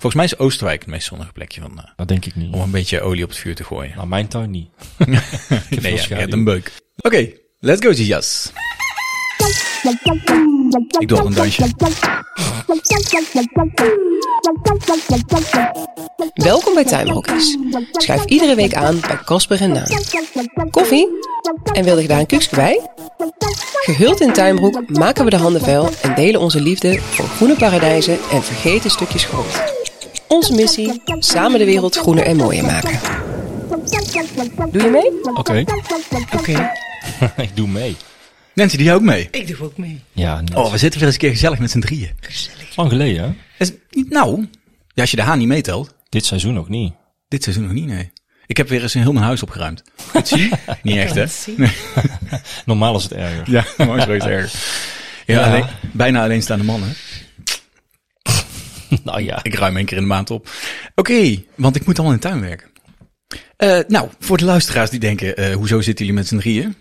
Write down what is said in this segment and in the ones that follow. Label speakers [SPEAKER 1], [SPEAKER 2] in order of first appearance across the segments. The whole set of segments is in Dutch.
[SPEAKER 1] Volgens mij is Oostenrijk het meest zonnige plekje van, eh,
[SPEAKER 2] Dat denk ik niet.
[SPEAKER 1] om een beetje olie op het vuur te gooien.
[SPEAKER 2] Oh, Nou, mijn tuin niet.
[SPEAKER 1] nee, ja, je
[SPEAKER 2] schaduw.
[SPEAKER 1] hebt een beuk. Oké, let's go, Jas.
[SPEAKER 3] Ik doe al een dansje.
[SPEAKER 4] Welkom bij Tuinbroekjes. Schuif iedere week aan bij Kasper en Naam.
[SPEAKER 3] Koffie?
[SPEAKER 4] En wilde je daar een kuksje bij? Gehuld in tuinbroek maken we de handen vuil en delen onze liefde voor groene paradijzen en vergeten stukjes grond. Onze missie: samen de wereld groener en mooier maken. Doe je mee?
[SPEAKER 2] Oké,
[SPEAKER 3] Oké.
[SPEAKER 2] ik doe mee.
[SPEAKER 1] Nancy, die jou ook mee.
[SPEAKER 5] Ik doe ook mee.
[SPEAKER 2] Ja, niet.
[SPEAKER 1] Oh, we zitten weer eens een keer gezellig met z'n drieën.
[SPEAKER 2] lang geleden hè?
[SPEAKER 1] Is, niet nou, ja, als je de haan niet meetelt,
[SPEAKER 2] Dit seizoen ook niet.
[SPEAKER 1] dit seizoen nog niet, nee. Ik heb weer eens een heel mijn huis opgeruimd. Dat zie je? Niet echt, hè?
[SPEAKER 2] Normaal is het erger.
[SPEAKER 1] Ja, mooi zo is het erg. Ja,
[SPEAKER 2] Ja.
[SPEAKER 1] alleen, bijna alleenstaande mannen.
[SPEAKER 2] Nou ja.
[SPEAKER 1] Ik ruim één keer in de maand op. Oké, want ik moet allemaal in de tuin werken. Eh, nou, voor de luisteraars die denken, eh, hoezo zitten jullie met z'n drieën?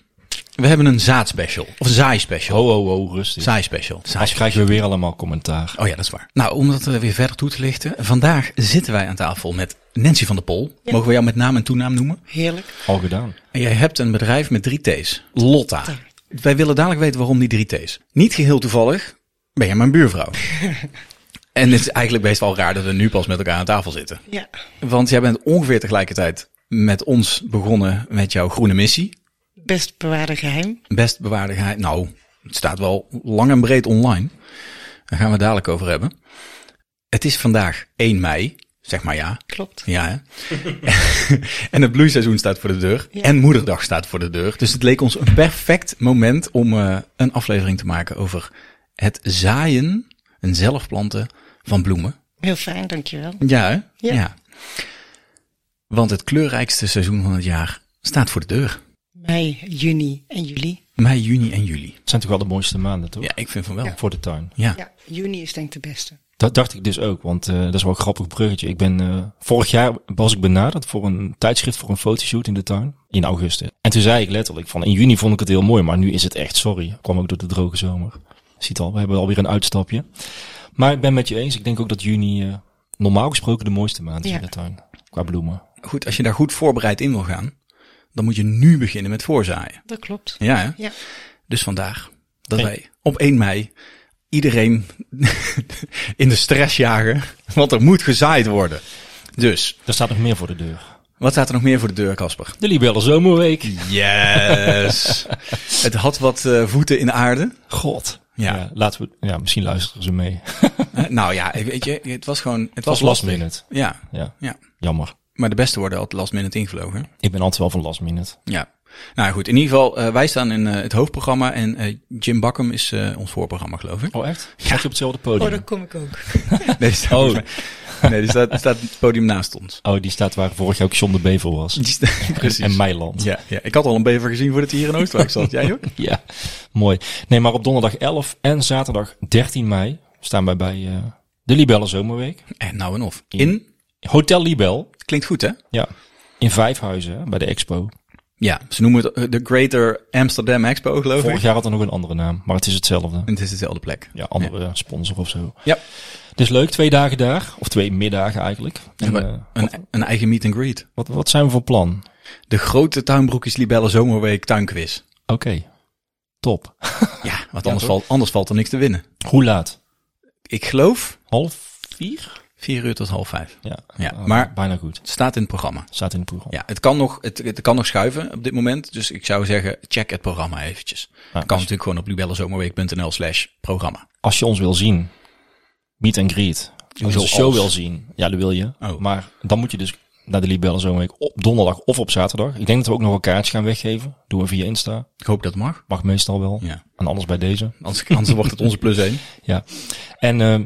[SPEAKER 1] We hebben een zaadspecial. Of een zaaispecial.
[SPEAKER 2] Ho, ho, ho, rustig.
[SPEAKER 1] Zaaispecial.
[SPEAKER 2] Als
[SPEAKER 1] Zaaispecial.
[SPEAKER 2] krijgen we weer allemaal commentaar.
[SPEAKER 1] Oh ja, dat is waar. Nou, om dat eh, weer verder toe te lichten. Vandaag zitten wij aan tafel met Nancy van der Pol. Mogen we jou met naam en toenaam noemen?
[SPEAKER 5] Heerlijk.
[SPEAKER 2] Al gedaan.
[SPEAKER 1] En jij hebt een bedrijf met drie T's. Lotta. Wij willen dadelijk weten waarom die drie T's. Niet geheel toevallig ben jij mijn buurvrouw. en het is eigenlijk best wel raar dat we nu pas met elkaar aan tafel zitten.
[SPEAKER 5] Ja.
[SPEAKER 1] Want jij bent ongeveer tegelijkertijd met ons begonnen met jouw groene missie.
[SPEAKER 5] Best bewaarde geheim.
[SPEAKER 1] Best bewaarde geheim. Nou, het staat wel lang en breed online. Daar gaan we het dadelijk over hebben. Het is vandaag 1 mei, zeg maar ja.
[SPEAKER 5] Klopt.
[SPEAKER 1] Ja, hè? en het bloeiseizoen staat voor de deur.
[SPEAKER 5] Ja.
[SPEAKER 1] En Moederdag staat voor de deur. Dus het leek ons een perfect moment om eh, een aflevering te maken over het zaaien en zelfplanten van bloemen.
[SPEAKER 5] Heel fijn, dankjewel.
[SPEAKER 1] Ja, hè?
[SPEAKER 5] Ja.
[SPEAKER 1] Want het kleurrijkste seizoen van het jaar staat voor de deur.
[SPEAKER 5] Mei, juni en juli.
[SPEAKER 1] Mei, juni en juli.
[SPEAKER 2] Het zijn toch wel de mooiste maanden, toch?
[SPEAKER 1] Ja, ik vind van wel. Ja.
[SPEAKER 2] Voor de tuin.
[SPEAKER 5] Ja, juni is denk ik de beste.
[SPEAKER 2] Dat dacht ik dus ook, want eh, dat is wel een grappig bruggetje. Ik ben, eh, vorig jaar was ik benaderd voor een tijdschrift voor een fotoshoot in de tuin. In augustus. En toen zei ik letterlijk van, in juni vond ik het heel mooi, maar nu is het echt, sorry. Kwam ook door de droge zomer. Ziet al, we hebben alweer een uitstapje. Maar ik ben met je eens, ik denk ook dat juni eh, normaal gesproken de mooiste maand is
[SPEAKER 5] Ja.
[SPEAKER 2] in de tuin. Qua bloemen.
[SPEAKER 1] Goed, als je daar goed voorbereid in wil gaan, dan moet je nu beginnen met voorzaaien.
[SPEAKER 5] Dat klopt.
[SPEAKER 1] Ja, hè?
[SPEAKER 5] Ja.
[SPEAKER 1] Dus vandaag dat
[SPEAKER 2] Hey.
[SPEAKER 1] wij op 1 mei iedereen in de stress jagen, want er moet gezaaid worden. Dus,
[SPEAKER 2] Er staat nog meer voor de deur.
[SPEAKER 1] wat staat er nog meer voor de deur, Casper?
[SPEAKER 2] De Libelle Zomerweek.
[SPEAKER 1] Yes! het had wat eh, voeten in de aarde.
[SPEAKER 2] God.
[SPEAKER 1] Ja.
[SPEAKER 2] Ja. laten we, ja, misschien luisteren ze mee. Het
[SPEAKER 1] Eh, nou ja, ik weet je, het was gewoon... Het,
[SPEAKER 2] was last
[SPEAKER 1] lastig.
[SPEAKER 2] minute.
[SPEAKER 1] Ja,
[SPEAKER 2] Ja,
[SPEAKER 1] ja.
[SPEAKER 2] jammer.
[SPEAKER 1] Maar de beste worden altijd last minute ingevlogen.
[SPEAKER 2] Ik ben altijd wel van last minute.
[SPEAKER 1] Ja. Nou goed, in ieder geval, eh, wij staan in eh, het hoofdprogramma en eh, Jim Bakum is eh, ons voorprogramma, geloof ik.
[SPEAKER 2] Oh, echt? Zat je op hetzelfde podium?
[SPEAKER 5] Oh, daar kom ik ook.
[SPEAKER 1] Nee, die staat,
[SPEAKER 2] Oh.
[SPEAKER 1] nee, die staat, staat het podium naast ons.
[SPEAKER 2] Oh, die staat waar vorig jaar ook John de Bevel was.
[SPEAKER 1] Die staat- precies.
[SPEAKER 2] En Meiland.
[SPEAKER 1] Ja, ja, ik had al een bever gezien voordat hij hier in Oostenrijk zat. Jij ook?
[SPEAKER 2] Ja, mooi. Nee, maar op donderdag 11 en zaterdag 13 mei staan wij bij eh, de Libelle Zomerweek.
[SPEAKER 1] En nou en of. In,
[SPEAKER 2] Hotel Libel.
[SPEAKER 1] klinkt goed hè?
[SPEAKER 2] Ja, in Vijfhuizen hè, bij de expo.
[SPEAKER 1] Ja, ze noemen het eh, de Greater Amsterdam Expo geloof
[SPEAKER 2] Vorig
[SPEAKER 1] ik.
[SPEAKER 2] jaar had er nog een andere naam, maar het is hetzelfde.
[SPEAKER 1] En het is dezelfde plek.
[SPEAKER 2] Ja, andere sponsor of zo.
[SPEAKER 1] Ja.
[SPEAKER 2] Dus leuk, twee dagen daar. Of twee middagen eigenlijk. En,
[SPEAKER 1] We
[SPEAKER 2] eh,
[SPEAKER 1] hebben een, een eigen meet and greet.
[SPEAKER 2] wat, wat zijn we voor plan?
[SPEAKER 1] De grote tuinbroekjes Libelle Zomerweek tuinquiz.
[SPEAKER 2] Oké, top.
[SPEAKER 1] Ja, want
[SPEAKER 2] Ja,
[SPEAKER 1] anders,
[SPEAKER 2] toch?
[SPEAKER 1] valt, anders valt er niks te winnen.
[SPEAKER 2] Hoe laat?
[SPEAKER 1] Ik geloof
[SPEAKER 2] Half vier?
[SPEAKER 1] vier uur tot half vijf.
[SPEAKER 2] Ja,
[SPEAKER 1] Ja,
[SPEAKER 2] Ah,
[SPEAKER 1] maar-
[SPEAKER 2] bijna goed.
[SPEAKER 1] Het staat in het programma.
[SPEAKER 2] Staat in het programma.
[SPEAKER 1] Ja, het kan, nog, het, het kan nog schuiven op dit moment. Dus ik zou zeggen, check het programma eventjes.
[SPEAKER 2] Nou,
[SPEAKER 1] Dat kan
[SPEAKER 2] als-
[SPEAKER 1] natuurlijk gewoon op libellezomerweek.nl slash programma.
[SPEAKER 2] als je ons wil zien, meet and greet. Als je
[SPEAKER 1] Hoezo
[SPEAKER 2] de show
[SPEAKER 1] als?
[SPEAKER 2] wil zien, ja, dat wil je.
[SPEAKER 1] Oh.
[SPEAKER 2] Maar dan moet je dus naar de Libelle Zomerweek op donderdag of op zaterdag. Ik denk dat we ook nog een kaartje gaan weggeven. Doen we via Insta.
[SPEAKER 1] Ik hoop dat het mag.
[SPEAKER 2] Mag meestal wel.
[SPEAKER 1] Ja.
[SPEAKER 2] En anders bij deze.
[SPEAKER 1] Anders, anders wordt het onze plus één.
[SPEAKER 2] Ja. En ehm,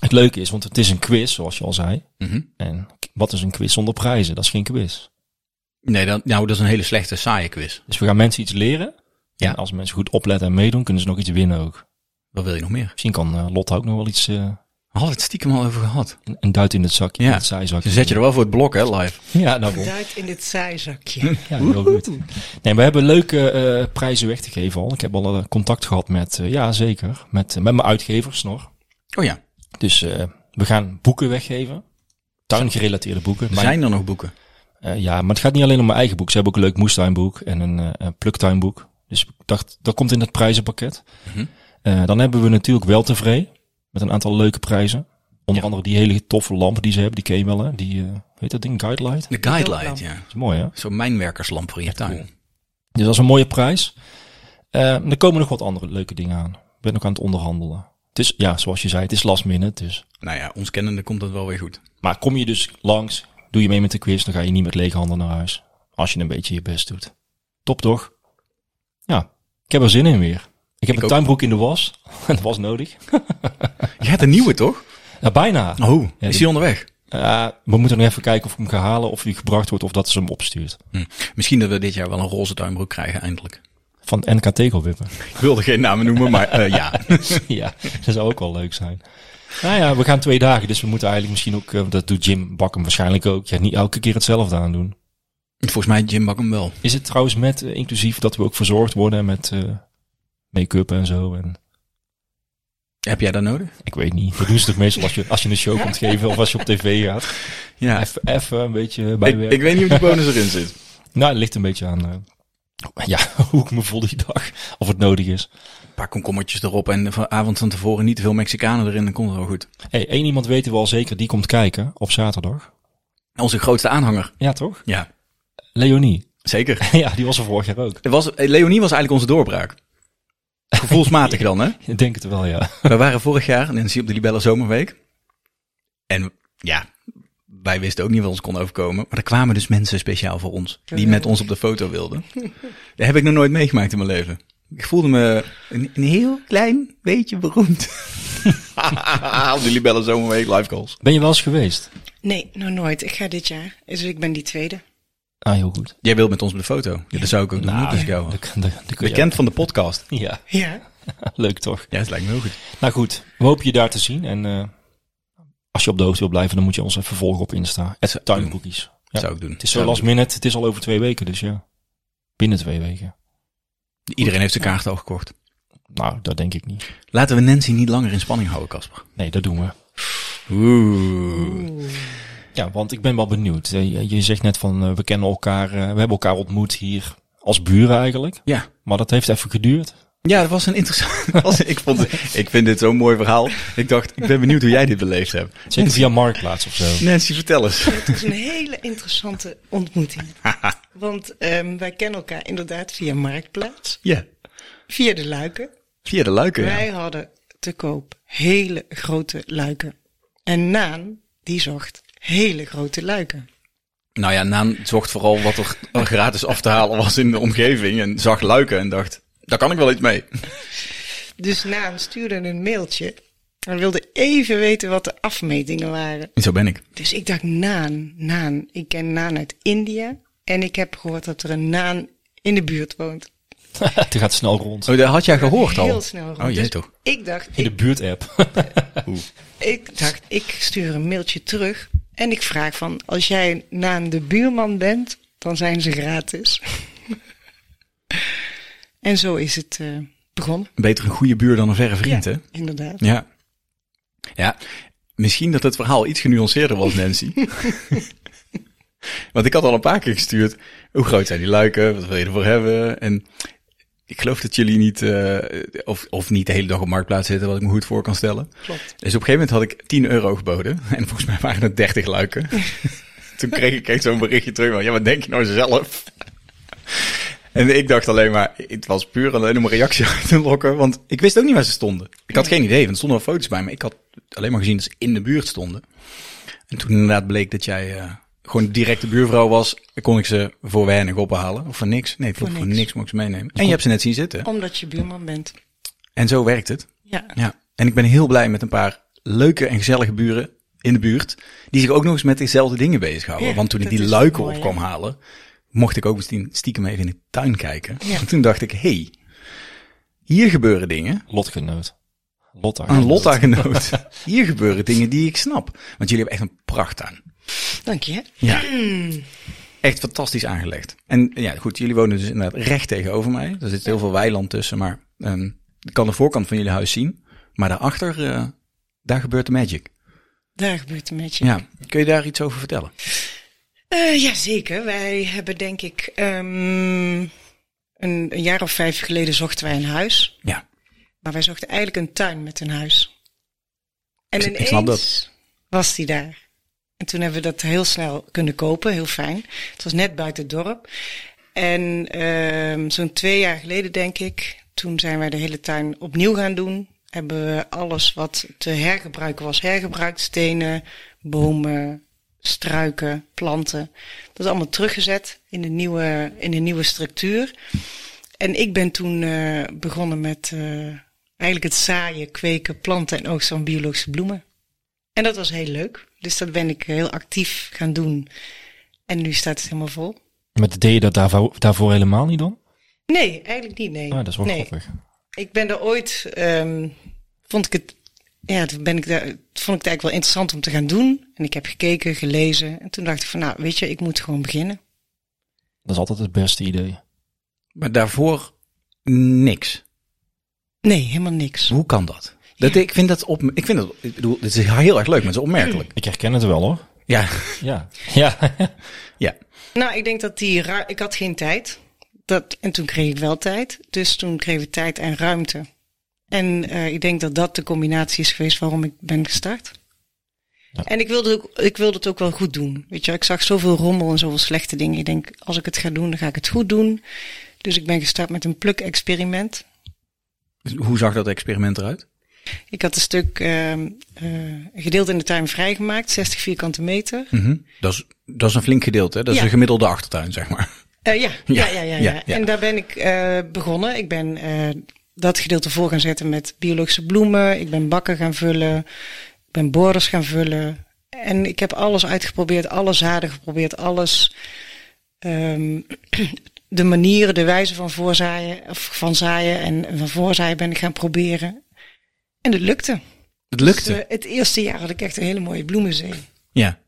[SPEAKER 2] het leuke is, want het is een quiz, zoals je al zei.
[SPEAKER 1] Mhm.
[SPEAKER 2] En k- wat is een quiz zonder prijzen? Dat is geen quiz.
[SPEAKER 1] Nee, dan, nou, dat is een hele slechte, saaie quiz.
[SPEAKER 2] Dus we gaan mensen iets leren.
[SPEAKER 1] Ja.
[SPEAKER 2] En als mensen goed opletten en meedoen, kunnen ze nog iets winnen ook.
[SPEAKER 1] Wat wil je nog meer?
[SPEAKER 2] Misschien kan eh, Lotte ook nog wel iets, eh,
[SPEAKER 1] Had het stiekem al over gehad.
[SPEAKER 2] een, een duit in het zakje,
[SPEAKER 1] Ja.
[SPEAKER 2] in het zijzakje.
[SPEAKER 1] Ze Dus zet je er wel voor het blok, hè, live.
[SPEAKER 2] Ja, nou bon.
[SPEAKER 5] Duit in dit saaizakje.
[SPEAKER 2] Ja, heel goed. Nee, we hebben leuke eh, prijzen weg te geven al. Ik heb al eh, contact gehad met, eh, ja zeker, met, met mijn uitgevers nog.
[SPEAKER 1] Oh ja.
[SPEAKER 2] Dus eh, We gaan boeken weggeven. Tuingerelateerde boeken. Mijn-
[SPEAKER 1] Zijn er nog boeken?
[SPEAKER 2] eh, ja, maar het gaat niet alleen om mijn eigen boek. Ze hebben ook een leuk moestuinboek en een, eh, een pluktuinboek. Dus ik dacht, dat komt in dat prijzenpakket.
[SPEAKER 1] Mhm.
[SPEAKER 2] Eh, dan hebben we natuurlijk wel tevreden met een aantal leuke prijzen. Onder andere die hele toffe lamp die ze hebben, die ken je wel hè? Die, eh, hoe heet dat ding? Guidelight? Dat
[SPEAKER 1] De Guidelight, ja.
[SPEAKER 2] is mooi hè?
[SPEAKER 1] Zo'n mijnwerkerslamp voor je tuin.
[SPEAKER 2] Dus dat is een mooie prijs. Eh, er komen nog wat andere leuke dingen aan. Ik ben ook aan het onderhandelen. Het is, ja, zoals je zei, het is last minute. Dus.
[SPEAKER 1] Nou ja, ons kennende komt dat wel weer goed.
[SPEAKER 2] Maar kom je dus langs, doe je mee met de quiz, dan ga je niet met lege handen naar huis. Als je een beetje je best doet. Top toch? Ja, ik heb er zin in weer. Ik heb
[SPEAKER 1] Ik
[SPEAKER 2] een
[SPEAKER 1] ook.
[SPEAKER 2] tuinbroek in de was. dat was nodig.
[SPEAKER 1] Je hebt een nieuwe, toch?
[SPEAKER 2] Ja, bijna.
[SPEAKER 1] Oh,
[SPEAKER 2] Ja,
[SPEAKER 1] is
[SPEAKER 2] die-
[SPEAKER 1] die onderweg?
[SPEAKER 2] Eh, we moeten nog even kijken of ik hem ga halen, of hij gebracht wordt, of dat ze hem opstuurt.
[SPEAKER 1] Hm. Misschien dat we dit jaar wel een roze tuinbroek krijgen, eindelijk.
[SPEAKER 2] Van NK Tegelwippen.
[SPEAKER 1] Ik wilde geen namen noemen, maar eh, ja.
[SPEAKER 2] ja, dat zou ook wel leuk zijn. Nou ja, we gaan twee dagen, dus we moeten eigenlijk misschien ook, eh, dat doet Jim Bakken waarschijnlijk ook, ja, niet elke keer hetzelfde aan doen.
[SPEAKER 1] Volgens mij Jim Bak hem wel.
[SPEAKER 2] Is het trouwens met eh, inclusief dat we ook verzorgd worden met eh, make-up en zo? En
[SPEAKER 1] Heb jij dat nodig?
[SPEAKER 2] ik weet niet. Dat doen ze toch meestal als je, als je een show komt geven of als je op tv gaat.
[SPEAKER 1] Ja,
[SPEAKER 2] Even, even een beetje
[SPEAKER 1] ik,
[SPEAKER 2] bijwerken.
[SPEAKER 1] ik weet niet of die bonus erin zit.
[SPEAKER 2] Nou, het ligt een beetje aan eh, ja, hoe ik me voel die dag. Of het nodig is.
[SPEAKER 1] Een paar komkommertjes erop en van avond van tevoren niet te veel Mexicanen erin, dan komt het wel goed.
[SPEAKER 2] hey, één iemand weten we al zeker, die komt kijken op zaterdag.
[SPEAKER 1] Onze grootste aanhanger.
[SPEAKER 2] Ja, toch?
[SPEAKER 1] Ja,
[SPEAKER 2] Leonie.
[SPEAKER 1] zeker.
[SPEAKER 2] ja, die was er vorig jaar ook.
[SPEAKER 1] Er was, eh, Leonie was eigenlijk onze doorbraak. Gevoelsmatig dan, hè?
[SPEAKER 2] Ik denk het wel, ja.
[SPEAKER 1] We waren vorig jaar in NC op de Libelle Zomerweek. En ja, wij wisten ook niet wat ons kon overkomen. Maar er kwamen dus mensen speciaal voor ons. Die met ons op de foto wilden. Dat heb ik nog nooit meegemaakt in mijn leven. Ik voelde me een, een heel klein beetje beroemd. op de Libelle Zomerweek live calls.
[SPEAKER 2] Ben je wel eens geweest?
[SPEAKER 5] Nee, nou nooit. Ik ga dit jaar. Dus ik ben die tweede.
[SPEAKER 2] Ah, heel goed.
[SPEAKER 1] Jij wilt met ons op de foto. Ja, dat zou ik ook doen.
[SPEAKER 2] Nou,
[SPEAKER 1] Dus ik
[SPEAKER 2] ja.
[SPEAKER 1] jou-
[SPEAKER 2] dat- dat- dat-
[SPEAKER 1] Bekend van de podcast.
[SPEAKER 2] Ja,
[SPEAKER 5] Ja.
[SPEAKER 2] leuk toch?
[SPEAKER 1] Ja, het lijkt me heel goed.
[SPEAKER 2] Nou goed, we hopen je daar te zien. En eh, als je op de hoogte wil blijven, dan moet je ons even volgen op Insta. Het tuinboekies. Ja.
[SPEAKER 1] Zou ik doen.
[SPEAKER 2] Het is zo
[SPEAKER 1] Zou ik
[SPEAKER 2] last minute. Het is al over twee weken, dus ja. Binnen twee weken.
[SPEAKER 1] doen. Iedereen heeft zijn kaart al gekocht.
[SPEAKER 2] Nou, dat denk ik niet.
[SPEAKER 1] Laten we Nancy niet langer in spanning houden, Casper.
[SPEAKER 2] Nee, dat doen we.
[SPEAKER 1] Oeh.
[SPEAKER 2] Ja, want ik ben wel benieuwd. Eh, Je, je zegt net van, eh, we kennen elkaar, eh, we hebben elkaar ontmoet hier als buren eigenlijk.
[SPEAKER 1] Ja.
[SPEAKER 2] Maar dat heeft even geduurd.
[SPEAKER 1] Ja, dat was een interessant. dat was- ik, vond, ik vind dit zo'n mooi verhaal. Ik dacht, ik ben benieuwd hoe jij dit beleefd hebt.
[SPEAKER 2] Zeker via Marktplaats of zo.
[SPEAKER 1] Nancy, vertel eens.
[SPEAKER 5] Het was een hele interessante ontmoeting. Want ehm, wij kennen elkaar inderdaad via Marktplaats.
[SPEAKER 1] Ja,
[SPEAKER 5] Via de luiken.
[SPEAKER 1] via de luiken. ja.
[SPEAKER 5] Wij hadden te koop hele grote luiken. En Naan, die zocht hele grote luiken.
[SPEAKER 1] Nou ja, Naan zocht vooral wat er gratis af te halen was in de omgeving. En zag luiken en dacht, daar kan ik wel iets mee.
[SPEAKER 5] Dus Naan stuurde een mailtje. En wilde even weten wat de afmetingen waren.
[SPEAKER 1] En zo ben ik.
[SPEAKER 5] Dus ik dacht, Naan, Naan. Ik ken Naan uit India. En ik heb gehoord dat er een Naan in de buurt woont.
[SPEAKER 2] Het gaat snel rond.
[SPEAKER 1] Oh, dat had jij gehoord al?
[SPEAKER 5] Heel snel. rond.
[SPEAKER 1] Oh, jee
[SPEAKER 5] Dus
[SPEAKER 1] toch.
[SPEAKER 5] Ik dacht,
[SPEAKER 2] In de
[SPEAKER 5] ik,
[SPEAKER 2] buurt-app.
[SPEAKER 5] ik dacht, ik stuur een mailtje terug. En ik vraag van, als jij Naan de buurman bent, dan zijn ze gratis. en zo is het eh, begonnen.
[SPEAKER 1] Beter een goede buur dan een verre vriend,
[SPEAKER 5] ja,
[SPEAKER 1] hè?
[SPEAKER 5] inderdaad.
[SPEAKER 1] Ja. Ja. Misschien dat het verhaal iets genuanceerder was, Nancy. Want ik had al een paar keer gestuurd. Hoe groot zijn die luiken? Wat wil je ervoor hebben? En ik geloof dat jullie niet, eh, of, of niet de hele dag op marktplaats zitten, wat ik me goed voor kan stellen.
[SPEAKER 5] Klopt.
[SPEAKER 1] Dus op een gegeven moment had ik 10 euro geboden. En volgens mij waren het 30 luiken. Toen kreeg ik echt zo'n berichtje terug van, ja, wat denk je nou zelf? En ik dacht alleen maar, het was puur alleen om een reactie uit te lokken. Want ik wist ook niet waar ze stonden. Ik had geen idee, want er stonden wel foto's bij me. Ik had alleen maar gezien dat ze in de buurt stonden. En toen inderdaad bleek dat jij eh, gewoon direct de buurvrouw was, kon ik ze voor weinig ophalen. Of voor niks. Nee, voor, voor
[SPEAKER 5] niks.
[SPEAKER 1] niks mocht ik ze meenemen. En je hebt ze net zien zitten.
[SPEAKER 5] Omdat je buurman bent.
[SPEAKER 1] En zo werkt het.
[SPEAKER 5] Ja.
[SPEAKER 1] Ja, en ik ben heel blij met een paar leuke en gezellige buren in de buurt. Die zich ook nog eens met dezelfde dingen bezighouden.
[SPEAKER 5] Ja,
[SPEAKER 1] Want toen ik
[SPEAKER 5] dat
[SPEAKER 1] die
[SPEAKER 5] is toch
[SPEAKER 1] luiken
[SPEAKER 5] mooi,
[SPEAKER 1] op kwam halen, mocht ik ook misschien stiekem even in de tuin kijken.
[SPEAKER 5] Ja.
[SPEAKER 1] En toen dacht ik, hey, hier gebeuren dingen.
[SPEAKER 2] Lotgenoot. Lotta.
[SPEAKER 1] Aan Lotta genoot. hier gebeuren dingen die ik snap. Want jullie hebben echt een prachttuin.
[SPEAKER 5] Dank je.
[SPEAKER 1] Ja. Echt fantastisch aangelegd. En ja, goed, jullie wonen dus inderdaad recht tegenover mij. Er zit heel veel weiland tussen, maar ehm, ik kan de voorkant van jullie huis zien. Maar daarachter, eh, daar gebeurt de magic.
[SPEAKER 5] Daar gebeurt het met je.
[SPEAKER 6] Ja. Kun je daar iets over vertellen?
[SPEAKER 5] Eh, Jazeker. Wij hebben denk ik ehm, een, een jaar of vijf geleden zochten wij een huis.
[SPEAKER 6] Ja.
[SPEAKER 5] Maar wij zochten eigenlijk een tuin met een huis. En
[SPEAKER 6] Ik- ik
[SPEAKER 5] ineens
[SPEAKER 6] snap
[SPEAKER 5] was die daar. En toen hebben we dat heel snel kunnen kopen, heel fijn. Het was net buiten het dorp. En ehm, zo'n twee jaar geleden, denk ik, toen zijn wij de hele tuin opnieuw gaan doen. Hebben we alles wat te hergebruiken was hergebruikt. Stenen, bomen, struiken, planten. Dat is allemaal teruggezet in de nieuwe, in de nieuwe structuur. En ik ben toen eh, begonnen met eh, eigenlijk het zaaien, kweken, planten en oogsten van biologische bloemen. En dat was heel leuk. Dus dat ben ik heel actief gaan doen. En nu staat het helemaal vol.
[SPEAKER 2] Maar deed je dat daarvoor, daarvoor helemaal niet dan?
[SPEAKER 5] Nee, eigenlijk niet, nee.
[SPEAKER 2] Ah, dat is wel
[SPEAKER 5] nee.
[SPEAKER 2] grappig.
[SPEAKER 5] Ik ben er ooit, ehm, vond ik het, ja, toen ben ik daar, vond ik het eigenlijk wel interessant om te gaan doen. En ik heb gekeken, gelezen. En toen dacht ik van, nou, weet je, ik moet gewoon beginnen.
[SPEAKER 2] Dat is altijd het beste idee.
[SPEAKER 6] Maar daarvoor niks.
[SPEAKER 5] Nee, helemaal niks.
[SPEAKER 6] Hoe kan dat? dat ik vind dat op. Ik vind dat. Ik bedoel, dit is heel erg leuk, maar het is opmerkelijk.
[SPEAKER 2] Ik herken het wel hoor.
[SPEAKER 6] Mm. Ja.
[SPEAKER 2] Ja. Ja.
[SPEAKER 6] Ja.
[SPEAKER 5] Nou, ik denk dat die, ru- ik had geen tijd. Dat, en toen kreeg ik wel tijd. Dus toen kregen we tijd en ruimte. En eh, ik denk dat dat de combinatie is geweest waarom ik ben gestart.
[SPEAKER 2] Ja.
[SPEAKER 5] En ik wilde, ook, ik wilde het ook wel goed doen. Weet je, wel, ik zag zoveel rommel en zoveel slechte dingen. Ik denk, als ik het ga doen, dan ga ik het goed doen. Dus ik ben gestart met een pluk-experiment.
[SPEAKER 6] Dus Hoe zag dat experiment eruit?
[SPEAKER 5] Ik had een stuk ehm eh, een gedeelte in de tuin vrijgemaakt, 60 vierkante meter.
[SPEAKER 6] Mhm. Dat, is, dat is een flink gedeelte. hè? Dat is
[SPEAKER 5] Ja.
[SPEAKER 6] een gemiddelde achtertuin, zeg maar.
[SPEAKER 5] Eh, ja, ja, ja, ja, ja.
[SPEAKER 6] ja, ja.
[SPEAKER 5] En daar ben ik eh, begonnen. Ik ben eh, dat gedeelte voor gaan zetten met biologische bloemen. Ik ben bakken gaan vullen. Ik ben borders gaan vullen. En ik heb alles uitgeprobeerd, alle zaden geprobeerd, alles. ehm, de manieren, de wijze van voorzaaien, of van zaaien en van voorzaaien ben ik gaan proberen. En het lukte.
[SPEAKER 6] Het lukte.
[SPEAKER 5] Eh, het eerste jaar had ik echt een hele mooie bloemenzee.
[SPEAKER 6] ja.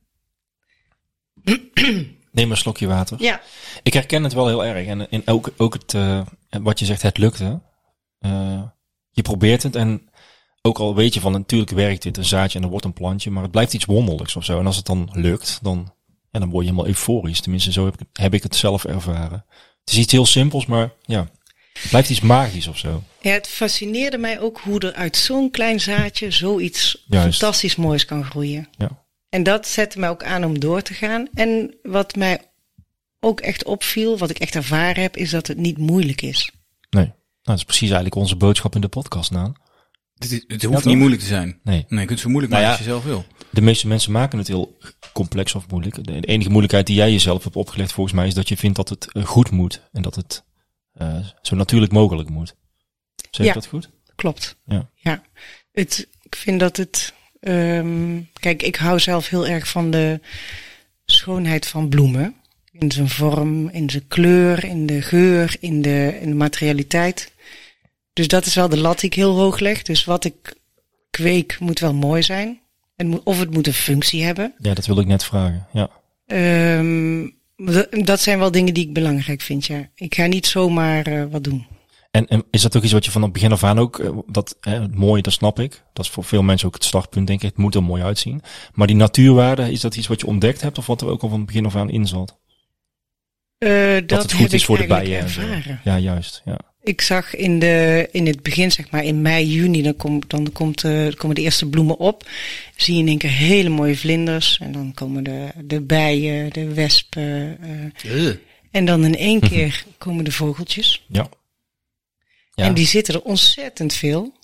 [SPEAKER 2] Neem een slokje water.
[SPEAKER 5] Ja,
[SPEAKER 2] Ik herken het wel heel erg. En, en ook, ook het, eh, wat je zegt, het lukte. Eh, je probeert het en ook al weet je van natuurlijk werkt dit een zaadje en er wordt een plantje, maar het blijft iets wonderlijks of zo. En als het dan lukt, dan, ja, dan word je helemaal euforisch. Tenminste, zo heb ik, het- heb ik het zelf ervaren. Het is iets heel simpels, maar ja, het blijft iets magisch of zo.
[SPEAKER 5] Ja, het fascineerde mij ook hoe er uit zo'n klein zaadje zoiets
[SPEAKER 2] Juist.
[SPEAKER 5] fantastisch moois kan groeien.
[SPEAKER 2] Ja.
[SPEAKER 5] En dat zette mij ook aan om door te gaan. En wat mij ook echt opviel, wat ik echt ervaren heb, is dat het niet moeilijk is.
[SPEAKER 2] Nee, nou, dat is precies eigenlijk onze boodschap in de podcast, Naan.
[SPEAKER 6] Het, is- het
[SPEAKER 2] Ja,
[SPEAKER 6] hoeft
[SPEAKER 2] toch?
[SPEAKER 6] niet moeilijk te zijn.
[SPEAKER 2] Nee.
[SPEAKER 6] Nee, je kunt het zo moeilijk
[SPEAKER 2] Nou
[SPEAKER 6] maken
[SPEAKER 2] ja.
[SPEAKER 6] als je zelf wil.
[SPEAKER 2] De meeste mensen maken het heel complex of moeilijk. De de enige moeilijkheid die jij jezelf hebt opgelegd volgens mij is dat je vindt dat het eh, goed moet. En dat het eh, zo natuurlijk mogelijk moet. Zeg
[SPEAKER 5] Ja.
[SPEAKER 2] ik dat goed?
[SPEAKER 5] Klopt.
[SPEAKER 2] Ja.
[SPEAKER 5] Ja. Het, ik vind dat het. ehm, kijk, ik hou zelf heel erg van de schoonheid van bloemen. In zijn vorm, in zijn kleur, in de geur, in de, in de materialiteit. Dus dat is wel de lat die ik heel hoog leg. Dus wat ik kweek moet wel mooi zijn. En moet- of het moet een functie hebben.
[SPEAKER 2] Ja, dat wil ik net vragen. Ja.
[SPEAKER 5] Ehm, dat- dat zijn wel dingen die ik belangrijk vind, ja. Ik ga niet zomaar eh, wat doen.
[SPEAKER 2] En, en is dat ook iets wat je van het begin af aan ook, eh, dat hè, het mooie, dat snap ik. Dat is voor veel mensen ook het startpunt, denk ik. Het moet er mooi uitzien. Maar die natuurwaarde, is dat iets wat je ontdekt hebt of wat er ook al van het begin af aan in zat?
[SPEAKER 5] Eh, dat
[SPEAKER 2] het
[SPEAKER 5] heb
[SPEAKER 2] goed is
[SPEAKER 5] ik
[SPEAKER 2] voor de
[SPEAKER 5] eigenlijk
[SPEAKER 2] bijen. en zo.
[SPEAKER 5] ervaren.
[SPEAKER 2] Ja, juist. Ja.
[SPEAKER 5] Ik zag in, de, in het begin, zeg maar in mei, juni, dan, komt dan komt, eh, komen de eerste bloemen op. Zie je in één keer hele mooie vlinders. En dan komen de, de bijen, de wespen. eh. en dan in
[SPEAKER 2] Mhm.
[SPEAKER 5] één keer komen de vogeltjes.
[SPEAKER 2] ja. Ja,
[SPEAKER 5] En die zitten er ontzettend veel.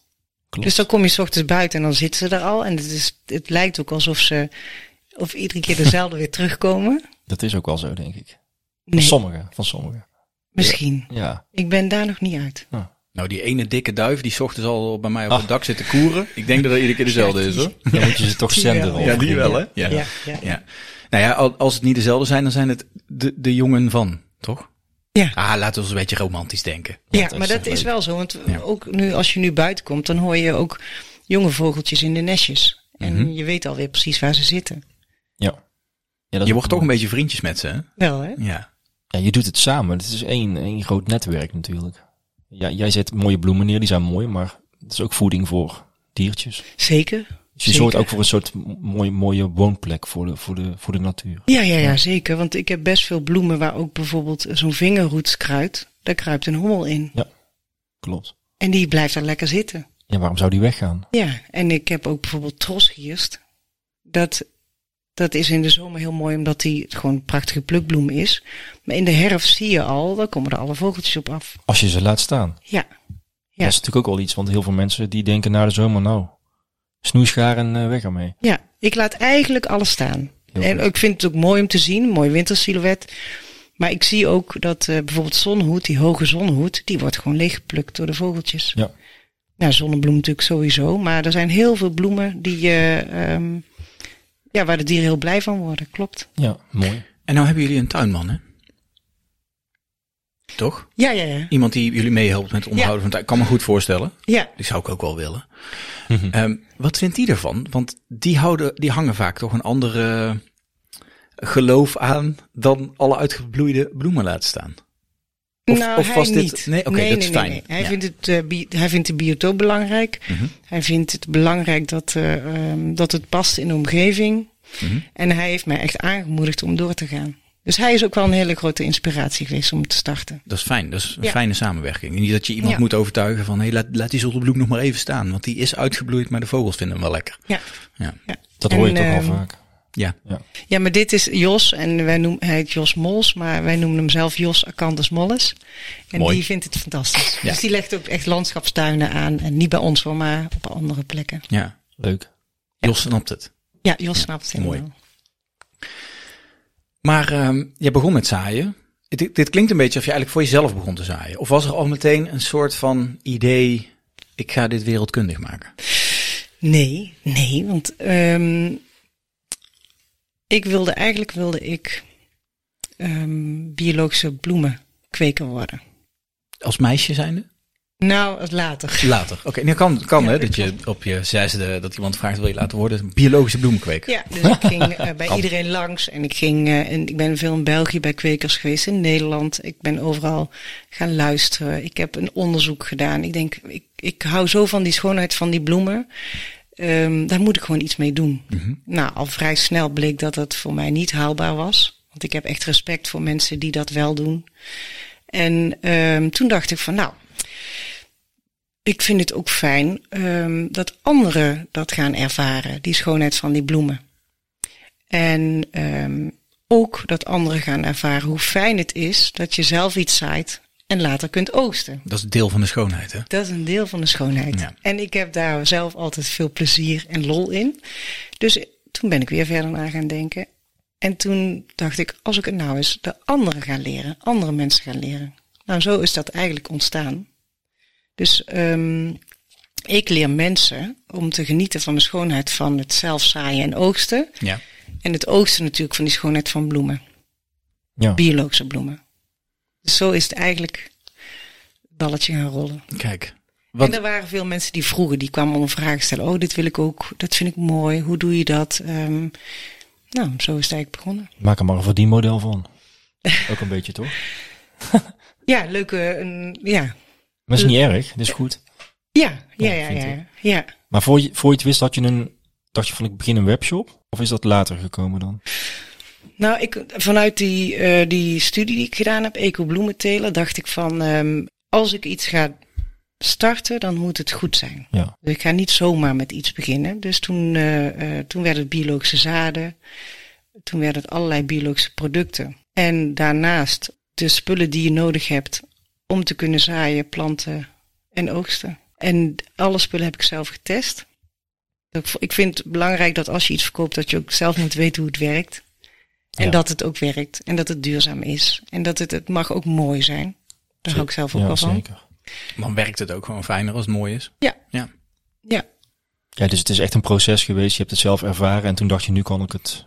[SPEAKER 2] klopt.
[SPEAKER 5] Dus dan kom je s ochtends buiten en dan zitten ze er al. En het, is, het lijkt ook alsof ze of iedere keer dezelfde weer terugkomen.
[SPEAKER 2] dat is ook wel zo, denk ik. Van
[SPEAKER 5] Nee,
[SPEAKER 2] sommigen, van sommigen.
[SPEAKER 5] misschien.
[SPEAKER 2] Ja.
[SPEAKER 5] Ik ben daar nog niet uit.
[SPEAKER 6] Nou, die ene dikke duif die 's ochtends al bij mij op het dak zit te koeren. Ik denk dat dat iedere keer dezelfde is hoor.
[SPEAKER 2] Dan moet je ze toch
[SPEAKER 5] Die
[SPEAKER 2] zenden.
[SPEAKER 5] wel.
[SPEAKER 2] of
[SPEAKER 6] Ja, die
[SPEAKER 2] dingen.
[SPEAKER 6] wel hè?
[SPEAKER 5] Ja, ja, ja.
[SPEAKER 6] Ja. Nou ja, al- als het niet dezelfde zijn, dan zijn het de, de jongen van, toch?
[SPEAKER 5] Ja.
[SPEAKER 6] Ah, laten we ons een beetje romantisch denken.
[SPEAKER 5] Ja,
[SPEAKER 2] dat
[SPEAKER 5] maar
[SPEAKER 2] is
[SPEAKER 5] dat
[SPEAKER 2] echt
[SPEAKER 5] is
[SPEAKER 2] leuk.
[SPEAKER 5] wel zo. Want
[SPEAKER 6] Ja.
[SPEAKER 5] ook nu, als je nu buiten komt, dan hoor je ook jonge vogeltjes in de nestjes. En
[SPEAKER 2] Mhm.
[SPEAKER 5] je weet alweer precies waar ze zitten.
[SPEAKER 2] Ja. ja dat
[SPEAKER 6] Je wordt toch een beetje vriendjes met ze, hè?
[SPEAKER 5] Wel, hè?
[SPEAKER 6] Ja.
[SPEAKER 2] Ja, je doet het samen. Het is één, één groot netwerk natuurlijk. Ja, jij zet mooie bloemen neer, die zijn mooi, maar het is ook voeding voor diertjes.
[SPEAKER 5] Zeker.
[SPEAKER 2] Dus je zorgt ook voor een soort m- mooie, mooie woonplek voor de, voor de, voor de natuur.
[SPEAKER 5] Ja, ja, ja, zeker. Want ik heb best veel bloemen waar ook bijvoorbeeld zo'n vingerroetskruid, daar kruipt een hommel in.
[SPEAKER 2] Klopt.
[SPEAKER 5] En die blijft daar lekker zitten.
[SPEAKER 2] Ja, waarom zou die weggaan?
[SPEAKER 5] Ja, en ik heb ook bijvoorbeeld trosgierst. Dat, dat is in de zomer heel mooi omdat die gewoon een prachtige plukbloem is. Maar in de herfst zie je al, dan komen er alle vogeltjes op af.
[SPEAKER 2] Als je ze laat staan.
[SPEAKER 5] Ja, Ja.
[SPEAKER 2] Dat is natuurlijk ook wel iets, want heel veel mensen die denken na de zomer, nou, snoeschaar en eh, weg ermee.
[SPEAKER 5] ja. Ik laat eigenlijk alles staan.
[SPEAKER 2] Heel
[SPEAKER 5] en
[SPEAKER 2] goed.
[SPEAKER 5] ik vind het ook mooi om te zien, een mooi wintersilhouet. Maar ik zie ook dat eh, bijvoorbeeld zonnehoed, die hoge zonnehoed, die wordt gewoon leeggeplukt door de vogeltjes.
[SPEAKER 2] Ja.
[SPEAKER 5] Nou, zonnebloem natuurlijk sowieso. Maar er zijn heel veel bloemen die, eh, ehm, ja, waar de dieren heel blij van worden. Klopt.
[SPEAKER 2] Ja, mooi.
[SPEAKER 1] En nou hebben jullie een tuinman, hè? Toch?
[SPEAKER 5] Ja, ja, ja.
[SPEAKER 1] Iemand die jullie meehelpt met het onderhouden van tuin. Ik kan me goed voorstellen.
[SPEAKER 5] ja.
[SPEAKER 1] Die zou ik ook wel willen. Ehm, wat vindt die ervan? Want die, houden, die hangen vaak toch een andere geloof aan dan alle uitgebloeide bloemen laten staan. Of-
[SPEAKER 5] nou,
[SPEAKER 1] of
[SPEAKER 5] hij
[SPEAKER 1] was dit-
[SPEAKER 5] niet.
[SPEAKER 1] nee, oké, dat is fijn.
[SPEAKER 5] Hij,
[SPEAKER 1] Ja. Mhm.
[SPEAKER 5] vindt het, eh, bi- hij vindt de biotoop belangrijk. Hij vindt het belangrijk dat, eh, ehm, dat het past in de omgeving.
[SPEAKER 1] Mhm.
[SPEAKER 5] En hij heeft mij echt aangemoedigd om door te gaan. Dus hij is ook wel een hele grote inspiratie geweest om te starten.
[SPEAKER 1] Dat is fijn. Dat is een
[SPEAKER 5] Ja.
[SPEAKER 1] fijne samenwerking. En niet dat je iemand
[SPEAKER 5] Ja.
[SPEAKER 1] moet overtuigen van... Hey, laat, laat die zonnebloem nog maar even staan. Want die is uitgebloeid, maar de vogels vinden hem wel lekker.
[SPEAKER 5] Ja.
[SPEAKER 1] Ja.
[SPEAKER 5] Ja.
[SPEAKER 2] Dat hoor je
[SPEAKER 5] En,
[SPEAKER 2] toch wel
[SPEAKER 5] ehm,
[SPEAKER 2] vaak.
[SPEAKER 1] Ja.
[SPEAKER 5] Ja, maar dit is Jos en wij noemen, hij heet Jos Mols, maar wij noemen hem zelf Jos Akandes Molles. En
[SPEAKER 1] Mooi.
[SPEAKER 5] die vindt het fantastisch.
[SPEAKER 1] Ja.
[SPEAKER 5] Dus die legt ook echt landschapstuinen aan. En niet bij ons hoor, maar op andere plekken.
[SPEAKER 1] ja.
[SPEAKER 2] Leuk.
[SPEAKER 1] Jos snapt het.
[SPEAKER 5] Ja, Jos snapt het helemaal.
[SPEAKER 1] mooi. Maar ehm je begon met zaaien. Dit, dit klinkt een beetje of je eigenlijk voor jezelf begon te zaaien. Of was er al meteen een soort van idee... Ik ga dit wereldkundig maken.
[SPEAKER 5] Nee, nee, want ehm, ik wilde eigenlijk wilde ik ehm, biologische bloemen kweker worden.
[SPEAKER 1] Als meisje zijnde?
[SPEAKER 5] Nou, als later.
[SPEAKER 1] Later. Oké, nu kan, kan hè, dat je op je zesde, dat iemand vraagt, wil je laten worden? Een biologische bloemkweker.
[SPEAKER 5] Ja, dus ik ging eh, bij iedereen langs en ik ging, eh, en ik ben veel in België bij kwekers geweest, in Nederland. Ik ben overal gaan luisteren. Ik heb een onderzoek gedaan. Ik denk, ik, ik hou zo van die schoonheid van die bloemen. Ehm, daar moet ik gewoon iets mee doen. Nou, al vrij snel bleek dat dat voor mij niet haalbaar was. Want ik heb echt respect voor mensen die dat wel doen. En ehm, toen dacht ik van, nou, ik vind het ook fijn ehm, dat anderen dat gaan ervaren, die schoonheid van die bloemen. En ehm, ook dat anderen gaan ervaren hoe fijn het is dat je zelf iets zaait en later kunt oogsten.
[SPEAKER 1] Dat is deel van de schoonheid, hè?
[SPEAKER 5] Dat is een deel van de schoonheid.
[SPEAKER 1] Ja.
[SPEAKER 5] En ik heb daar zelf altijd veel plezier en lol in. Dus toen ben ik weer verder na gaan denken. En toen dacht ik, als ik het nou eens de anderen ga leren, andere mensen gaan leren. Nou, zo is dat eigenlijk ontstaan. Dus ehm, ik leer mensen om te genieten van de schoonheid van het zelf zaaien en oogsten.
[SPEAKER 1] Ja.
[SPEAKER 5] En het oogsten natuurlijk van die schoonheid van bloemen,
[SPEAKER 2] Ja.
[SPEAKER 5] biologische bloemen. Dus zo is het eigenlijk het balletje gaan rollen.
[SPEAKER 1] Kijk. Want,
[SPEAKER 5] En er waren veel mensen die vroegen, die kwamen om vragen stellen. Oh, dit wil ik ook, dat vind ik mooi, hoe doe je dat? Ehm, nou, zo is het eigenlijk begonnen.
[SPEAKER 2] Maak er maar een verdienmodel van. ook een beetje, toch?
[SPEAKER 5] Ja, leuke, een, ja.
[SPEAKER 2] Maar is
[SPEAKER 5] Eh.
[SPEAKER 2] niet erg, dat is goed.
[SPEAKER 5] Ja, ja, ja,
[SPEAKER 2] vind
[SPEAKER 5] ja,
[SPEAKER 2] ik.
[SPEAKER 5] ja, ja.
[SPEAKER 2] Maar voor je, voor je het wist had je een, dacht je van ik begin een webshop? Of is dat later gekomen dan?
[SPEAKER 5] Nou, ik, vanuit die, eh, die studie die ik gedaan heb, Eco Bloementelen, dacht ik van, ehm, als ik iets ga starten, dan moet het goed zijn.
[SPEAKER 2] Ja.
[SPEAKER 5] Dus ik ga niet zomaar met iets beginnen. Dus toen, eh, eh, toen werd het biologische zaden. Toen werden het allerlei biologische producten. En daarnaast de spullen die je nodig hebt om te kunnen zaaien, planten en oogsten. En alle spullen heb ik zelf getest. Ik vo- Ik vind het belangrijk dat als je iets verkoopt, dat je ook zelf moet weten hoe het werkt. En
[SPEAKER 2] Ja.
[SPEAKER 5] dat het ook werkt. En dat het duurzaam is. En dat het, het mag ook mooi zijn. Daar hou ik zelf ook
[SPEAKER 2] ja,
[SPEAKER 5] wel van.
[SPEAKER 2] zeker.
[SPEAKER 1] dan werkt het ook gewoon fijner als het mooi is.
[SPEAKER 5] Ja.
[SPEAKER 1] Ja.
[SPEAKER 5] Ja.
[SPEAKER 2] Ja, dus het is echt een proces geweest. Je hebt het zelf ervaren en toen dacht je nu kan ik het...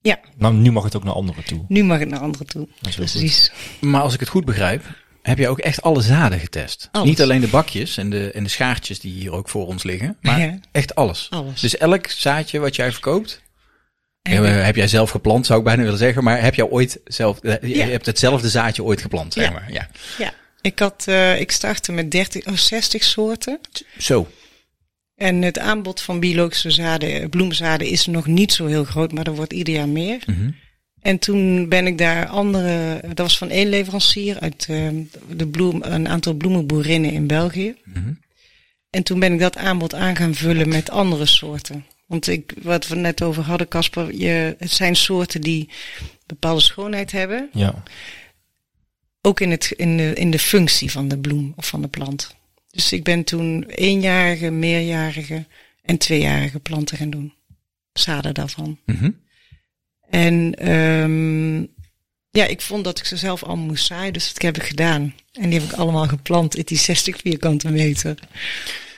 [SPEAKER 5] Ja.
[SPEAKER 2] Nou, nu mag het ook naar anderen toe.
[SPEAKER 5] Nu mag het naar anderen toe.
[SPEAKER 2] Dat is heel goed.
[SPEAKER 5] Precies.
[SPEAKER 1] Maar als ik het goed begrijp, heb je ook echt alle zaden getest.
[SPEAKER 5] Alles.
[SPEAKER 1] Niet alleen de bakjes en de, en de schaartjes die hier ook voor ons liggen, maar
[SPEAKER 5] Ja.
[SPEAKER 1] echt alles.
[SPEAKER 5] Alles.
[SPEAKER 1] Dus elk zaadje wat jij verkoopt, heb, heb jij zelf geplant, zou ik bijna willen zeggen, maar heb jij ooit zelf, eh, je
[SPEAKER 5] Ja.
[SPEAKER 1] hebt hetzelfde zaadje ooit geplant, zeg
[SPEAKER 5] Ja.
[SPEAKER 1] maar. Ja.
[SPEAKER 5] Ja, ik, had, eh, ik startte met 30, of 60 soorten.
[SPEAKER 1] Zo.
[SPEAKER 5] En het aanbod van biologische zaden, eh, bloemzaden is nog niet zo heel groot, maar er wordt ieder jaar meer.
[SPEAKER 6] Mhm.
[SPEAKER 5] En toen ben ik daar andere, dat was van één leverancier uit eh, de bloem, een aantal bloemenboerinnen in België.
[SPEAKER 2] Mhm.
[SPEAKER 5] En toen ben ik dat aanbod aan gaan vullen met andere soorten. Want ik, wat we net over hadden, Casper, je, het zijn soorten die bepaalde schoonheid hebben.
[SPEAKER 2] Ja.
[SPEAKER 5] Ook in, het, in, de, in de functie van de bloem of van de plant. Dus ik ben toen eenjarige, meerjarige en tweejarige planten gaan doen. Zaden daarvan.
[SPEAKER 6] Mhm.
[SPEAKER 5] En ehm, ja, ik vond dat ik ze zelf allemaal moest zaaien, dus dat heb ik gedaan. En die heb ik allemaal geplant in die 60 vierkante meter.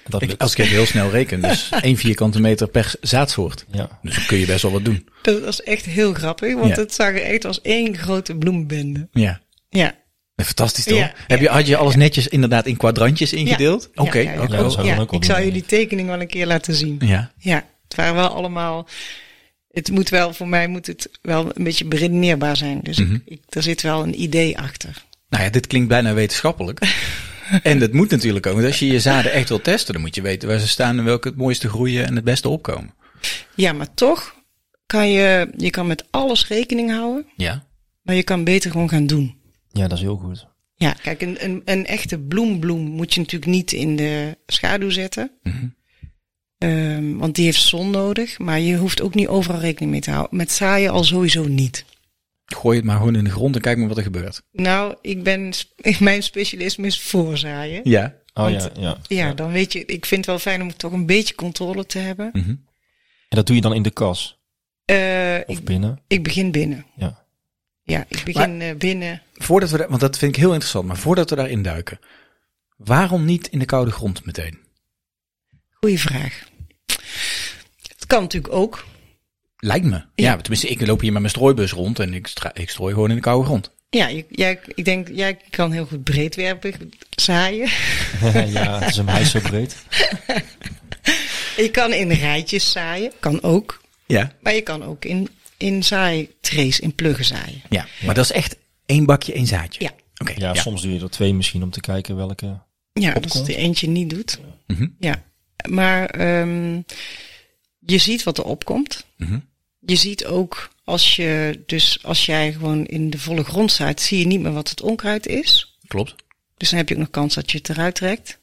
[SPEAKER 2] Dat
[SPEAKER 1] Ik,
[SPEAKER 2] lukt.
[SPEAKER 1] als ik het heel snel reken, dus één vierkante meter per zaadsoort.
[SPEAKER 2] Ja.
[SPEAKER 1] Dus dan kun je best wel wat doen.
[SPEAKER 5] Dat was echt heel grappig, want
[SPEAKER 1] Ja.
[SPEAKER 5] het zag er echt als één grote bloembende.
[SPEAKER 1] Ja.
[SPEAKER 5] Ja,
[SPEAKER 1] Fantastisch toch?
[SPEAKER 5] Ja.
[SPEAKER 1] Heb je, had je alles netjes inderdaad in kwadrantjes ingedeeld?
[SPEAKER 5] Ja.
[SPEAKER 1] Oké,
[SPEAKER 5] Ja, ja, ja.
[SPEAKER 1] oké.
[SPEAKER 2] Ja, dat zou ik
[SPEAKER 5] ja
[SPEAKER 2] dan ook wel
[SPEAKER 5] ik zal
[SPEAKER 2] doen,
[SPEAKER 5] je
[SPEAKER 2] denk
[SPEAKER 5] die tekening wel een keer laten zien.
[SPEAKER 1] Ja.
[SPEAKER 5] Ja, het waren wel allemaal... Het moet wel, voor mij moet het wel een beetje beredeneerbaar zijn. Dus ik- ik, er zit wel een idee achter.
[SPEAKER 1] Nou ja, dit klinkt bijna wetenschappelijk. en dat moet natuurlijk ook. Want als je je zaden echt wil testen, dan moet je weten waar ze staan en welke het mooiste groeien en het beste opkomen.
[SPEAKER 5] Ja, maar toch kan je, je kan met alles rekening houden,
[SPEAKER 1] Ja.
[SPEAKER 5] maar je kan beter gewoon gaan doen.
[SPEAKER 2] ja, dat is heel goed. Oh,
[SPEAKER 5] Ja, kijk, een, een, een echte bloembloem moet je natuurlijk niet in de schaduw zetten. Ehm, want die heeft zon nodig. Maar je hoeft ook niet overal rekening mee te houden. Met zaaien al sowieso niet.
[SPEAKER 1] Gooi het maar gewoon in de grond en kijk maar wat er gebeurt.
[SPEAKER 5] Nou, ik ben, sp- mijn specialisme is voorzaaien.
[SPEAKER 1] Ja.
[SPEAKER 2] Oh
[SPEAKER 5] Want-
[SPEAKER 2] ja, ja.
[SPEAKER 5] Ja, dan weet je, ik vind het wel fijn om toch een beetje controle te hebben.
[SPEAKER 1] Mhm.
[SPEAKER 2] En dat doe je dan in de kas
[SPEAKER 5] Eh,
[SPEAKER 2] of
[SPEAKER 5] ik,
[SPEAKER 2] binnen.
[SPEAKER 5] ik begin binnen.
[SPEAKER 2] Ja.
[SPEAKER 5] Ja, ik begin eh, binnen.
[SPEAKER 1] Voordat we daar, want dat vind ik heel interessant, maar voordat we daarin duiken. Waarom niet in de koude grond meteen?
[SPEAKER 5] Goeie vraag. Het kan natuurlijk ook.
[SPEAKER 1] Lijkt me. Ja, tenminste, ik loop hier met mijn strooibus rond en ik, stra- ik strooi gewoon in de koude grond.
[SPEAKER 5] Ja, je- jij, ik denk, jij kan heel goed breedwerpig zaaien.
[SPEAKER 2] ja, het is een meisje zo breed.
[SPEAKER 5] Je kan in rijtjes zaaien, kan ook.
[SPEAKER 1] Ja.
[SPEAKER 5] Maar je kan ook in, in zaaitrays, in pluggen zaaien.
[SPEAKER 1] Ja, maar dat is echt één bakje, één zaadje.
[SPEAKER 5] Ja.
[SPEAKER 1] Oké.
[SPEAKER 2] Ja,
[SPEAKER 1] ja.
[SPEAKER 2] soms doe je er twee misschien om te kijken welke.
[SPEAKER 5] Ja, dat is
[SPEAKER 2] Opkomst.
[SPEAKER 5] de eentje niet doet. Ja, maar ehm, je ziet wat er opkomt. Je ziet ook als je, dus als jij gewoon in de volle grond zaait, zie je niet meer wat het onkruid is.
[SPEAKER 1] Klopt.
[SPEAKER 5] Dus dan heb je ook nog kans dat je het eruit trekt.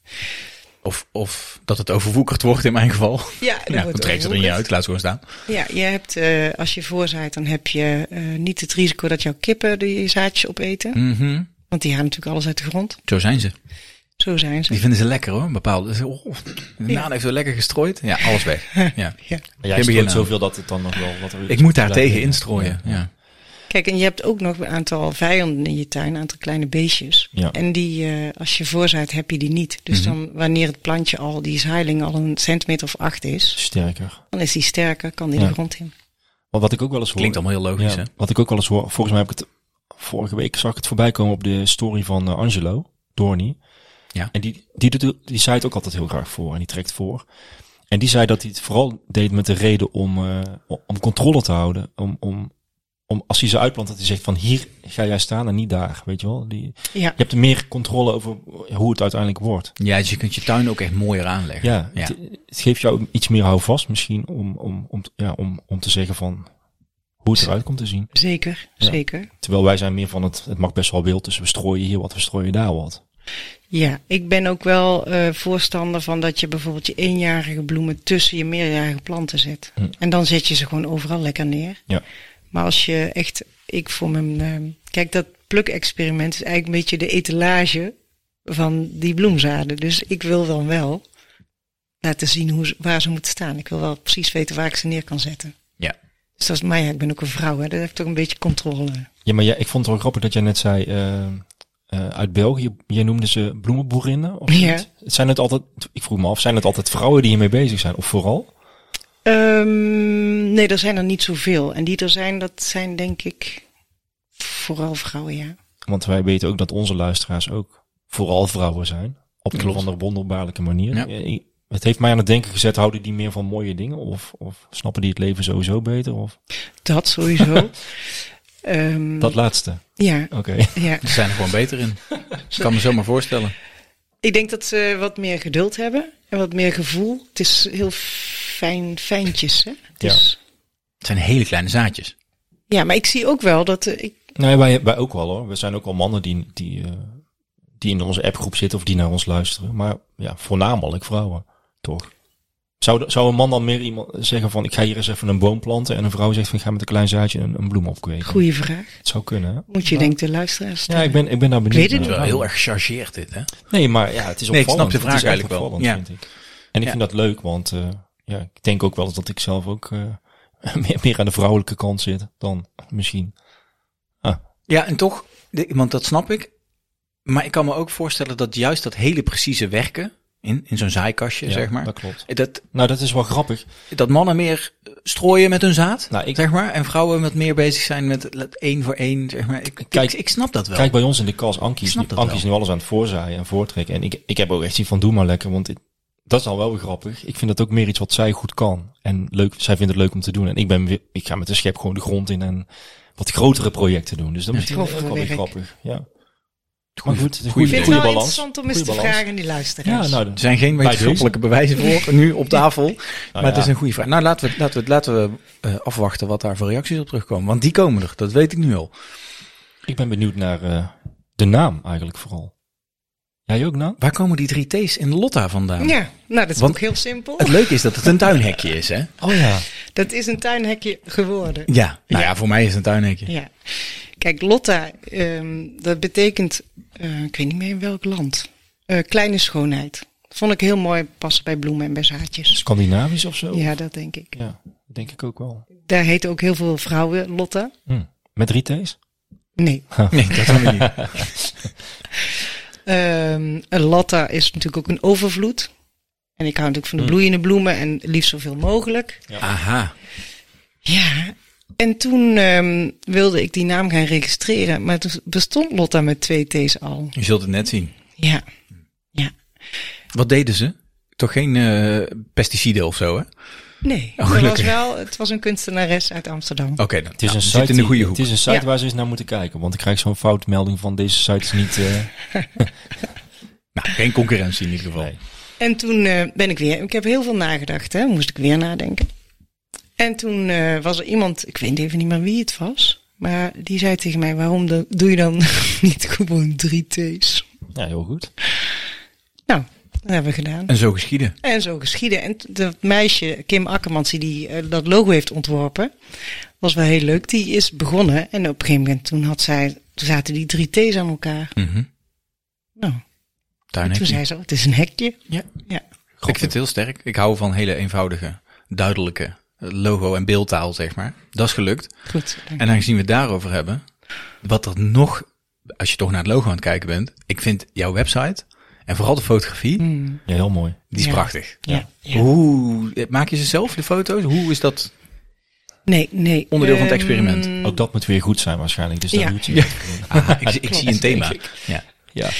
[SPEAKER 1] Of, of dat het overwoekerd wordt in mijn geval.
[SPEAKER 5] Ja, dat
[SPEAKER 1] Ja,
[SPEAKER 5] wordt
[SPEAKER 1] dan trekt ze er niet
[SPEAKER 5] overwoekerd.
[SPEAKER 1] uit, laat ze gewoon staan.
[SPEAKER 5] Ja, je hebt, eh, als je voorzaait, dan heb je eh, niet het risico dat jouw kippen die zaadjes opeten.
[SPEAKER 1] Mhm.
[SPEAKER 5] Want die halen natuurlijk alles uit de grond.
[SPEAKER 1] Zo zijn ze.
[SPEAKER 5] Zo zijn ze.
[SPEAKER 1] Die vinden ze lekker hoor, een bepaalde. Oh, de naan heeft zo lekker gestrooid. Ja, alles weg. Ja.
[SPEAKER 5] Ja.
[SPEAKER 2] Maar jij
[SPEAKER 1] Ik begin
[SPEAKER 2] strooit
[SPEAKER 1] aan.
[SPEAKER 2] zoveel dat het dan nog wel wat er
[SPEAKER 1] Ik moet daar
[SPEAKER 2] blijft
[SPEAKER 1] tegen
[SPEAKER 2] liggen.
[SPEAKER 1] instrooien.
[SPEAKER 2] Ja.
[SPEAKER 1] Ja.
[SPEAKER 5] Kijk, en je hebt ook nog een aantal vijanden in je tuin, een aantal kleine beestjes.
[SPEAKER 2] Ja. Mhm.
[SPEAKER 5] En die, eh, als je voorzaait, heb je die niet. Dus dan, wanneer het plantje al, die zeiling al een centimeter of acht is,
[SPEAKER 2] Sterker.
[SPEAKER 5] dan is die sterker, kan die
[SPEAKER 2] Ja.
[SPEAKER 5] de grond in.
[SPEAKER 2] Maar wat ik ook wel eens hoor.
[SPEAKER 1] Klinkt allemaal heel logisch,
[SPEAKER 2] Ja,
[SPEAKER 1] hè?
[SPEAKER 2] Wat ik ook wel eens hoor, volgens mij heb ik het vorige week zag ik het voorbij komen op de story van eh, Angelo Dorni.
[SPEAKER 1] Ja.
[SPEAKER 2] En die, die, doet, die zei het ook altijd heel graag voor en die trekt voor. En die zei dat hij het vooral deed met de reden om, eh, om controle te houden. Om, om, om als hij ze uitplant, dat hij zegt van hier ga jij staan en niet daar. Weet je wel? Die,
[SPEAKER 5] Ja,
[SPEAKER 2] je hebt er meer controle over hoe het uiteindelijk wordt.
[SPEAKER 1] Ja, dus je kunt je tuin ook echt mooier aanleggen.
[SPEAKER 2] Ja,
[SPEAKER 1] ja.
[SPEAKER 2] Het, het geeft jou ook iets meer houvast misschien om, om, om, ja, om, om te zeggen van hoe het eruit komt te zien.
[SPEAKER 5] zeker,
[SPEAKER 2] Ja.
[SPEAKER 5] zeker.
[SPEAKER 2] Terwijl wij zijn meer van het, het mag best wel wild, dus we strooien hier wat, we strooien daar wat.
[SPEAKER 5] Ja, ik ben ook wel eh, voorstander van dat je bijvoorbeeld je eenjarige bloemen tussen je meerjarige planten zet. En dan zet je ze gewoon overal lekker neer.
[SPEAKER 2] Ja.
[SPEAKER 5] Maar als je echt, ik voor mijn, ehm, kijk dat pluk-experiment is eigenlijk een beetje de etalage van die bloemzaden. Dus ik wil dan wel laten zien hoe, ze- waar ze moeten staan. Ik wil wel precies weten waar ik ze neer kan zetten.
[SPEAKER 1] Ja.
[SPEAKER 5] Dus dat is, maar ja, ik ben ook een vrouw, hè. dat heeft toch een beetje controle.
[SPEAKER 2] Ja, maar jij, ik vond het wel grappig dat jij net zei, eh, eh, uit België, jij noemde ze bloemenboerinnen of
[SPEAKER 5] Ja.
[SPEAKER 2] niet? Het Zijn het altijd, ik vroeg me af, zijn het altijd vrouwen die hiermee bezig zijn? Of vooral?
[SPEAKER 5] Ehm, nee, er zijn er niet zoveel. En die er zijn, dat zijn denk ik vooral vrouwen, ja.
[SPEAKER 2] Want wij weten ook dat onze luisteraars ook vooral vrouwen zijn. Op een of andere wonderbaarlijke manier.
[SPEAKER 1] Ja.
[SPEAKER 2] Eh, ik- Het heeft mij aan het denken gezet, houden die meer van mooie dingen? Of, of snappen die het leven sowieso beter? Of
[SPEAKER 5] Dat sowieso. Ehm,
[SPEAKER 2] dat laatste.
[SPEAKER 5] ja,
[SPEAKER 2] Oké.
[SPEAKER 5] ja.
[SPEAKER 1] Ze zijn er gewoon beter in. Ik kan me zomaar voorstellen.
[SPEAKER 5] Ik denk dat ze wat meer geduld hebben. En wat meer gevoel. Het is heel fijn, fijntjes. Hè? Het
[SPEAKER 2] Ja.
[SPEAKER 5] is-
[SPEAKER 1] Het zijn hele kleine zaadjes.
[SPEAKER 5] ja, maar ik zie ook wel dat eh, ik
[SPEAKER 2] Nee, wij, wij ook wel hoor. We zijn ook wel mannen die, die, eh, die in onze appgroep zitten of die naar ons luisteren. Maar ja, voornamelijk vrouwen, toch? Zou, de- zou een man dan meer iemand zeggen van ik ga hier eens even een boom planten en een vrouw zegt van ik ga met een klein zaadje een, een bloem opkweken?
[SPEAKER 5] goede vraag.
[SPEAKER 2] Het zou kunnen. hè?
[SPEAKER 5] Moet je
[SPEAKER 2] Ja.
[SPEAKER 5] denken de luisteraars.
[SPEAKER 2] Ja,
[SPEAKER 5] stellen.
[SPEAKER 2] ik ben, ik ben daar benieuwd
[SPEAKER 5] weet het
[SPEAKER 2] naar.
[SPEAKER 5] niet.
[SPEAKER 1] Wel heel erg gechargeerd dit, hè?
[SPEAKER 2] Nee, maar ja, het is opvallend.
[SPEAKER 1] Nee, ik snap de
[SPEAKER 2] Het is
[SPEAKER 1] vraag
[SPEAKER 2] echt
[SPEAKER 1] eigenlijk wel.
[SPEAKER 2] opvallend,
[SPEAKER 1] Ja.
[SPEAKER 2] vind ik. En ik
[SPEAKER 1] Ja.
[SPEAKER 2] vind dat leuk, want eh, ja, ik denk ook wel eens dat ik zelf ook eh, meer, meer aan de vrouwelijke kant zit dan misschien.
[SPEAKER 1] Ja, en toch, de- want dat snap ik. Maar ik kan me ook voorstellen dat juist dat hele precieze werken in, in zo'n zaaikastje,
[SPEAKER 2] Ja,
[SPEAKER 1] zeg maar.
[SPEAKER 2] Dat klopt.
[SPEAKER 1] Dat,
[SPEAKER 2] Nou, dat is wel grappig.
[SPEAKER 1] dat mannen meer eh, strooien met hun zaad,
[SPEAKER 2] Nou, ik,
[SPEAKER 1] zeg maar. En vrouwen wat meer bezig zijn met het- het één voor één, zeg maar. Ik,
[SPEAKER 2] Kijk-
[SPEAKER 1] Kijk, ik, ik snap dat wel.
[SPEAKER 2] Kijk, bij ons in de kas, Ankie
[SPEAKER 1] Ik
[SPEAKER 2] is,
[SPEAKER 1] snap
[SPEAKER 2] nu-
[SPEAKER 1] dat
[SPEAKER 2] Ankie is
[SPEAKER 1] wel.
[SPEAKER 2] nu alles aan het voorzaaien en voortrekken. En ik, ik heb ook echt zien van, doe maar lekker, want dit- dat is al wel weer grappig. Ik vind dat ook meer iets wat zij goed kan. En leuk, zij vindt het leuk om te doen. En ik, ben weer, ik ga met de schep gewoon de grond in en wat grotere projecten doen. Dus dat
[SPEAKER 1] Ja.
[SPEAKER 2] is misschien ook
[SPEAKER 5] Grofere
[SPEAKER 2] wel weer
[SPEAKER 5] werk.
[SPEAKER 2] grappig. Ja.
[SPEAKER 1] Goeie-
[SPEAKER 2] maar goed, het is
[SPEAKER 1] goeie
[SPEAKER 5] Ik vind
[SPEAKER 2] Goeie
[SPEAKER 5] het wel
[SPEAKER 2] balans.
[SPEAKER 5] interessant om eens
[SPEAKER 2] Goeie
[SPEAKER 5] te
[SPEAKER 2] balans.
[SPEAKER 5] vragen aan die luisteraars.
[SPEAKER 2] Ja, nou,
[SPEAKER 1] Er zijn geen
[SPEAKER 2] Bij
[SPEAKER 1] wetenschappelijke bewijzen voor nu op tafel. maar het
[SPEAKER 2] ja.
[SPEAKER 1] is een goede vraag. Nou, laten we, laten we, laten we eh, afwachten wat daar voor reacties op terugkomen. Want die komen er, dat weet ik nu al.
[SPEAKER 2] Ik ben benieuwd naar eh, de naam eigenlijk vooral. Jij ook naam?
[SPEAKER 1] Waar komen die drie T's in Lotta vandaan?
[SPEAKER 5] Ja, nou dat is
[SPEAKER 1] Want-
[SPEAKER 5] ook heel simpel.
[SPEAKER 1] Het leuke is dat het een tuinhekje is, hè?
[SPEAKER 2] Oh ja.
[SPEAKER 5] Dat is een tuinhekje geworden.
[SPEAKER 1] Ja, nou ja, voor mij is het een tuinhekje.
[SPEAKER 5] Ja. Kijk, Lotta, ehm, dat betekent, eh, ik weet niet meer in welk land, Eh, kleine schoonheid. Vond ik heel mooi passen bij bloemen en bij zaadjes.
[SPEAKER 2] Scandinavisch of zo?
[SPEAKER 5] Ja, dat denk ik.
[SPEAKER 2] Oh. Ja, denk ik ook wel.
[SPEAKER 5] Daar heten ook heel veel vrouwen Lotta.
[SPEAKER 2] Hm. Met drie T's?
[SPEAKER 5] Nee.
[SPEAKER 1] Nee, dat doen we niet.
[SPEAKER 5] Ehm, een Lotta is natuurlijk ook een overvloed. En ik hou natuurlijk van de
[SPEAKER 1] Hmm.
[SPEAKER 5] bloeiende bloemen en liefst zoveel mogelijk.
[SPEAKER 1] Aha.
[SPEAKER 5] Ja, en toen ehm, wilde ik die naam gaan registreren, maar toen bestond Lotta met twee T's al.
[SPEAKER 1] Je zult het net zien.
[SPEAKER 5] Ja, ja.
[SPEAKER 1] Wat deden ze? Toch geen eh, pesticiden of zo, hè? Oké
[SPEAKER 5] Nee,
[SPEAKER 1] Oh,
[SPEAKER 5] het, was
[SPEAKER 1] gelukkig.
[SPEAKER 5] wel, het was een kunstenares uit Amsterdam.
[SPEAKER 1] dan.
[SPEAKER 2] Het is
[SPEAKER 1] nou, we
[SPEAKER 2] een site,
[SPEAKER 1] zitten in de goede
[SPEAKER 2] die-
[SPEAKER 1] hoek.
[SPEAKER 2] Het is een site
[SPEAKER 5] Ja.
[SPEAKER 2] waar ze eens naar moeten kijken. Want ik krijg zo'n foutmelding van deze site is niet... eh,
[SPEAKER 1] Nou, geen concurrentie in ieder geval.
[SPEAKER 2] Nee.
[SPEAKER 5] En toen eh, ben ik weer, ik heb heel veel nagedacht, hè, moest ik weer nadenken. En toen eh, was er iemand, ik weet even niet meer wie het was, maar die zei tegen mij, waarom do- doe je dan niet gewoon drie T's?
[SPEAKER 2] ja, heel goed.
[SPEAKER 5] Nou, dat hebben we gedaan.
[SPEAKER 1] En zo geschieden.
[SPEAKER 5] En zo geschieden. En t- dat meisje, Kim Akkermans, die, die eh, dat logo heeft ontworpen, was wel heel leuk. Die is begonnen en op een gegeven moment toen, had zij, toen zaten die drie T's aan elkaar.
[SPEAKER 1] Mhm.
[SPEAKER 5] Nou, toen
[SPEAKER 1] Tuinhekje.
[SPEAKER 5] zei ze, het is een hekje.
[SPEAKER 1] Ja.
[SPEAKER 5] Ja.
[SPEAKER 1] Ik vind het heel sterk. Ik hou van hele eenvoudige, duidelijke eh, logo- en beeldtaal, zeg maar. Dat is gelukt.
[SPEAKER 5] Goed, dank
[SPEAKER 1] En aangezien we het daarover hebben, wat er nog, als je toch naar het logo aan het kijken bent, ik vind jouw website en vooral de fotografie,
[SPEAKER 2] Mm, Ja, heel mooi.
[SPEAKER 1] die is
[SPEAKER 5] Ja.
[SPEAKER 1] prachtig.
[SPEAKER 5] Ja.
[SPEAKER 1] Hoe, eh, maak je ze zelf, de foto's? Hoe is dat
[SPEAKER 5] Nee, nee.
[SPEAKER 1] onderdeel van het
[SPEAKER 5] Ehm,
[SPEAKER 1] experiment?
[SPEAKER 2] Ook dat moet weer goed zijn waarschijnlijk. Dus dat
[SPEAKER 5] Ja.
[SPEAKER 2] doet je. Ja.
[SPEAKER 1] Ah, ik, ik zie een thema. Ja.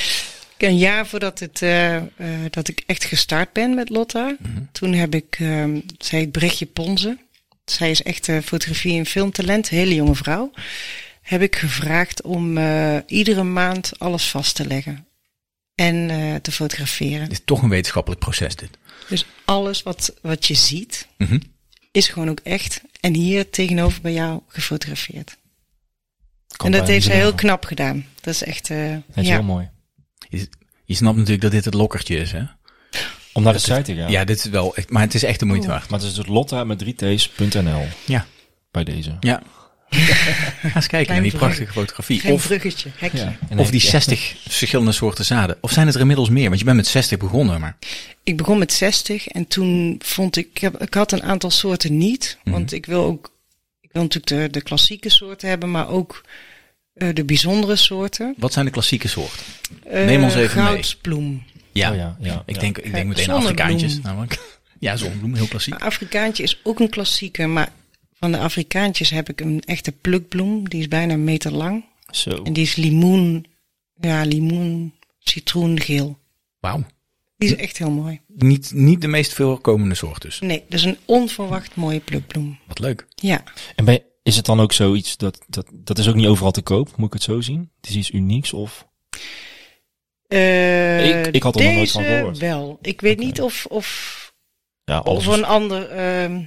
[SPEAKER 5] Een jaar voordat het, eh, eh, dat ik echt gestart ben met Lotta,
[SPEAKER 2] Mhm.
[SPEAKER 5] toen heb ik, ehm, zij heet Brechtje Ponze. Zij is echt eh, fotografie- en filmtalent, hele jonge vrouw. Heb ik gevraagd om eh, iedere maand alles vast te leggen. En eh, te fotograferen.
[SPEAKER 1] Het is toch een wetenschappelijk proces dit.
[SPEAKER 5] Dus alles wat, wat je ziet,
[SPEAKER 1] Mhm.
[SPEAKER 5] is gewoon ook echt. En hier tegenover bij jou gefotografeerd.
[SPEAKER 2] Kan
[SPEAKER 5] en dat
[SPEAKER 2] bijna
[SPEAKER 5] heeft zij
[SPEAKER 2] niet
[SPEAKER 5] heel
[SPEAKER 2] zeggen.
[SPEAKER 5] knap gedaan. Dat is echt, eh,
[SPEAKER 2] Dat is
[SPEAKER 5] ja.
[SPEAKER 2] heel mooi.
[SPEAKER 1] Je, je snapt natuurlijk dat dit het lokkertje is, hè? Ja,
[SPEAKER 2] Om naar de site te gaan.
[SPEAKER 1] dit is wel echt, maar het is echt de moeite waard.
[SPEAKER 2] Maar het is dus lotta met 3t's.nl
[SPEAKER 1] Ja.
[SPEAKER 2] bij deze.
[SPEAKER 1] Ja. Ga eens kijken naar die
[SPEAKER 5] brug.
[SPEAKER 1] prachtige fotografie.
[SPEAKER 5] Geen
[SPEAKER 1] Of,
[SPEAKER 5] bruggetje, hekje.
[SPEAKER 2] En
[SPEAKER 1] of die
[SPEAKER 2] echt-
[SPEAKER 1] 60 verschillende soorten zaden. Of zijn het er inmiddels meer? Want je bent met 60 begonnen, maar.
[SPEAKER 5] Ik begon met 60 en toen vond ik, ik, heb- ik had een aantal soorten niet.
[SPEAKER 1] Mhm.
[SPEAKER 5] Want ik wil ook, ik wil natuurlijk de, de klassieke soorten hebben, maar ook eh, de bijzondere soorten.
[SPEAKER 1] Wat zijn de klassieke soorten?
[SPEAKER 5] Eh,
[SPEAKER 1] Neem ons even mee.
[SPEAKER 5] Goudsploem.
[SPEAKER 1] Ja,
[SPEAKER 2] Oh ja, ja,
[SPEAKER 1] ik,
[SPEAKER 2] ja.
[SPEAKER 1] Denk, ik
[SPEAKER 5] Kijk,
[SPEAKER 1] denk meteen aan
[SPEAKER 5] zonnebloem.
[SPEAKER 1] Afrikaantjes. Namelijk. Ja, zonnebloem, heel klassiek.
[SPEAKER 5] Maar Afrikaantje is ook een klassieke, maar van de Afrikaantjes heb ik een echte plukbloem. Die is bijna een meter lang.
[SPEAKER 2] Zo.
[SPEAKER 5] En die is limoen, ja, limoen, citroengeel.
[SPEAKER 1] Wauw.
[SPEAKER 5] Die is echt heel mooi.
[SPEAKER 1] Niet, niet de meest voorkomende soort dus.
[SPEAKER 5] Nee, dat is een onverwacht mooie plukbloem.
[SPEAKER 1] Wat leuk.
[SPEAKER 5] Ja.
[SPEAKER 2] En ben, is het dan ook zoiets dat, dat... Dat is ook niet overal te koop, moet ik het zo zien? Het is iets unieks of...
[SPEAKER 5] Eh, Eh,
[SPEAKER 2] Ik- ik had er nog nooit van
[SPEAKER 5] deze
[SPEAKER 2] gehoord.
[SPEAKER 5] wel. Ik weet
[SPEAKER 2] Oké.
[SPEAKER 5] niet of, of,
[SPEAKER 2] Ja, alles
[SPEAKER 5] of
[SPEAKER 2] is-
[SPEAKER 5] een ander... ehm,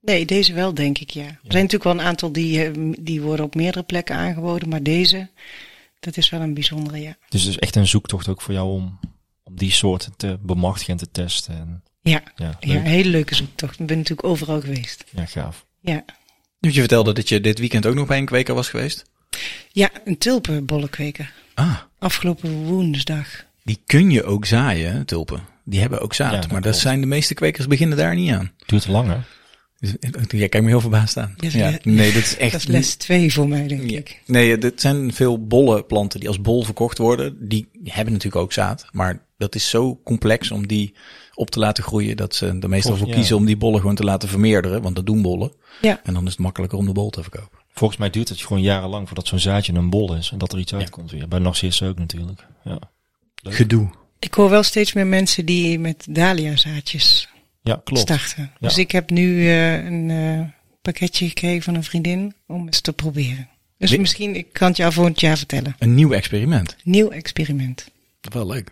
[SPEAKER 5] nee, deze wel, denk ik, ja. Er zijn natuurlijk wel een aantal die, eh, die worden op meerdere plekken aangeboden. Maar deze, dat is wel een bijzondere, ja.
[SPEAKER 2] Dus het is echt een zoektocht ook voor jou om, om die soorten te bemachtigen en te testen. En,
[SPEAKER 5] Ja,
[SPEAKER 2] ja,
[SPEAKER 5] ja een
[SPEAKER 2] leuk.
[SPEAKER 5] hele leuke zoektocht. Ik ben natuurlijk overal geweest.
[SPEAKER 2] Ja, gaaf.
[SPEAKER 5] Ja,
[SPEAKER 1] Je vertelde dat je dit weekend ook nog bij een kweker was geweest.
[SPEAKER 5] ja een tulpenbollenkweker.
[SPEAKER 1] Ah,
[SPEAKER 5] Afgelopen woensdag.
[SPEAKER 1] die kun je ook zaaien, hè, tulpen. Die hebben ook zaad,
[SPEAKER 2] Ja, dat
[SPEAKER 1] maar dat
[SPEAKER 2] klopt.
[SPEAKER 1] zijn de meeste kwekers beginnen daar niet aan.
[SPEAKER 2] Duurt lang, hè?
[SPEAKER 1] Dus, eh, Jij kijkt me heel verbaasd aan.
[SPEAKER 5] Dat is le-
[SPEAKER 1] nee, dat is echt
[SPEAKER 5] Dat is les 2 voor mij, denk
[SPEAKER 1] Ja.
[SPEAKER 5] ik.
[SPEAKER 1] Nee, dit zijn veel bolle planten die als bol verkocht worden. Die hebben natuurlijk ook zaad. Maar dat is zo complex om die op te laten groeien dat ze er meestal
[SPEAKER 2] Of,
[SPEAKER 1] voor
[SPEAKER 2] ja.
[SPEAKER 1] kiezen om die bollen gewoon te laten vermeerderen. Want dat doen bollen.
[SPEAKER 5] Ja.
[SPEAKER 1] En dan is het makkelijker om de bol te verkopen.
[SPEAKER 2] Volgens mij duurt het gewoon jarenlang voordat zo'n zaadje een bol is en dat er iets uitkomt weer. Bij Narcissus ook natuurlijk. Ja.
[SPEAKER 1] Gedoe.
[SPEAKER 5] Ik hoor wel steeds meer mensen die met dahlia-zaadjes
[SPEAKER 2] Ja, klopt.
[SPEAKER 5] starten.
[SPEAKER 2] Ja.
[SPEAKER 5] Dus ik heb nu eh, een eh, pakketje gekregen van een vriendin om eens te proberen. Dus
[SPEAKER 1] Wi-
[SPEAKER 5] misschien, ik kan het jou volgend jaar vertellen.
[SPEAKER 1] Een nieuw experiment.
[SPEAKER 5] Nieuw experiment.
[SPEAKER 1] Wel leuk.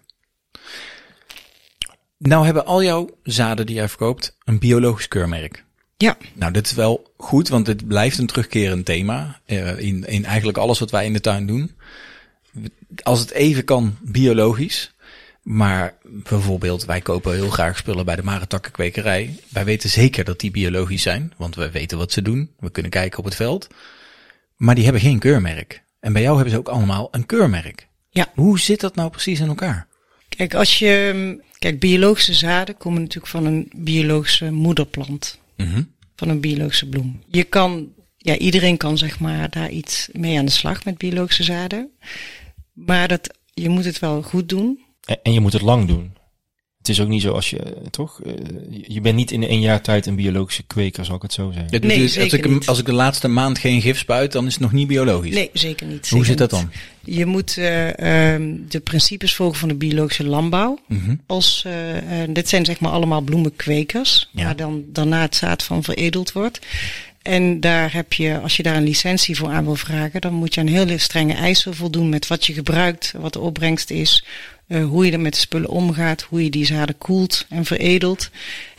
[SPEAKER 1] Nou hebben al jouw zaden die jij verkoopt een biologisch keurmerk.
[SPEAKER 5] Ja,
[SPEAKER 1] Nou, dit is wel goed, want dit blijft een terugkerend thema eh, in, in eigenlijk alles wat wij in de tuin doen. Als het even kan, biologisch. Maar bijvoorbeeld, wij kopen heel graag spullen bij de Marentakkenkwekerij. Wij weten zeker dat die biologisch zijn, want we weten wat ze doen. We kunnen kijken op het veld. Maar die hebben geen keurmerk. En bij jou hebben ze ook allemaal een keurmerk.
[SPEAKER 5] Ja.
[SPEAKER 1] Hoe zit dat nou precies in elkaar?
[SPEAKER 5] kijk, als je, ehm, kijk, biologische zaden komen natuurlijk van een biologische moederplant.
[SPEAKER 2] Mhm.
[SPEAKER 5] Van een biologische bloem. Je kan, ja, iedereen kan zeg maar daar iets mee aan de slag met biologische zaden. Maar dat, je moet het wel goed doen.
[SPEAKER 2] En, en je moet het lang doen. Het is ook niet zo als je, eh, toch? eh, je- je bent niet in één jaar tijd een biologische kweker, zal ik het zo zeggen.
[SPEAKER 1] Dat
[SPEAKER 5] Nee,
[SPEAKER 1] bedoel ik, als,
[SPEAKER 5] zeker
[SPEAKER 1] ik, hem-
[SPEAKER 5] niet.
[SPEAKER 1] als ik de laatste maand geen gif spuit, dan is het nog niet biologisch.
[SPEAKER 5] Nee, zeker niet.
[SPEAKER 1] Hoe
[SPEAKER 5] zeker
[SPEAKER 1] zit dat
[SPEAKER 5] niet.
[SPEAKER 1] dan?
[SPEAKER 5] Je moet eh, ehm, de principes volgen van de biologische landbouw.
[SPEAKER 1] Mhm.
[SPEAKER 5] Als, eh, eh, dit zijn zeg maar allemaal bloemenkwekers,
[SPEAKER 1] Ja.
[SPEAKER 5] waar dan daarna het zaad van veredeld wordt. En daar heb je, als je daar een licentie voor aan wil vragen, dan moet je aan hele strenge eisen voldoen met wat je gebruikt, wat de opbrengst is, eh, hoe je er met de spullen omgaat, hoe je die zaden koelt en veredelt.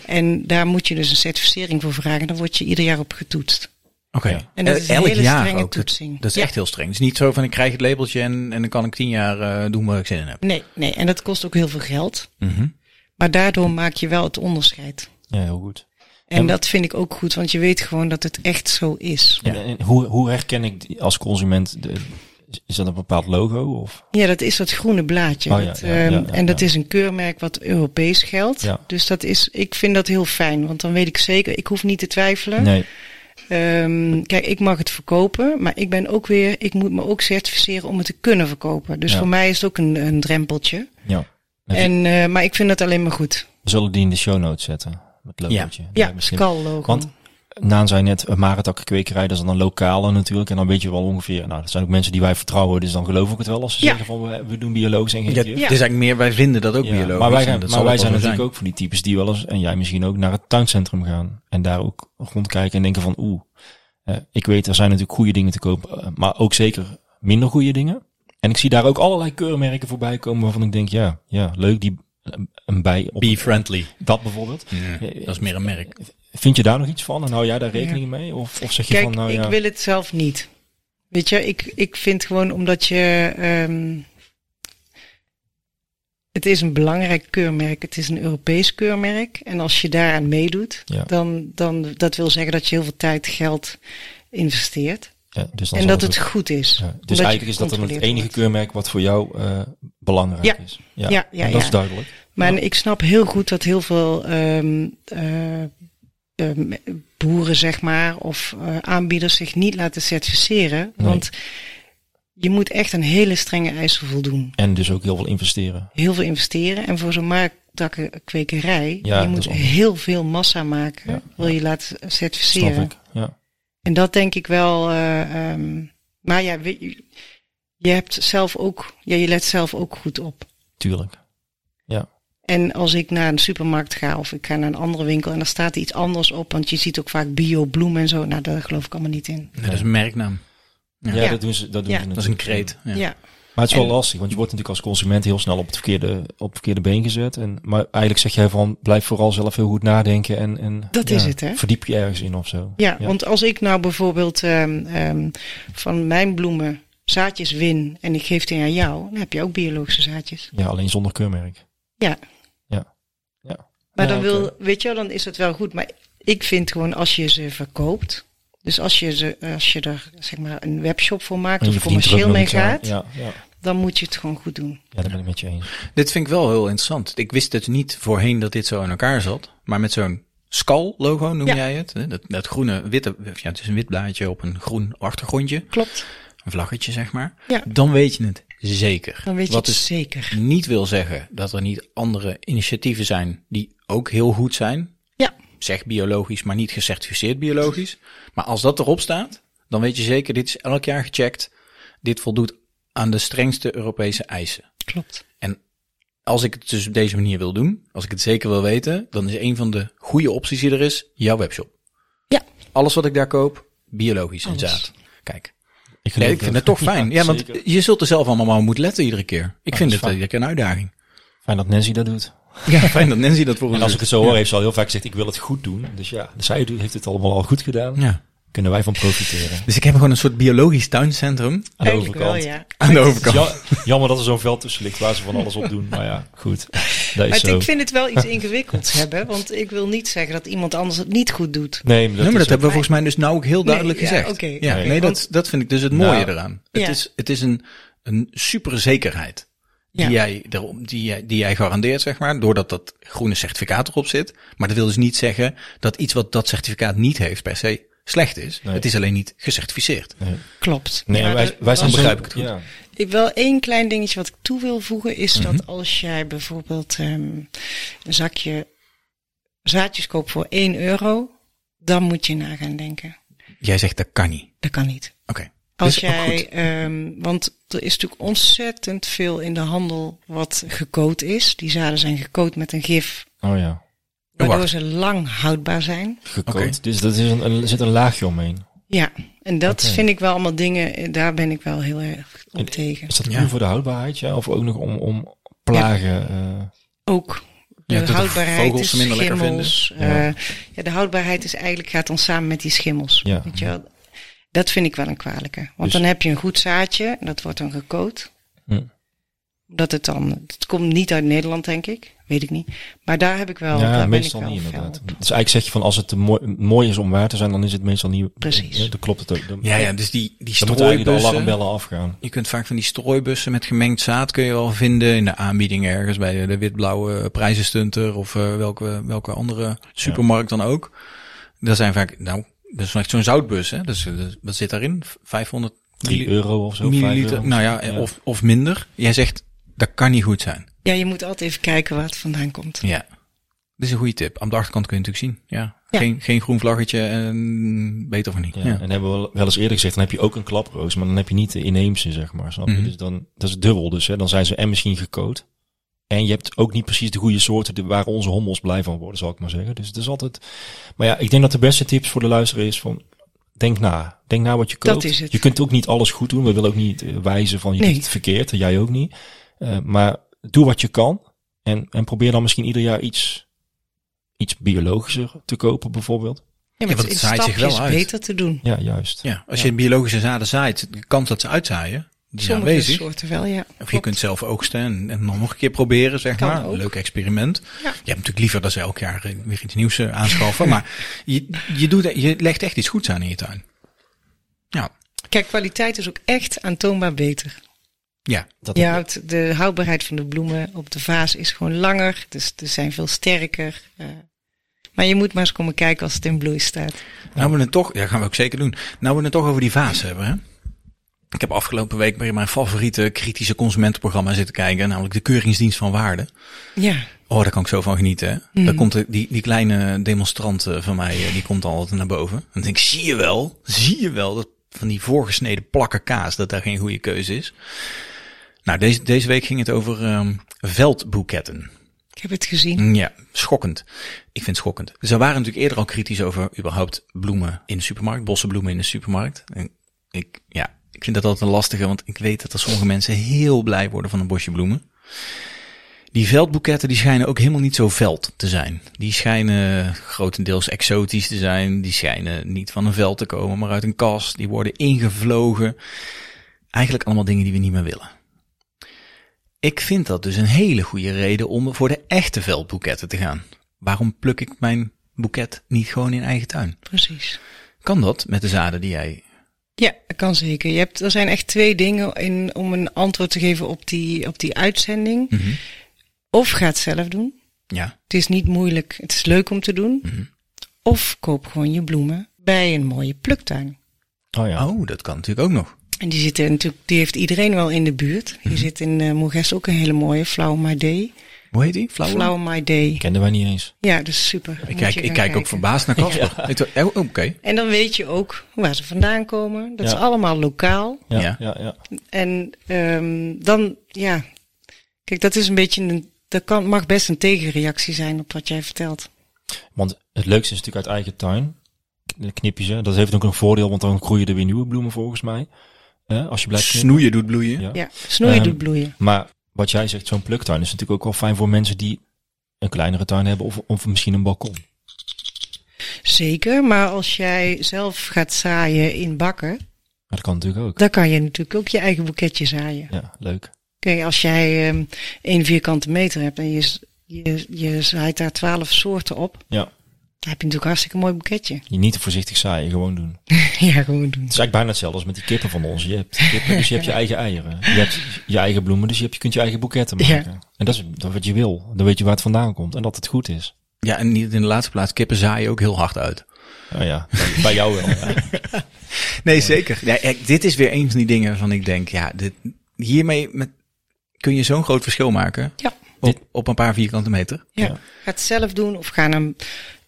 [SPEAKER 5] En daar moet je dus een certificering voor vragen. Dan word je ieder jaar op getoetst.
[SPEAKER 1] Oké.
[SPEAKER 2] Ja.
[SPEAKER 5] En dat
[SPEAKER 1] Eh,
[SPEAKER 5] is een hele strenge toetsing.
[SPEAKER 1] Dat, dat is
[SPEAKER 5] Ja.
[SPEAKER 1] echt heel streng. Het is niet zo van ik krijg het labeltje en, en dan kan ik tien jaar eh, doen waar ik zin in heb.
[SPEAKER 5] Nee, nee, en dat kost ook heel veel geld.
[SPEAKER 2] Mhm.
[SPEAKER 5] Maar daardoor maak je wel het onderscheid.
[SPEAKER 2] Ja, heel goed.
[SPEAKER 5] En,
[SPEAKER 2] En-
[SPEAKER 5] dat vind ik ook goed, want je weet gewoon dat het echt zo is.
[SPEAKER 2] En, en hoe, hoe herken ik die als consument, de, is dat een bepaald logo? Of?
[SPEAKER 5] Ja, dat is dat groene blaadje.
[SPEAKER 2] Oh ja,
[SPEAKER 5] Dat,
[SPEAKER 2] ja, ja,
[SPEAKER 5] ehm,
[SPEAKER 2] ja,
[SPEAKER 5] en dat
[SPEAKER 2] ja.
[SPEAKER 5] is een keurmerk wat Europees geldt.
[SPEAKER 2] Ja.
[SPEAKER 5] Dus dat is, ik vind dat heel fijn, want dan weet ik zeker, ik hoef niet te twijfelen.
[SPEAKER 2] Nee,
[SPEAKER 5] Ehm, kijk, ik mag het verkopen, maar ik ben ook weer, ik moet me ook certificeren om het te kunnen verkopen. Dus
[SPEAKER 2] Ja.
[SPEAKER 5] voor mij is het ook een, een drempeltje.
[SPEAKER 2] ja. Met-
[SPEAKER 5] En, eh, maar ik vind dat alleen maar goed.
[SPEAKER 2] we zullen die in de show notes zetten. Met logootje.
[SPEAKER 5] Ja,
[SPEAKER 2] Lijkt me slim.
[SPEAKER 5] skal logo.
[SPEAKER 2] Want Naan zei net, een marentakkenkwekerij, dat is dan een lokale natuurlijk. En dan weet je wel ongeveer, nou, dat zijn ook mensen die wij vertrouwen. Dus dan geloof ik het wel als ze
[SPEAKER 5] Ja.
[SPEAKER 2] zeggen van, we, we doen biologisch en geen
[SPEAKER 1] Ja,
[SPEAKER 2] gif.
[SPEAKER 1] Het is eigenlijk meer, wij vinden dat ook
[SPEAKER 2] Ja,
[SPEAKER 1] biologisch.
[SPEAKER 2] maar wij,
[SPEAKER 1] en
[SPEAKER 2] gaan,
[SPEAKER 1] dat
[SPEAKER 2] maar
[SPEAKER 1] zal
[SPEAKER 2] wij
[SPEAKER 1] ook
[SPEAKER 2] zijn
[SPEAKER 1] wel zo
[SPEAKER 2] natuurlijk ook van die types die wel eens, en jij misschien ook, naar het tuincentrum gaan. En daar ook rondkijken en denken van, oeh, eh, ik weet, er zijn natuurlijk goede dingen te kopen, eh, maar ook zeker minder goede dingen. En ik zie daar ook allerlei keurmerken voorbij komen waarvan ik denk, ja, ja leuk, die eh, een bij op
[SPEAKER 1] Be friendly.
[SPEAKER 2] dat bijvoorbeeld.
[SPEAKER 1] Ja, dat is meer een merk.
[SPEAKER 2] Vind je daar nog iets van en hou jij daar rekening mee? Of, of zeg je
[SPEAKER 5] Kijk,
[SPEAKER 2] van, nou ja,
[SPEAKER 5] ik wil het zelf niet. Weet je, ik, ik vind gewoon omdat je. ehm, het is een belangrijk keurmerk, het is een Europees keurmerk. En als je daaraan meedoet,
[SPEAKER 2] Ja.
[SPEAKER 5] dan, dan dat wil zeggen dat je heel veel tijd, geld investeert.
[SPEAKER 2] ja, dus dan
[SPEAKER 5] en
[SPEAKER 2] zal
[SPEAKER 5] dat
[SPEAKER 2] ook-
[SPEAKER 5] het goed is.
[SPEAKER 2] ja,
[SPEAKER 5] omdat
[SPEAKER 2] dus
[SPEAKER 5] je
[SPEAKER 2] eigenlijk is dat dan het
[SPEAKER 5] gecontroleerd
[SPEAKER 2] enige
[SPEAKER 5] wordt.
[SPEAKER 2] keurmerk wat voor jou eh, belangrijk
[SPEAKER 5] Ja.
[SPEAKER 2] is.
[SPEAKER 5] Ja, ja,
[SPEAKER 2] en dat
[SPEAKER 5] ja.
[SPEAKER 2] is duidelijk.
[SPEAKER 5] Maar
[SPEAKER 2] Ja.
[SPEAKER 5] ik snap heel goed dat heel veel ehm, eh, ehm, boeren, zeg maar, of eh, aanbieders zich niet laten certificeren.
[SPEAKER 2] Nee.
[SPEAKER 5] Want je moet echt een hele strenge eisen voldoen.
[SPEAKER 2] En dus ook heel veel investeren.
[SPEAKER 5] Heel veel investeren. En voor zo'n maaktakkenkwekerij,
[SPEAKER 2] Ja,
[SPEAKER 5] je
[SPEAKER 2] dat
[SPEAKER 5] moet
[SPEAKER 2] is anders.
[SPEAKER 5] heel veel massa maken.
[SPEAKER 2] Ja,
[SPEAKER 5] wil je laten
[SPEAKER 2] Snap
[SPEAKER 5] certificeren.
[SPEAKER 2] ik. Ja.
[SPEAKER 5] En dat denk ik wel. eh, ehm, maar ja, weet je, je hebt zelf ook, ja, je let zelf ook goed op.
[SPEAKER 2] Tuurlijk.
[SPEAKER 5] En als ik naar een supermarkt ga of ik ga naar een andere winkel en daar staat iets anders op, want je ziet ook vaak bio bloem en zo. Nou, daar geloof ik allemaal niet in.
[SPEAKER 1] Dat is een merknaam.
[SPEAKER 2] Ja,
[SPEAKER 5] Ja.
[SPEAKER 2] dat doen ze, dat doen
[SPEAKER 5] Ja.
[SPEAKER 2] ze
[SPEAKER 1] Dat is
[SPEAKER 2] natuurlijk.
[SPEAKER 1] een kreet. Ja.
[SPEAKER 5] Ja.
[SPEAKER 2] Maar het is wel lastig, want je wordt natuurlijk als consument heel snel op het verkeerde, op het verkeerde been gezet. En, maar eigenlijk zeg jij van, blijf vooral zelf heel goed nadenken en, en
[SPEAKER 5] Dat is het, hè?
[SPEAKER 2] verdiep je ergens in of zo.
[SPEAKER 5] Ja, want als ik nou bijvoorbeeld ehm, ehm, van mijn bloemen zaadjes win en ik geef die aan jou, dan heb je ook biologische zaadjes.
[SPEAKER 2] Ja, alleen zonder keurmerk.
[SPEAKER 5] Ja,
[SPEAKER 2] Ja. ja.
[SPEAKER 5] maar
[SPEAKER 2] Ja,
[SPEAKER 5] dan
[SPEAKER 2] oké.
[SPEAKER 5] wil, weet je, wel, dan is het wel goed. Maar ik vind gewoon als je ze verkoopt, dus als je, ze, als je er zeg maar een webshop voor maakt
[SPEAKER 2] En je
[SPEAKER 5] of
[SPEAKER 2] verdient er
[SPEAKER 5] commercieel
[SPEAKER 2] ook nog
[SPEAKER 5] mee
[SPEAKER 2] iets aan.
[SPEAKER 5] gaat,
[SPEAKER 2] Ja, ja.
[SPEAKER 5] dan moet je het gewoon goed doen.
[SPEAKER 2] ja, daar ben ik met je eens.
[SPEAKER 1] Dit vind ik wel heel interessant. Ik wist het niet voorheen dat dit zo in elkaar zat. Maar met zo'n Skal-logo noem
[SPEAKER 5] Ja.
[SPEAKER 1] jij het. hè? Dat, dat groene, witte, ja, het is een wit blaadje op een groen achtergrondje.
[SPEAKER 5] Klopt.
[SPEAKER 1] Een vlaggetje, zeg maar.
[SPEAKER 5] Ja.
[SPEAKER 1] Dan weet je het zeker.
[SPEAKER 5] Dan weet je
[SPEAKER 1] Wat
[SPEAKER 5] het
[SPEAKER 1] dus
[SPEAKER 5] zeker.
[SPEAKER 1] niet wil zeggen dat er niet andere initiatieven zijn die ook heel goed zijn.
[SPEAKER 5] Ja,
[SPEAKER 1] Zeg biologisch, maar niet gecertificeerd biologisch. Maar als dat erop staat, dan weet je zeker, dit is elk jaar gecheckt. Dit voldoet aan de strengste Europese eisen.
[SPEAKER 5] klopt.
[SPEAKER 1] En als ik het dus op deze manier wil doen, als ik het zeker wil weten, dan is een van de goede opties die er is jouw webshop.
[SPEAKER 5] Ja,
[SPEAKER 1] Alles wat ik daar koop, biologisch en
[SPEAKER 5] Alles.
[SPEAKER 1] zaad. Kijk,
[SPEAKER 2] Ik,
[SPEAKER 1] nee,
[SPEAKER 2] geloof
[SPEAKER 1] ik vind
[SPEAKER 2] dat.
[SPEAKER 1] het toch fijn. Ja, want
[SPEAKER 2] zeker.
[SPEAKER 1] je zult er zelf allemaal maar op moeten letten iedere keer. Ik vind
[SPEAKER 2] dat
[SPEAKER 1] het
[SPEAKER 2] is fijn.
[SPEAKER 1] iedere keer een uitdaging.
[SPEAKER 2] Fijn dat Nancy dat doet.
[SPEAKER 1] Ja, fijn dat Nancy dat voor ons
[SPEAKER 2] En als ik
[SPEAKER 1] doet.
[SPEAKER 2] het zo hoor, heeft ze al heel vaak gezegd, ik wil het goed doen. Dus ja, zij doet- heeft het allemaal al goed gedaan.
[SPEAKER 1] Ja.
[SPEAKER 2] Kunnen wij van profiteren.
[SPEAKER 1] Dus ik heb gewoon een soort biologisch tuincentrum
[SPEAKER 2] Aan de
[SPEAKER 5] eigenlijk wel,
[SPEAKER 2] overkant.
[SPEAKER 5] ja.
[SPEAKER 1] aan de
[SPEAKER 2] Het is
[SPEAKER 1] overkant.
[SPEAKER 2] ja- jammer dat er zo'n veld tussen ligt waar ze van alles op doen. Maar ja, goed. Dat
[SPEAKER 5] Maar
[SPEAKER 2] is
[SPEAKER 5] het-
[SPEAKER 2] zo.
[SPEAKER 5] ik vind het wel iets ingewikkelds hebben, want ik wil niet zeggen dat iemand anders het niet goed doet.
[SPEAKER 2] Nee, maar
[SPEAKER 1] Nee, maar dat
[SPEAKER 2] is
[SPEAKER 1] hebben we
[SPEAKER 2] ook-
[SPEAKER 1] volgens mij dus nou ook heel duidelijk
[SPEAKER 5] ja,
[SPEAKER 1] gezegd.
[SPEAKER 5] oké.
[SPEAKER 1] Ja,
[SPEAKER 2] Oké,
[SPEAKER 1] nee, dat,
[SPEAKER 5] want-
[SPEAKER 1] dat vind ik dus het mooie
[SPEAKER 2] Nou,
[SPEAKER 1] eraan.
[SPEAKER 5] ja.
[SPEAKER 1] Het is, het is een, een superzekerheid die,
[SPEAKER 5] Ja.
[SPEAKER 1] jij erom, die, jij- die jij garandeert, zeg maar, doordat dat groene certificaat erop zit. Maar dat wil dus niet zeggen dat iets wat dat certificaat niet heeft per se slecht is.
[SPEAKER 2] Nee.
[SPEAKER 1] Het is alleen niet gecertificeerd.
[SPEAKER 5] Klopt.
[SPEAKER 2] Nee,
[SPEAKER 5] Maar
[SPEAKER 2] wij,
[SPEAKER 5] er
[SPEAKER 2] wij zijn
[SPEAKER 5] was-
[SPEAKER 2] zo-
[SPEAKER 1] begrijp ik het goed.
[SPEAKER 2] Ja.
[SPEAKER 5] Ik wel één klein dingetje wat ik toe wil voegen is dat als jij bijvoorbeeld ehm, een zakje zaadjes koopt voor 1 euro, dan moet je na gaan denken.
[SPEAKER 1] Jij zegt dat kan niet.
[SPEAKER 5] Dat kan niet.
[SPEAKER 1] Oké.
[SPEAKER 5] Als
[SPEAKER 1] Dus ook
[SPEAKER 5] jij,
[SPEAKER 1] goed.
[SPEAKER 5] ehm, want er is natuurlijk ontzettend veel in de handel wat gekoot is. Die zaden zijn gekoot met een gif,
[SPEAKER 2] Oh ja.
[SPEAKER 5] waardoor
[SPEAKER 1] wacht.
[SPEAKER 5] ze lang houdbaar zijn.
[SPEAKER 2] Gekookt.
[SPEAKER 1] Oké.
[SPEAKER 2] Dus dat is een, er zit een laagje omheen.
[SPEAKER 5] Ja, en dat
[SPEAKER 2] Oké.
[SPEAKER 5] vind ik wel allemaal dingen, eh, daar ben ik wel heel erg op
[SPEAKER 2] En-
[SPEAKER 5] tegen.
[SPEAKER 2] Is dat
[SPEAKER 1] Ja.
[SPEAKER 2] puur voor de houdbaarheid? Ja? Of ook nog om, om plagen? eh
[SPEAKER 5] Ook. De
[SPEAKER 1] Ja, dat de
[SPEAKER 5] houdbaarheid
[SPEAKER 1] vogels
[SPEAKER 5] is
[SPEAKER 1] ze minder lekker
[SPEAKER 5] schimmels. eh, Ja. de houdbaarheid is eigenlijk gaat dan samen met die schimmels.
[SPEAKER 2] Ja.
[SPEAKER 5] Weet je wel? Dat vind ik wel een kwalijke.
[SPEAKER 2] Dus-
[SPEAKER 5] Want dan heb je een goed zaadje, dat wordt dan gekookt.
[SPEAKER 2] Hm.
[SPEAKER 5] Dat het dan, het komt niet uit Nederland, denk ik. Weet ik niet. Maar daar heb ik wel, Oh, daar
[SPEAKER 2] ja,
[SPEAKER 5] ben
[SPEAKER 2] meestal
[SPEAKER 5] ik wel
[SPEAKER 2] niet
[SPEAKER 5] fel
[SPEAKER 2] inderdaad.
[SPEAKER 5] op.
[SPEAKER 2] Dus eigenlijk zeg je van als het te mooi, mooi is om waar te zijn, dan is het meestal niet...
[SPEAKER 5] Precies.
[SPEAKER 2] Ja, dan klopt het ook. Dan,
[SPEAKER 1] Ja, ja, dus die, die
[SPEAKER 2] dan moeten eigenlijk de
[SPEAKER 1] strooibussen.
[SPEAKER 2] alarmbellen afgaan.
[SPEAKER 1] Je kunt vaak van die strooibussen met gemengd zaad kun je wel vinden in de aanbieding ergens bij de, de witblauwe prijzenstunter of eh, welke, welke andere supermarkt dan ook. Daar zijn vaak, nou, dat is echt zo'n zoutbus, hè? Dus eh, wat zit daarin? 500
[SPEAKER 2] 3
[SPEAKER 1] milli-
[SPEAKER 2] euro of zo. vijf
[SPEAKER 1] milliliter?
[SPEAKER 2] euro.
[SPEAKER 1] nou ja, eh, Of, of minder. Jij zegt, dat kan niet goed zijn.
[SPEAKER 5] Ja, je moet altijd even kijken waar het vandaan komt.
[SPEAKER 1] Ja. Dat is een goede tip. Aan de achterkant kun je natuurlijk zien. Ja.
[SPEAKER 5] Ja.
[SPEAKER 1] Geen, geen groen vlaggetje en beter van niet.
[SPEAKER 2] Ja,
[SPEAKER 1] Ja.
[SPEAKER 2] En hebben we wel- wel eens eerder gezegd, dan heb je ook een klaproos, maar dan heb je niet de inheemse, zeg maar. Snap je?
[SPEAKER 1] Mhm.
[SPEAKER 2] Dus dan, dat is dubbel dus. Hè? Dan zijn ze en misschien gekookt. En je hebt ook niet precies de goede soorten die- waar onze hommels blij van worden, zal ik maar zeggen. Dus het is altijd... Maar ja, ik denk dat de beste tips voor de luisteraar is van... Denk na. Denk na wat je
[SPEAKER 5] Dat
[SPEAKER 2] koopt.
[SPEAKER 5] is het.
[SPEAKER 2] Je kunt ook niet alles goed doen. We willen ook niet eh, wijzen van je
[SPEAKER 5] Nee.
[SPEAKER 2] doet het verkeerd. En jij ook niet. Eh, maar doe wat je kan. En, en probeer dan misschien ieder jaar iets, iets biologischer te kopen bijvoorbeeld.
[SPEAKER 5] Ja, maar
[SPEAKER 1] want
[SPEAKER 5] het
[SPEAKER 1] het
[SPEAKER 5] is
[SPEAKER 1] zaait
[SPEAKER 5] in
[SPEAKER 1] zich
[SPEAKER 5] stapjes
[SPEAKER 1] wel uit.
[SPEAKER 5] beter te doen.
[SPEAKER 2] Ja, juist.
[SPEAKER 1] Ja, Als je biologische zaden zaait, de kans dat ze uitzaaien, die is
[SPEAKER 5] Sommige
[SPEAKER 1] aanwezig.
[SPEAKER 5] soorten wel, ja.
[SPEAKER 1] Of je kunt zelf oogsten en, en nog een keer proberen, zeg
[SPEAKER 5] Kan
[SPEAKER 1] maar.
[SPEAKER 5] ook.
[SPEAKER 1] Een leuk experiment. Je hebt natuurlijk liever dat ze elk jaar eh, weer iets nieuws eh, aanschaffen. maar je, je, doet, je legt echt iets goeds aan in je tuin. Ja,
[SPEAKER 5] Kijk, kwaliteit is ook echt aantoonbaar beter.
[SPEAKER 1] ja.
[SPEAKER 2] Dat
[SPEAKER 5] Je houdt de houdbaarheid van de bloemen op de vaas is gewoon langer. Dus ze zijn veel sterker. eh. maar je moet maar eens komen kijken als het in bloei staat.
[SPEAKER 1] Nou we het toch, ja gaan we ook zeker doen. Nou we het toch over die vaas hebben, hè. Ik heb afgelopen week weer mijn favoriete kritische consumentenprogramma zitten kijken. Namelijk de Keuringsdienst van Waarde.
[SPEAKER 5] Ja,
[SPEAKER 1] Oh, daar kan ik zo van genieten. Hè? Daar komt de- die, die kleine demonstrant eh, van mij, eh, die komt altijd naar boven. En dan denk ik, zie je wel, zie je wel dat van die voorgesneden plakken kaas, dat daar geen goede keuze is. Nou, deze, deze week ging het over ehm, veldboeketten.
[SPEAKER 5] ik heb het gezien.
[SPEAKER 1] Mm, Ja, schokkend. Ik vind het schokkend. Ze waren natuurlijk eerder al kritisch over überhaupt bloemen in de supermarkt, bossenbloemen in de supermarkt. En ik, ja, ik Ik vind dat altijd een lastige, want ik weet dat er sommige mensen heel blij worden van een bosje bloemen. Die veldboeketten die schijnen ook helemaal niet zo veld te zijn. Die schijnen grotendeels exotisch te zijn. Die schijnen niet van een veld te komen, maar uit een kast. Die worden ingevlogen. Eigenlijk allemaal dingen die we niet meer willen. Ik vind dat dus een hele goede reden om voor de echte veldboeketten te gaan. Waarom pluk ik mijn boeket niet gewoon in eigen tuin?
[SPEAKER 5] Precies.
[SPEAKER 1] Kan dat met de zaden die jij...
[SPEAKER 5] Ja, dat kan zeker. Je hebt, er zijn echt twee dingen in, om een antwoord te geven op die, op die uitzending. Of ga het zelf doen.
[SPEAKER 1] Ja,
[SPEAKER 5] Het is niet moeilijk. Het is leuk om te doen. Of koop gewoon je bloemen bij een mooie pluktuin.
[SPEAKER 2] Oh ja.
[SPEAKER 1] oh, dat kan natuurlijk ook nog.
[SPEAKER 5] En die, zitten natuurlijk, die heeft iedereen wel in de buurt. Hier
[SPEAKER 1] Mhm.
[SPEAKER 5] zit in eh Moerges ook een hele mooie Flower My Day.
[SPEAKER 1] Hoe heet die? Flower?
[SPEAKER 5] Flower My Day.
[SPEAKER 2] Kenden wij niet eens.
[SPEAKER 5] Ja, dat is super. Moet
[SPEAKER 1] Ik
[SPEAKER 5] je
[SPEAKER 1] kijk,
[SPEAKER 5] gaan
[SPEAKER 1] ik kijk ook
[SPEAKER 5] kijken.
[SPEAKER 1] verbaasd naar Casper. Ik dacht, oh, Oké,
[SPEAKER 5] En dan weet je ook waar ze vandaan komen. Dat
[SPEAKER 2] Ja.
[SPEAKER 5] is allemaal lokaal.
[SPEAKER 2] Ja,
[SPEAKER 1] Ja.
[SPEAKER 2] ja, ja. ja.
[SPEAKER 5] En ehm, dan, ja. Kijk, dat is een beetje een. Dat kan, mag best een tegenreactie zijn op wat jij vertelt.
[SPEAKER 2] Want het leukste is natuurlijk uit eigen tuin. De Knipjes, hè. dat heeft ook een voordeel, want dan groeien er weer nieuwe bloemen volgens mij. Hè, als je blijft knippen.
[SPEAKER 1] snoeien doet bloeien.
[SPEAKER 2] Ja.
[SPEAKER 5] Ja, snoeien
[SPEAKER 2] Ehm,
[SPEAKER 5] doet bloeien.
[SPEAKER 2] Maar wat jij zegt, zo'n pluktuin is natuurlijk ook wel fijn voor mensen die een kleinere tuin hebben of, of misschien een balkon.
[SPEAKER 5] Zeker, maar als jij zelf gaat zaaien in bakken,
[SPEAKER 2] Maar dat kan natuurlijk ook.
[SPEAKER 5] dan kan je natuurlijk ook je eigen boeketje zaaien.
[SPEAKER 2] Ja, leuk.
[SPEAKER 5] Kijk, als jij ehm één vierkante meter hebt en je, z- je, je zaait daar twaalf soorten op,
[SPEAKER 2] Ja,
[SPEAKER 5] dan heb je natuurlijk een hartstikke mooi boeketje.
[SPEAKER 2] je niet te voorzichtig zaaien, gewoon doen. Het
[SPEAKER 5] ja, gewoon doen.
[SPEAKER 2] is eigenlijk bijna hetzelfde als met die kippen van ons. Je hebt kippen, dus je hebt je eigen eieren. Je hebt je eigen bloemen, dus je, hebt, je kunt je eigen boeketten maken. En dat is dat is wat je wil. Dan weet je waar het vandaan komt en dat het goed is.
[SPEAKER 1] Ja, en niet in de laatste plaats, kippen zaaien ook heel hard uit.
[SPEAKER 2] Nou ja, bij jou wel. Ja.
[SPEAKER 1] Nee, zeker. Ja, ik- dit is weer een van die dingen waarvan ik denk, ja, dit, hiermee met, kun je zo'n groot verschil maken
[SPEAKER 5] Ja.
[SPEAKER 1] op, op een paar vierkante meter.
[SPEAKER 5] Ja.
[SPEAKER 2] Ja.
[SPEAKER 5] Ga het zelf doen of ga naar een,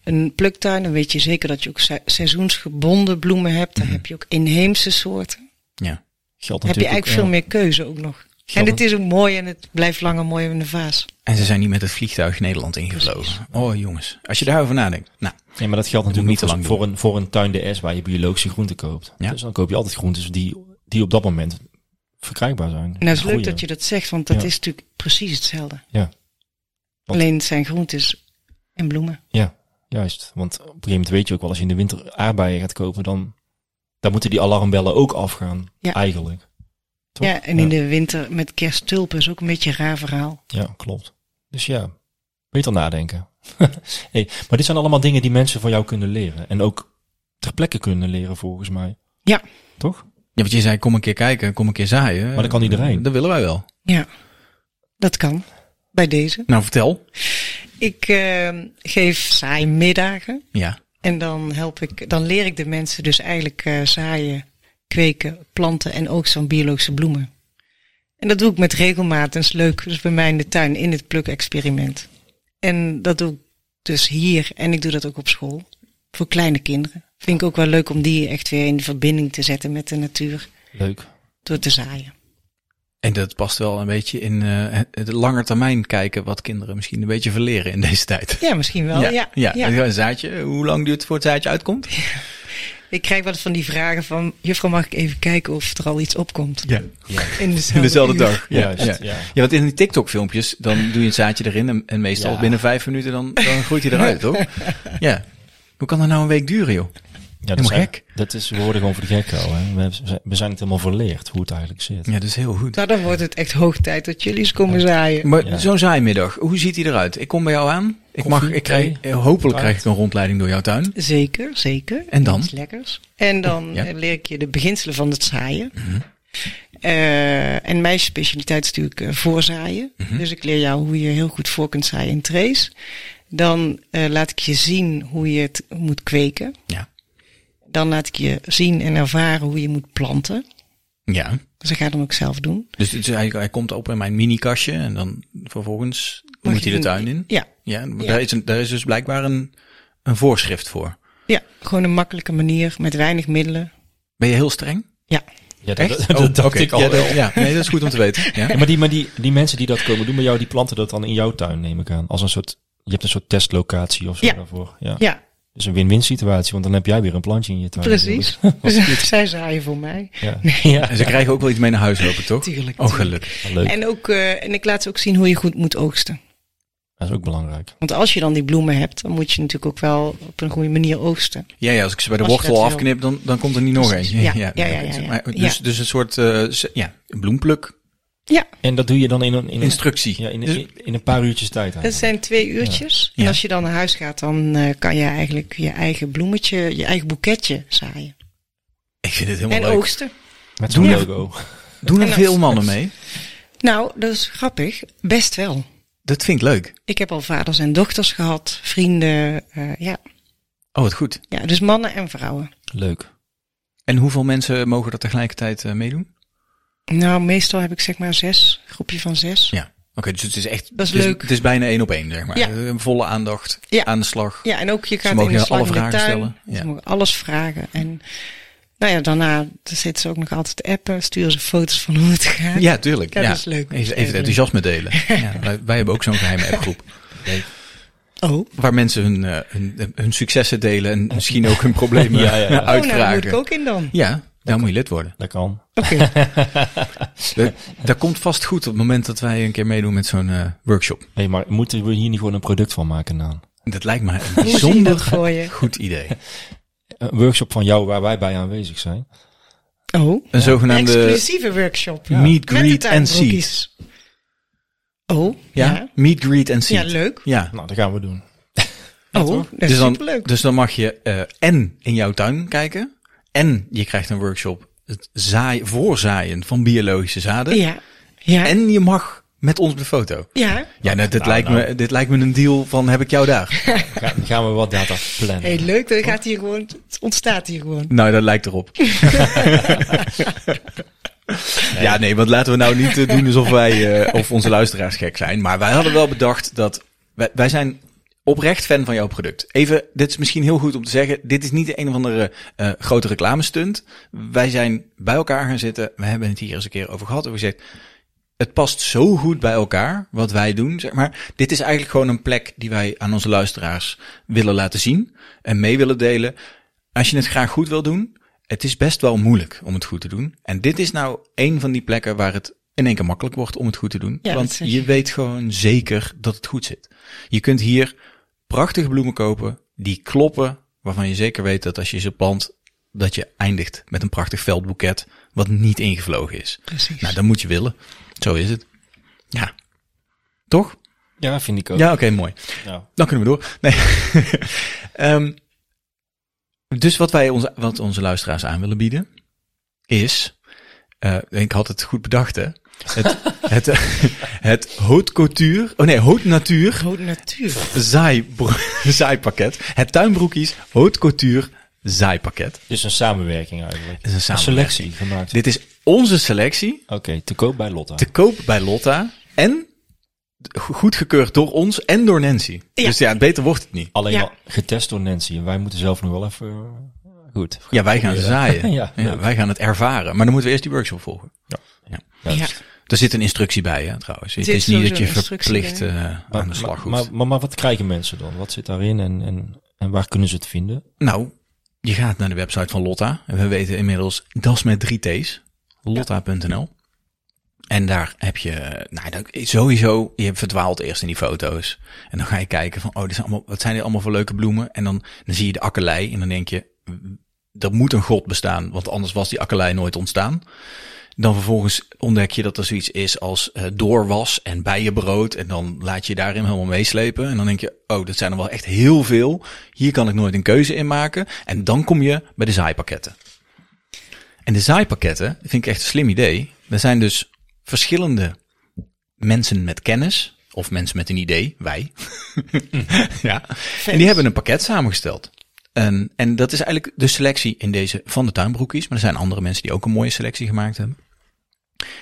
[SPEAKER 5] een pluktuin. Dan weet je zeker dat je ook se- seizoensgebonden bloemen hebt.
[SPEAKER 2] Mhm.
[SPEAKER 5] Dan heb je ook inheemse soorten.
[SPEAKER 1] Ja.
[SPEAKER 2] Geldt
[SPEAKER 5] heb
[SPEAKER 2] natuurlijk
[SPEAKER 5] je
[SPEAKER 2] eh,
[SPEAKER 5] eigenlijk
[SPEAKER 2] ook,
[SPEAKER 5] veel meer keuze ook nog. En het is ook mooi en het blijft langer mooi in de vaas.
[SPEAKER 1] En ze zijn niet met het vliegtuig Nederland ingevlogen. Oh jongens, als je daarover nadenkt. Nou,
[SPEAKER 2] Nee, maar dat geldt
[SPEAKER 1] moet
[SPEAKER 2] natuurlijk niet
[SPEAKER 1] niet te
[SPEAKER 2] voor,
[SPEAKER 1] lang
[SPEAKER 2] voor, een, voor een tuin DS waar je biologische groenten koopt.
[SPEAKER 1] Ja.
[SPEAKER 2] Dus dan koop je altijd groentes die, die op dat moment verkrijgbaar zijn.
[SPEAKER 5] En dat is leuk dat je dat zegt, want dat
[SPEAKER 2] Ja.
[SPEAKER 5] is natuurlijk precies hetzelfde.
[SPEAKER 2] Ja. Want-
[SPEAKER 5] Alleen het zijn groentes en bloemen.
[SPEAKER 2] Ja, juist. Want op een gegeven moment weet je ook wel, als je in de winter aardbeien gaat kopen, dan, dan moeten die alarmbellen ook afgaan.
[SPEAKER 5] Ja.
[SPEAKER 2] Eigenlijk. Toch?
[SPEAKER 5] Ja, en in de winter met kersttulpen is ook een beetje een raar verhaal.
[SPEAKER 2] Ja, klopt. Dus ja, beter nadenken. hey, maar dit zijn allemaal dingen die mensen van jou kunnen leren. En ook ter plekke kunnen leren, volgens mij.
[SPEAKER 5] Ja,
[SPEAKER 2] Toch?
[SPEAKER 1] ja, want je zei, kom een keer kijken, kom een keer zaaien.
[SPEAKER 2] Maar dat kan iedereen.
[SPEAKER 1] Dat willen wij wel.
[SPEAKER 5] ja. Dat kan. Bij deze.
[SPEAKER 1] Nou, vertel.
[SPEAKER 5] Ik eh, geef saai middagen.
[SPEAKER 1] Ja.
[SPEAKER 5] En dan help ik, dan leer ik de mensen dus eigenlijk eh, zaaien, kweken, planten en oogsten van biologische bloemen. En dat doe ik met regelmaat en is leuk. Dus bij mij in de tuin in het pluk-experiment. En dat doe ik dus hier en ik doe dat ook op school. Voor kleine kinderen. Vind ik ook wel leuk om die echt weer in verbinding te zetten met de natuur.
[SPEAKER 2] Leuk.
[SPEAKER 5] Door te zaaien.
[SPEAKER 1] En dat past wel een beetje in eh, het- het langer termijn kijken wat kinderen misschien een beetje verleren in deze tijd.
[SPEAKER 5] Ja, misschien wel. Ja, ja,
[SPEAKER 1] ja. Een zaadje, hoe lang duurt het voor het zaadje uitkomt?
[SPEAKER 5] Ik krijg wel eens van die vragen van... Juffrouw, mag ik even kijken of er al iets opkomt?
[SPEAKER 1] Ja.
[SPEAKER 5] In
[SPEAKER 1] In
[SPEAKER 5] dezelfde,
[SPEAKER 1] dezelfde
[SPEAKER 5] uur.
[SPEAKER 1] dag. Ja,
[SPEAKER 2] Juist,
[SPEAKER 1] ja.
[SPEAKER 2] ja.
[SPEAKER 1] ja, want in die TikTok-filmpjes, dan doe je een zaadje erin en, en meestal
[SPEAKER 2] Ja.
[SPEAKER 1] binnen vijf minuten dan, dan groeit hij eruit, toch? Ja. Hoe kan dat nou een week duren, joh?
[SPEAKER 2] Ja,
[SPEAKER 1] Helemaal
[SPEAKER 2] dat, zijn,
[SPEAKER 1] gek.
[SPEAKER 2] dat is, we worden gewoon voor de gekko. Hè. We, hebben- we zijn- we zijn het helemaal verleerd hoe het eigenlijk zit.
[SPEAKER 1] Ja, dat is heel goed.
[SPEAKER 5] Nou, dan wordt het echt hoog tijd dat jullie eens komen zaaien.
[SPEAKER 1] Maar
[SPEAKER 2] Ja.
[SPEAKER 1] zo'n zaaimiddag, hoe ziet hij eruit? Ik kom bij jou aan. Ik mag, ik krijg,
[SPEAKER 2] thee,
[SPEAKER 1] eh, hopelijk
[SPEAKER 2] taart.
[SPEAKER 1] krijg ik een rondleiding door jouw tuin.
[SPEAKER 5] Zeker, zeker.
[SPEAKER 1] En dan?
[SPEAKER 5] Iets lekkers. En dan
[SPEAKER 1] Ja. Mhm.
[SPEAKER 5] eh, leer ik je de beginselen van het zaaien. Eh, en mijn specialiteit is natuurlijk eh, voorzaaien.
[SPEAKER 1] Mhm.
[SPEAKER 5] Dus ik leer jou hoe je heel goed voor kunt zaaien in trace. Dan eh, laat ik je zien hoe je het moet kweken.
[SPEAKER 1] Ja.
[SPEAKER 5] Dan laat ik je zien en ervaren hoe je moet planten.
[SPEAKER 1] Ja.
[SPEAKER 5] Dus dat ga ik dan ook zelf doen.
[SPEAKER 1] Dus, het is eigenlijk- hij, komt op in mijn minikastje en dan vervolgens
[SPEAKER 5] Mag
[SPEAKER 1] moet
[SPEAKER 5] je
[SPEAKER 1] hij de
[SPEAKER 5] doen-
[SPEAKER 1] tuin in.
[SPEAKER 5] Ja,
[SPEAKER 1] Ja, maar
[SPEAKER 5] Ja.
[SPEAKER 1] Daar, is een, daar is dus blijkbaar een, een voorschrift voor.
[SPEAKER 5] ja, gewoon een makkelijke manier met weinig middelen.
[SPEAKER 1] Ben je heel streng?
[SPEAKER 5] Ja,
[SPEAKER 2] Ja, dat,
[SPEAKER 1] Echt?
[SPEAKER 2] dat,
[SPEAKER 1] Oh,
[SPEAKER 2] dat dacht
[SPEAKER 1] oké.
[SPEAKER 2] ik al
[SPEAKER 1] ja,
[SPEAKER 2] wel.
[SPEAKER 1] dat- ja, nee, dat is goed om te weten. Ja.
[SPEAKER 2] Ja, maar die, maar die, die mensen die dat komen doen bij jou, die planten dat dan in jouw tuin, neem ik aan. Als een soort, je hebt een soort testlocatie of zo
[SPEAKER 5] Ja.
[SPEAKER 2] daarvoor. Ja.
[SPEAKER 5] ja.
[SPEAKER 2] Dus een win-win situatie, want dan heb jij weer een plantje in je tuin.
[SPEAKER 5] Precies. Dus zij zaaien voor mij.
[SPEAKER 2] Ja. ja.
[SPEAKER 1] En ze krijgen ook wel iets mee naar huis lopen, toch?
[SPEAKER 5] Tuurlijk,
[SPEAKER 1] Oh, gelukkig.
[SPEAKER 2] Leuk.
[SPEAKER 5] En, ook, eh, en ik laat ze ook zien hoe je goed moet oogsten.
[SPEAKER 2] Dat is ook belangrijk.
[SPEAKER 5] Want als je dan die bloemen hebt, dan moet je natuurlijk ook wel op een goede manier oogsten.
[SPEAKER 1] Ja, ja, als ik ze bij de
[SPEAKER 5] Als je
[SPEAKER 1] wortel
[SPEAKER 5] dat wil.
[SPEAKER 1] afknip, dan, dan komt er niet nog
[SPEAKER 5] Precies.
[SPEAKER 1] eentje.
[SPEAKER 5] Ja, ja, ja, ja, ja.
[SPEAKER 1] Maar Dus,
[SPEAKER 5] Ja.
[SPEAKER 1] dus een soort eh, s- ja, een bloempluk
[SPEAKER 5] Ja,
[SPEAKER 2] En dat doe je dan in een, in een,
[SPEAKER 1] instructie.
[SPEAKER 2] ja, in,
[SPEAKER 1] Dus-
[SPEAKER 2] in, in een paar uurtjes tijd.
[SPEAKER 5] dat
[SPEAKER 2] eigenlijk.
[SPEAKER 5] zijn twee uurtjes.
[SPEAKER 1] Ja.
[SPEAKER 5] En als je dan naar huis gaat, dan eh, kan je eigenlijk je eigen bloemetje, je eigen boeketje zaaien.
[SPEAKER 1] ik vind het
[SPEAKER 5] En
[SPEAKER 1] helemaal leuk.
[SPEAKER 5] oogsten.
[SPEAKER 2] Met zo'n
[SPEAKER 1] Doe-
[SPEAKER 2] logo.
[SPEAKER 1] Doen er
[SPEAKER 5] En
[SPEAKER 1] veel
[SPEAKER 5] ook-
[SPEAKER 1] mannen mee?
[SPEAKER 5] Nou, dat is grappig. Best wel.
[SPEAKER 1] Dat vind ik leuk.
[SPEAKER 5] Ik heb al vaders en dochters gehad, vrienden. eh, ja.
[SPEAKER 1] Oh, wat goed.
[SPEAKER 5] ja, dus mannen en vrouwen.
[SPEAKER 2] Leuk.
[SPEAKER 1] En hoeveel mensen mogen er tegelijkertijd eh, meedoen?
[SPEAKER 5] Nou, meestal heb ik zeg maar zes, groepje van zes.
[SPEAKER 1] Ja. Oké, dus het is echt...
[SPEAKER 5] Dat is
[SPEAKER 1] het
[SPEAKER 5] leuk.
[SPEAKER 1] Het is bijna één op één, zeg maar.
[SPEAKER 5] Ja.
[SPEAKER 1] Eh, Volle aandacht,
[SPEAKER 5] Ja.
[SPEAKER 1] aan de slag.
[SPEAKER 5] Ja, en ook je gaat
[SPEAKER 1] mogen
[SPEAKER 5] in de
[SPEAKER 1] jou
[SPEAKER 5] slag
[SPEAKER 1] alle
[SPEAKER 5] in de
[SPEAKER 1] vragen
[SPEAKER 5] tuin.
[SPEAKER 1] stellen. Ja.
[SPEAKER 5] Ze mogen alles vragen. En nou ja, daarna dan zitten ze ook nog altijd te appen. Sturen ze foto's van hoe het gaat.
[SPEAKER 1] Ja, tuurlijk.
[SPEAKER 5] Ja, dat is leuk.
[SPEAKER 1] Even,
[SPEAKER 5] Ja,
[SPEAKER 1] even het enthousiasme delen. Ja, wij, wij hebben ook zo'n geheime appgroep.
[SPEAKER 5] Oh,
[SPEAKER 1] Waar mensen hun, eh, hun, hun successen delen en misschien ook hun problemen
[SPEAKER 2] Ja, ja, ja.
[SPEAKER 5] oh nou, daar moet ik
[SPEAKER 1] uitvragen.
[SPEAKER 5] ook in dan.
[SPEAKER 1] Ja, daar moet je lid worden.
[SPEAKER 2] Dat kan.
[SPEAKER 5] Oké,
[SPEAKER 1] Dat, dat komt vast goed op het moment dat wij een keer meedoen met zo'n eh, workshop.
[SPEAKER 2] Hé, maar moeten we hier niet gewoon een product van maken dan?
[SPEAKER 1] Dat lijkt me een
[SPEAKER 5] hoe zie je dat
[SPEAKER 1] bijzonder
[SPEAKER 5] voor je?
[SPEAKER 1] goed idee.
[SPEAKER 2] Een workshop van jou waar wij bij aanwezig zijn.
[SPEAKER 5] Oh,
[SPEAKER 1] Een zogenaamde
[SPEAKER 5] exclusieve workshop.
[SPEAKER 1] meet,
[SPEAKER 5] Met de
[SPEAKER 1] greet en
[SPEAKER 5] tuinbroekies.
[SPEAKER 1] seat.
[SPEAKER 5] Oh,
[SPEAKER 1] Ja?
[SPEAKER 5] ja.
[SPEAKER 1] meet, greet en seat.
[SPEAKER 5] Ja, leuk.
[SPEAKER 1] Ja.
[SPEAKER 2] Nou, dat gaan we doen.
[SPEAKER 5] Oh, dat is
[SPEAKER 1] Dus dan,
[SPEAKER 5] superleuk.
[SPEAKER 1] dus dan mag je en in jouw tuin kijken en je krijgt een workshop het zaaien, voorzaaien van biologische zaden.
[SPEAKER 5] ja, ja,
[SPEAKER 1] En je mag met ons op de foto.
[SPEAKER 5] ja.
[SPEAKER 1] Ja, nou, dit,
[SPEAKER 2] Nou,
[SPEAKER 1] lijkt
[SPEAKER 2] nou.
[SPEAKER 1] Me, dit lijkt me een deal van heb ik jou daar.
[SPEAKER 2] Ga- Dan gaan we wat data plannen.
[SPEAKER 5] Hey, leuk, dat gaat hier gewoon, het ontstaat hier gewoon.
[SPEAKER 1] nou, dat lijkt erop. ja, nee, want laten we nou niet eh, doen alsof wij eh, of onze luisteraars gek zijn. Maar wij hadden wel bedacht dat wij, wij zijn oprecht fan van jouw product. Even, dit is misschien heel goed om te zeggen. Dit is niet de een of andere eh, grote reclamestunt. Wij zijn bij elkaar gaan zitten. We hebben het hier eens een keer over gehad. En we gezegd, het past zo goed bij elkaar wat wij doen, zeg maar. Dit is eigenlijk gewoon een plek die wij aan onze luisteraars willen laten zien en mee willen delen. Als je het graag goed wil doen, het is best wel moeilijk om het goed te doen. En dit is nou een van die plekken waar het in één keer makkelijk wordt om het goed te doen.
[SPEAKER 5] Ja, dat
[SPEAKER 1] want
[SPEAKER 5] zeg
[SPEAKER 1] je weet gewoon zeker dat het goed zit. Je kunt hier prachtige bloemen kopen die kloppen, waarvan je zeker weet dat als je ze plant, dat je eindigt met een prachtig veldboeket wat niet ingevlogen is.
[SPEAKER 5] Precies.
[SPEAKER 1] Nou, dat moet je willen. Zo is het. Ja. Toch?
[SPEAKER 2] Ja, vind ik ook.
[SPEAKER 1] Ja, oké, mooi.
[SPEAKER 2] Nou,
[SPEAKER 1] Dan kunnen we door. Nee. Ehm, dus wat wij onze, wat onze luisteraars aan willen bieden is, eh, ik had het goed bedacht hè, het, het, eh, het haute couture, oh nee, haute natuur
[SPEAKER 5] Rode natuur.
[SPEAKER 1] zaaibro- zaaipakket. Het tuinbroekies haute couture zaaipakket.
[SPEAKER 2] dus een samenwerking eigenlijk.
[SPEAKER 1] is een samenwerking.
[SPEAKER 2] selectie gemaakt.
[SPEAKER 1] Dit is onze selectie
[SPEAKER 2] Oké, te koop bij Lotta.
[SPEAKER 1] te goedkoop bij Lotta en go- goedgekeurd door ons en door Nancy.
[SPEAKER 5] Ja.
[SPEAKER 1] Dus ja, beter wordt het niet.
[SPEAKER 2] Alleen
[SPEAKER 5] Ja.
[SPEAKER 2] al getest door Nancy. En wij moeten zelf nog wel even... eh, Goed.
[SPEAKER 1] Ja, wij gaan zaaien.
[SPEAKER 2] Ja,
[SPEAKER 1] ja,
[SPEAKER 2] leuk.
[SPEAKER 1] wij gaan het ervaren. Maar dan moeten we eerst die workshop volgen.
[SPEAKER 5] Ja.
[SPEAKER 2] Dus-
[SPEAKER 1] Er zit een instructie bij, hè, trouwens. Het
[SPEAKER 5] zit
[SPEAKER 1] is niet dat
[SPEAKER 5] sowieso
[SPEAKER 1] je
[SPEAKER 5] een instructie
[SPEAKER 1] verplicht
[SPEAKER 5] bij.
[SPEAKER 1] eh, aan de slag
[SPEAKER 2] maar,
[SPEAKER 1] hoeft.
[SPEAKER 2] maar, maar, maar wat krijgen mensen dan? Wat zit daarin en, en, en waar kunnen ze het vinden?
[SPEAKER 1] Nou, je gaat naar de website van Lotta. En we weten inmiddels, dat is met drie T's. Lotta.nl. En daar heb je, nou, dan, sowieso, je verdwaalt eerst in die foto's. En dan ga je kijken van, oh, dit zijn allemaal, wat zijn dit allemaal voor leuke bloemen? En dan, dan zie je de akkerlei en dan denk je, mm, er moet een god bestaan, want anders was die akkerlei nooit ontstaan. Dan vervolgens ontdek je dat er zoiets is als eh, doorwas en bijenbrood. En dan laat je je daarin helemaal meeslepen. En dan denk je, oh, dat zijn er wel echt heel veel. Hier kan ik nooit een keuze in maken. En dan kom je bij de zaaipakketten. En de zaaipakketten vind ik echt een slim idee. Er zijn dus verschillende mensen met kennis. Of mensen met een idee, wij. ja. En die hebben een pakket samengesteld. En, en dat is eigenlijk de selectie in deze van de tuinbroekies. Maar er zijn andere mensen die ook een mooie selectie gemaakt hebben.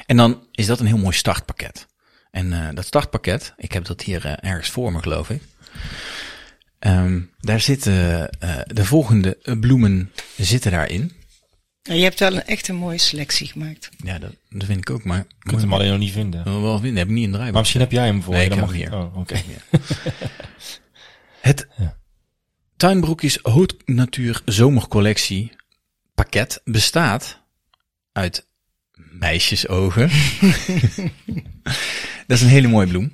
[SPEAKER 1] En dan is dat een heel mooi startpakket. En eh, dat startpakket, ik heb dat hier eh, ergens voor me, geloof ik. Ehm, daar zitten eh, de volgende eh, bloemen zitten daarin.
[SPEAKER 5] Ja, Nou, je hebt wel een, echt een mooie selectie gemaakt.
[SPEAKER 1] Ja, dat, dat vind ik ook, maar
[SPEAKER 2] Je kunt hem alleen nog niet vinden.
[SPEAKER 1] Wel- wel vinden, heb ik niet in de
[SPEAKER 2] Maar
[SPEAKER 1] draaiboek.
[SPEAKER 2] Oh, misschien heb jij hem voor
[SPEAKER 1] Nee,
[SPEAKER 2] je,
[SPEAKER 1] ik
[SPEAKER 2] dan
[SPEAKER 1] heb
[SPEAKER 2] mag
[SPEAKER 1] hem
[SPEAKER 2] je- Oh, oké.
[SPEAKER 1] Het,
[SPEAKER 2] Ja.
[SPEAKER 1] Tuinbroekjes Haute Natuur Zomercollectie pakket bestaat uit meisjesogen. dat is een hele mooie bloem.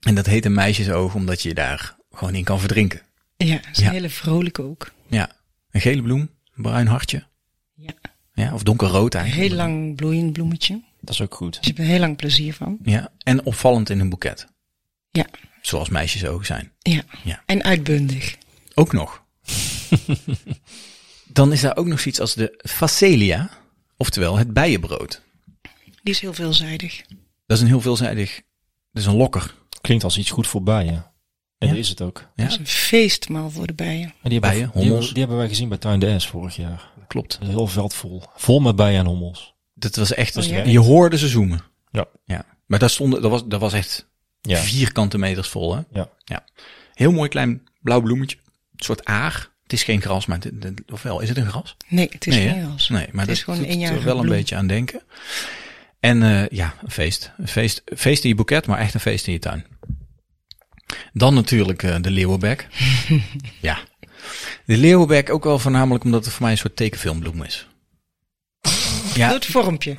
[SPEAKER 1] En dat heet een meisjesoog omdat je je daar gewoon in kan verdrinken.
[SPEAKER 5] Ja, dat is een
[SPEAKER 1] Ja.
[SPEAKER 5] hele vrolijke ook.
[SPEAKER 1] Ja, een gele bloem, een bruin hartje.
[SPEAKER 5] Ja.
[SPEAKER 1] Ja, of donkerrood
[SPEAKER 5] Een
[SPEAKER 1] eigenlijk.
[SPEAKER 5] heel lang bloeiend bloemetje. Dus
[SPEAKER 2] Dat is ook goed.
[SPEAKER 5] je hebt er heel lang plezier van.
[SPEAKER 1] Ja, en opvallend in een boeket.
[SPEAKER 5] Ja.
[SPEAKER 1] Zoals meisjesogen zijn.
[SPEAKER 5] Ja.
[SPEAKER 1] Ja.
[SPEAKER 5] En uitbundig.
[SPEAKER 1] Ook nog. Dan is daar ook nog zoiets als de facelia, oftewel het bijenbrood.
[SPEAKER 5] Die is heel veelzijdig.
[SPEAKER 1] Dat is een heel veelzijdig, dat is een lokker.
[SPEAKER 2] Klinkt als iets goed voor bijen. En
[SPEAKER 1] Ja.
[SPEAKER 2] dat is het ook.
[SPEAKER 5] Dat is een feestmaal voor de bijen.
[SPEAKER 2] En die hebben,
[SPEAKER 1] Bijen,
[SPEAKER 2] die,
[SPEAKER 1] hommels.
[SPEAKER 2] hebben, die hebben wij gezien bij Tuin de S vorig jaar.
[SPEAKER 1] Klopt.
[SPEAKER 2] Een heel veld vol. Vol met bijen en hommels.
[SPEAKER 1] Dat was echt,
[SPEAKER 5] Oh, ja.
[SPEAKER 1] je hoorde ze zoomen.
[SPEAKER 2] Ja.
[SPEAKER 1] ja. Maar daar stonden, dat was, dat was echt
[SPEAKER 2] Ja.
[SPEAKER 1] vierkante meters vol. Hè?
[SPEAKER 2] Ja.
[SPEAKER 1] ja. Heel mooi klein blauw bloemetje. Een soort aar. Het is geen gras, maar het, het- ofwel, is het een gras?
[SPEAKER 5] Nee, het is
[SPEAKER 1] nee,
[SPEAKER 5] geen
[SPEAKER 1] hè?
[SPEAKER 5] ras.
[SPEAKER 1] Nee, maar
[SPEAKER 5] het
[SPEAKER 1] dat
[SPEAKER 5] is gewoon
[SPEAKER 1] doet
[SPEAKER 5] een jaar
[SPEAKER 1] er wel een beetje aan denken. En eh, ja, een feest. een feest. Een feest in je boeket, maar echt een feest in je tuin. Dan natuurlijk eh, de leeuwenbek. ja. De leeuwenbek ook wel voornamelijk omdat het voor mij een soort tekenfilmbloem is.
[SPEAKER 5] Door
[SPEAKER 1] Ja,
[SPEAKER 5] het vormpje.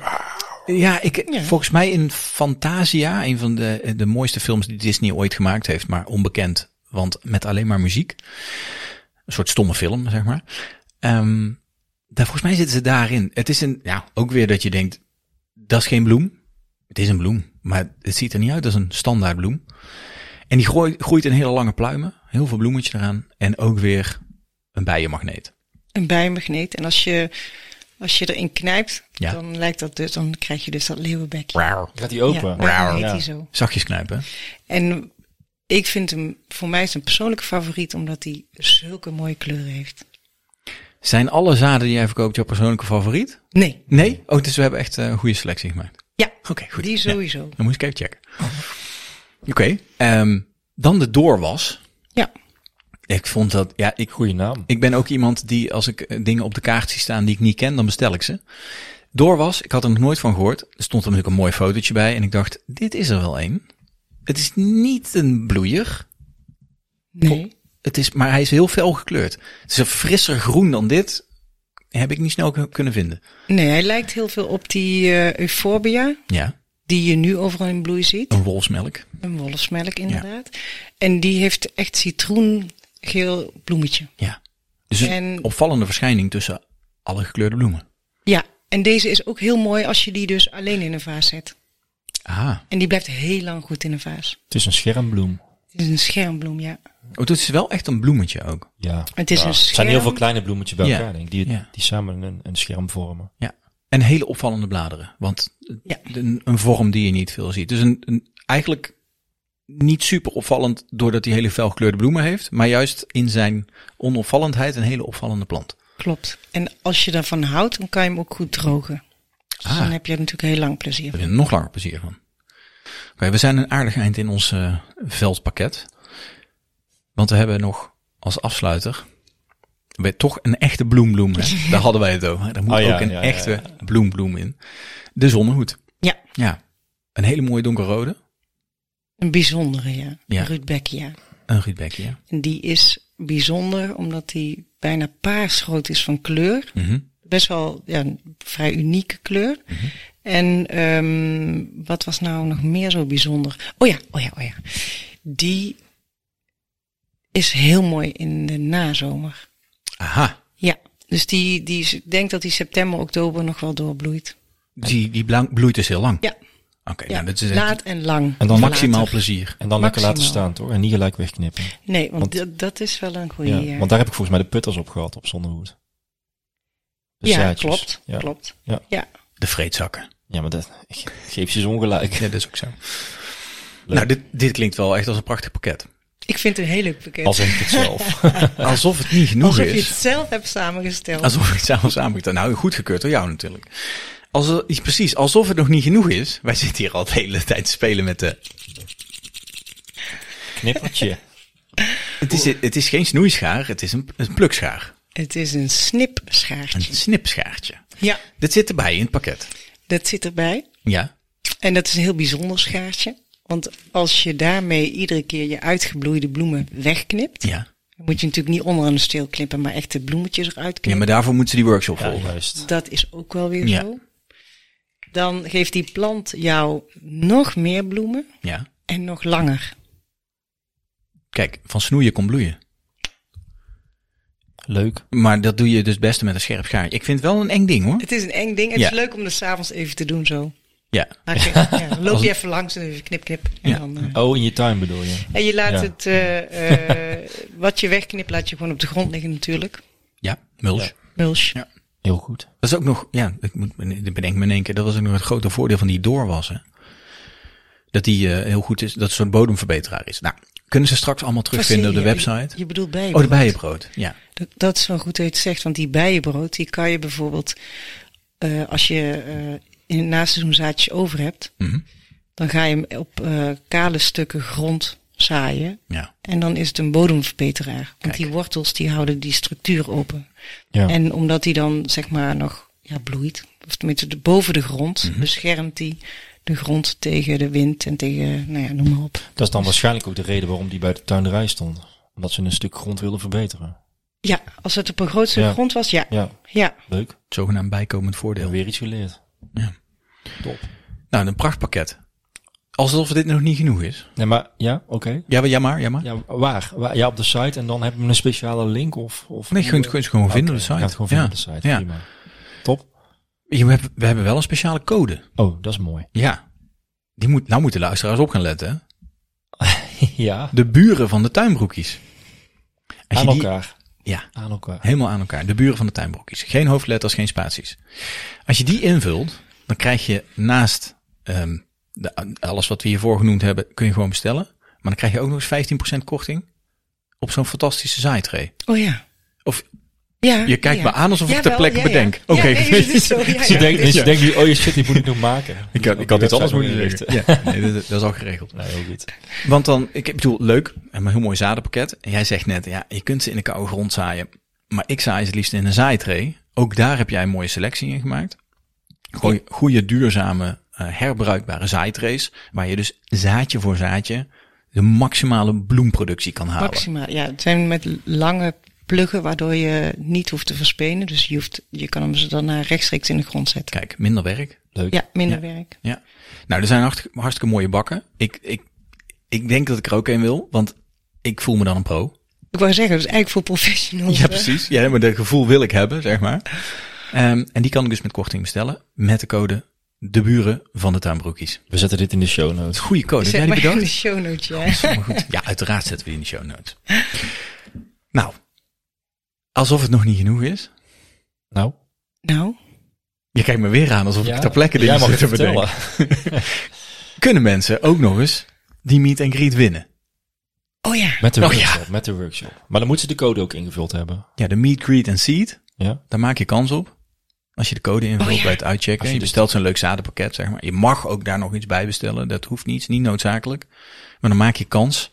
[SPEAKER 1] ja, ik,
[SPEAKER 5] Ja.
[SPEAKER 1] volgens mij in Fantasia, een van de, de mooiste films die Disney ooit gemaakt heeft, maar onbekend, want met alleen maar muziek. Een soort stomme film, zeg maar. Ehm, daar, volgens mij zitten ze daarin. Het is een, ja, ook weer dat je denkt, dat is geen bloem. Het is een bloem, maar het ziet er niet uit als een standaard bloem. En die groeit, groeit in hele lange pluimen, heel veel bloemetje eraan en ook weer een bijenmagneet.
[SPEAKER 5] Een bijmagneet. En als je, als je erin knijpt,
[SPEAKER 1] Ja.
[SPEAKER 5] dan lijkt dat dus, dan krijg je dus dat leeuwenbekje.
[SPEAKER 1] Rauw.
[SPEAKER 2] Gaat die open?
[SPEAKER 5] Ja, daarom heet
[SPEAKER 2] Ja.
[SPEAKER 5] die zo.
[SPEAKER 1] Zachtjes knijpen. hè?
[SPEAKER 5] En ik vind hem, voor mij is een persoonlijke favoriet, omdat hij zulke mooie kleuren heeft.
[SPEAKER 1] Zijn alle zaden die jij verkoopt jouw persoonlijke favoriet?
[SPEAKER 5] Nee,
[SPEAKER 1] Nee? Oh, dus we hebben echt eh, een goede selectie gemaakt.
[SPEAKER 5] ja,
[SPEAKER 1] Oké, goed.
[SPEAKER 5] die
[SPEAKER 1] Ja,
[SPEAKER 5] sowieso.
[SPEAKER 1] dan moet ik even checken. Oké. ehm, dan de doorwas.
[SPEAKER 5] Ja.
[SPEAKER 1] Ik vond dat, ja, ik,
[SPEAKER 2] Goeie naam.
[SPEAKER 1] ik ben ook iemand die als ik eh, dingen op de kaart zie staan die ik niet ken, dan bestel ik ze. Doorwas, ik had er nog nooit van gehoord. Er stond er natuurlijk een mooi fotootje bij en ik dacht, dit is er wel een. Het is niet een bloeier,
[SPEAKER 5] Nee.
[SPEAKER 1] het is, maar hij is heel fel gekleurd. Het is een frisser groen dan dit. Heb ik niet snel k- kunnen vinden.
[SPEAKER 5] nee, hij lijkt heel veel op die eh euphorbia,
[SPEAKER 1] Ja,
[SPEAKER 5] die je nu overal in bloei ziet.
[SPEAKER 1] een wolfsmelk.
[SPEAKER 5] Een wolfsmelk inderdaad. En die heeft echt citroengeel bloemetje.
[SPEAKER 1] Ja. Dus een
[SPEAKER 5] En-
[SPEAKER 1] opvallende verschijning tussen alle gekleurde bloemen.
[SPEAKER 5] Ja, en deze is ook heel mooi als je die dus alleen in een vaas zet.
[SPEAKER 1] Ah.
[SPEAKER 5] En die blijft heel lang goed in een vaas.
[SPEAKER 2] Het is een schermbloem.
[SPEAKER 5] Het is een schermbloem, ja.
[SPEAKER 1] Oh, het is wel echt een bloemetje ook.
[SPEAKER 2] Ja.
[SPEAKER 5] Het is een
[SPEAKER 2] Er zijn heel
[SPEAKER 5] scherm.
[SPEAKER 2] veel kleine bloemetjes bij
[SPEAKER 1] Ja.
[SPEAKER 2] elkaar, denk ik. Die,
[SPEAKER 1] Ja.
[SPEAKER 2] die samen een, een scherm vormen.
[SPEAKER 1] Ja. En hele opvallende bladeren. Want
[SPEAKER 5] Ja.
[SPEAKER 1] een, een vorm die je niet veel ziet. Dus een, een, eigenlijk niet super opvallend doordat hij hele felgekleurde bloemen heeft. Maar juist in zijn onopvallendheid een hele opvallende plant.
[SPEAKER 5] Klopt. En als je daarvan houdt, dan kan je hem ook goed drogen. Dus
[SPEAKER 1] Ah.
[SPEAKER 5] dan heb je er natuurlijk heel lang plezier
[SPEAKER 1] Daar
[SPEAKER 5] van.
[SPEAKER 1] heb je nog langer plezier van. Oké, we zijn een aardig eind in ons eh, veldpakket. Want we hebben nog als afsluiter weer toch een echte bloembloem. Hè? Daar hadden wij het over. Daar moet
[SPEAKER 2] Oh ja,
[SPEAKER 1] ook een
[SPEAKER 2] ja, ja,
[SPEAKER 1] echte bloembloem in. De zonnehoed.
[SPEAKER 5] Ja,
[SPEAKER 1] Ja, een hele mooie donkerrode.
[SPEAKER 5] een bijzondere, ja.
[SPEAKER 1] Ja.
[SPEAKER 5] Ruud Beck, ja.
[SPEAKER 1] Een rietbekje, ja.
[SPEAKER 5] En die is bijzonder omdat die bijna paarsrood is van kleur.
[SPEAKER 1] Mhm.
[SPEAKER 5] Best wel ja, een vrij unieke kleur.
[SPEAKER 2] Mhm.
[SPEAKER 5] En ehm, wat was nou nog meer zo bijzonder? Oh ja, oh ja, oh ja. Die is heel mooi in de nazomer.
[SPEAKER 1] Aha,
[SPEAKER 5] Ja, dus die, die is- ik denk dat die september, oktober nog wel doorbloeit.
[SPEAKER 1] die, die bla- bloeit dus heel lang.
[SPEAKER 5] Ja,
[SPEAKER 1] Oké,
[SPEAKER 5] ja.
[SPEAKER 1] nou, dat is echt
[SPEAKER 5] laat en lang.
[SPEAKER 2] En dan
[SPEAKER 1] maximaal
[SPEAKER 5] Later.
[SPEAKER 1] plezier.
[SPEAKER 2] En dan lekker
[SPEAKER 5] Maximaal.
[SPEAKER 2] laten staan, toch? En niet gelijk wegknippen.
[SPEAKER 5] Nee, want,
[SPEAKER 2] want-
[SPEAKER 5] dat- dat is wel een goede.
[SPEAKER 2] Ja.
[SPEAKER 5] eh,
[SPEAKER 2] Want daar heb ik volgens mij de putters op gehad, op zonnehoed. De
[SPEAKER 5] ja
[SPEAKER 2] zaadjes.
[SPEAKER 5] klopt.
[SPEAKER 2] Ja.
[SPEAKER 5] klopt.
[SPEAKER 2] Ja.
[SPEAKER 1] De vreedzakken.
[SPEAKER 2] Ja, maar dat ik geef je ze ongelijk.
[SPEAKER 1] Ja, dat is ook zo. Nou, dit, dit klinkt wel echt als een prachtig pakket.
[SPEAKER 5] Ik vind het een heel leuk pakket.
[SPEAKER 2] Als ik het zelf.
[SPEAKER 1] Alsof het niet genoeg
[SPEAKER 5] Alsof
[SPEAKER 1] is.
[SPEAKER 5] je het zelf hebt samengesteld.
[SPEAKER 1] Alsof ik het samen samen Nou, goedgekeurd door jou natuurlijk. Als, precies, alsof het nog niet genoeg is. Wij zitten hier al de hele tijd te spelen met de...
[SPEAKER 2] Knippertje.
[SPEAKER 1] Het is, het is geen snoeischaar, het is een, een plukschaar.
[SPEAKER 5] Het is een
[SPEAKER 1] Een
[SPEAKER 5] snipschaartje.
[SPEAKER 1] snipschaartje.
[SPEAKER 5] Ja,
[SPEAKER 1] Dat zit erbij in het pakket.
[SPEAKER 5] dat zit erbij.
[SPEAKER 1] Ja.
[SPEAKER 5] En dat is een heel bijzonder schaartje. Want als je daarmee iedere keer je uitgebloeide bloemen wegknipt,
[SPEAKER 1] Ja.
[SPEAKER 5] Dan moet je natuurlijk niet onder een steel knippen, maar echt de bloemetjes eruit
[SPEAKER 1] Ja,
[SPEAKER 5] knippen.
[SPEAKER 1] maar daarvoor moeten ze die workshop
[SPEAKER 2] Ja,
[SPEAKER 1] volgen.
[SPEAKER 2] juist.
[SPEAKER 5] Dat is ook wel weer
[SPEAKER 1] Ja.
[SPEAKER 5] zo. Dan geeft die plant jou nog meer bloemen
[SPEAKER 1] Ja.
[SPEAKER 5] en nog langer.
[SPEAKER 1] Kijk, van snoeien komt bloeien.
[SPEAKER 2] Leuk.
[SPEAKER 1] Maar dat doe je dus het beste met een scherp schaar. Ik vind het wel een eng ding hoor.
[SPEAKER 5] Het is een eng ding. Het
[SPEAKER 1] Ja.
[SPEAKER 5] is leuk om dat s'avonds even te doen zo.
[SPEAKER 1] Ja.
[SPEAKER 5] Maar ik- ja, dan loop
[SPEAKER 1] Als-
[SPEAKER 5] je even langs en even knip, knip. En,
[SPEAKER 1] Ja.
[SPEAKER 5] dan, eh,
[SPEAKER 2] Oh, in je tuin bedoel je?
[SPEAKER 5] en je laat
[SPEAKER 2] Ja.
[SPEAKER 5] het, eh, eh, wat je wegknipt, laat je gewoon op de grond liggen natuurlijk.
[SPEAKER 1] Ja, mulch.
[SPEAKER 5] Mulch.
[SPEAKER 1] Ja.
[SPEAKER 2] Heel goed.
[SPEAKER 1] Dat is ook nog, ja, ik moet, ik bedenk me in één keer, dat was ook nog het grote voordeel van die doorwassen. Dat die eh, heel goed is, dat het een soort bodemverbeteraar is. Nou, kunnen ze straks allemaal terugvinden op de
[SPEAKER 5] Fascineer-
[SPEAKER 1] website.
[SPEAKER 5] Je, je bedoelt bijenbrood.
[SPEAKER 1] Oh, de bijenbrood. Ja.
[SPEAKER 5] Dat, dat is wel goed dat je het zegt, want die bijenbrood, die kan je bijvoorbeeld, eh, als je eh, in het naseizoen zaadjes over hebt,
[SPEAKER 1] Mhm.
[SPEAKER 5] dan ga je hem op eh, kale stukken grond zaaien.
[SPEAKER 1] Ja.
[SPEAKER 5] En dan is het een bodemverbeteraar. Want
[SPEAKER 1] Kijk.
[SPEAKER 5] die wortels die houden die structuur open.
[SPEAKER 2] Ja.
[SPEAKER 5] En omdat die dan zeg maar nog ja, bloeit, of tenminste de- boven de grond, beschermt die de grond tegen de wind en tegen, nou ja, noem maar op.
[SPEAKER 2] Dat is dan waarschijnlijk ook de reden waarom die bij de tuinderij stond. Omdat ze een stuk grond wilden verbeteren.
[SPEAKER 5] Ja, als het op een groot stuk
[SPEAKER 2] Ja.
[SPEAKER 5] grond was, ja.
[SPEAKER 2] Ja,
[SPEAKER 5] Ja,
[SPEAKER 2] leuk.
[SPEAKER 1] Het zogenaamd bijkomend
[SPEAKER 2] We hebben
[SPEAKER 1] voordeel.
[SPEAKER 2] weer iets geleerd.
[SPEAKER 1] Ja.
[SPEAKER 2] Top.
[SPEAKER 1] Nou, een prachtpakket. Alsof dit nog niet genoeg is.
[SPEAKER 2] Nee, maar ja, oké.
[SPEAKER 1] Ja, maar- ja maar, ja maar.
[SPEAKER 2] Ja, waar? Waar- Ja, op de site en dan hebben we een speciale link of... of eh,
[SPEAKER 1] Nee, je kunt je kunt het gewoon vinden op de site.
[SPEAKER 2] Je gaat het gewoon vinden
[SPEAKER 1] ja.
[SPEAKER 2] op de site.
[SPEAKER 1] Ja.
[SPEAKER 2] Prima. Top.
[SPEAKER 1] Je hebt- we hebben wel een speciale code.
[SPEAKER 2] Oh, dat is mooi.
[SPEAKER 1] Ja. Die moet, nou moeten luisteraars op gaan letten. hè.
[SPEAKER 2] ja,
[SPEAKER 1] De buren van de tuinbroekjes. Als
[SPEAKER 2] aan
[SPEAKER 1] je die-
[SPEAKER 2] elkaar.
[SPEAKER 1] Ja.
[SPEAKER 2] Aan elkaar.
[SPEAKER 1] Helemaal aan elkaar. De buren van de tuinbroekjes. Geen hoofdletters, geen spaties. Als je die invult, dan krijg je naast ehm, de, alles wat we hiervoor genoemd hebben, kun je gewoon bestellen. Maar dan krijg je ook nog eens 15% korting op zo'n fantastische zaaitray.
[SPEAKER 5] oh ja.
[SPEAKER 1] Of
[SPEAKER 5] Ja,
[SPEAKER 1] je kijkt
[SPEAKER 5] ja.
[SPEAKER 1] me aan alsof ik ter
[SPEAKER 5] Jawel,
[SPEAKER 1] plekke
[SPEAKER 5] ja, ja.
[SPEAKER 1] bedenk.
[SPEAKER 5] Ja,
[SPEAKER 1] Oké,
[SPEAKER 5] nee, dit is zo, ja,
[SPEAKER 2] Ze
[SPEAKER 5] ja.
[SPEAKER 2] denkt, ze denkt nu, oh je shit, die moet ik nog maken.
[SPEAKER 1] ik, had- ik had iets anders moeten zeggen. Ja, nee, dat, dat is al geregeld.
[SPEAKER 2] Nee, eh, heel goed.
[SPEAKER 1] Want dan, ik ik bedoel, leuk, en een heel mooi zadenpakket. En jij zegt net, ja, je kunt ze in de koude grond zaaien. Maar ik zaai ze het liefst in een zaaitray. Ook daar heb jij een mooie selectie in gemaakt. Goeie, goede, duurzame, eh, herbruikbare zaaitrays. Waar je dus zaadje voor zaadje de maximale bloemproductie kan halen.
[SPEAKER 5] Maximaal, ja. Het zijn met lange pluggen waardoor je niet hoeft te verspenen. Dus je, hoeft, je kan hem ze daarna rechtstreeks in de grond zetten.
[SPEAKER 1] Kijk, minder werk.
[SPEAKER 2] Leuk.
[SPEAKER 5] Ja, minder werk.
[SPEAKER 1] Ja. Nou, er zijn hart- hartstikke mooie bakken. Ik, ik, ik denk dat ik er ook een wil, want ik voel me dan een pro.
[SPEAKER 5] Ik wou zeggen, dat is eigenlijk voor professionals.
[SPEAKER 1] Ja,
[SPEAKER 5] hè?
[SPEAKER 1] precies. Ja, maar dat gevoel wil ik hebben, zeg maar. Ehm, en die kan ik dus met korting bestellen met de code de buren van de tuinbroekies.
[SPEAKER 2] We zetten dit in de show notes.
[SPEAKER 1] Goeie code, heb
[SPEAKER 5] Zet
[SPEAKER 1] jij die
[SPEAKER 5] maar in de
[SPEAKER 1] bedacht?
[SPEAKER 5] show notes, ja.
[SPEAKER 1] Maar goed, ja, uiteraard zetten we die in de show notes. Nou, alsof het nog niet genoeg is.
[SPEAKER 2] Nou,
[SPEAKER 5] Nou,
[SPEAKER 1] Je kijkt me weer aan alsof
[SPEAKER 2] ja,
[SPEAKER 1] ik ter plekke dingen
[SPEAKER 2] jij mag
[SPEAKER 1] zit
[SPEAKER 2] het
[SPEAKER 1] te
[SPEAKER 2] vertellen.
[SPEAKER 1] bedenken. Kunnen mensen ook nog eens die meet and greet winnen?
[SPEAKER 5] oh ja.
[SPEAKER 2] Met de
[SPEAKER 1] Nou,
[SPEAKER 2] workshop, met de workshop. Maar dan moeten ze de code ook ingevuld hebben.
[SPEAKER 1] Ja, de meet, greet en seed,
[SPEAKER 2] Ja.
[SPEAKER 1] daar maak je kans op. Als je de code invult
[SPEAKER 5] Oh ja.
[SPEAKER 1] bij het uitchecken.
[SPEAKER 2] Als
[SPEAKER 1] Je,
[SPEAKER 2] je
[SPEAKER 1] je
[SPEAKER 2] dus-
[SPEAKER 1] bestelt zo'n leuk zadenpakket, zeg maar. Je mag ook daar nog iets bij bestellen. Dat hoeft niet, is niet noodzakelijk. Maar dan maak je kans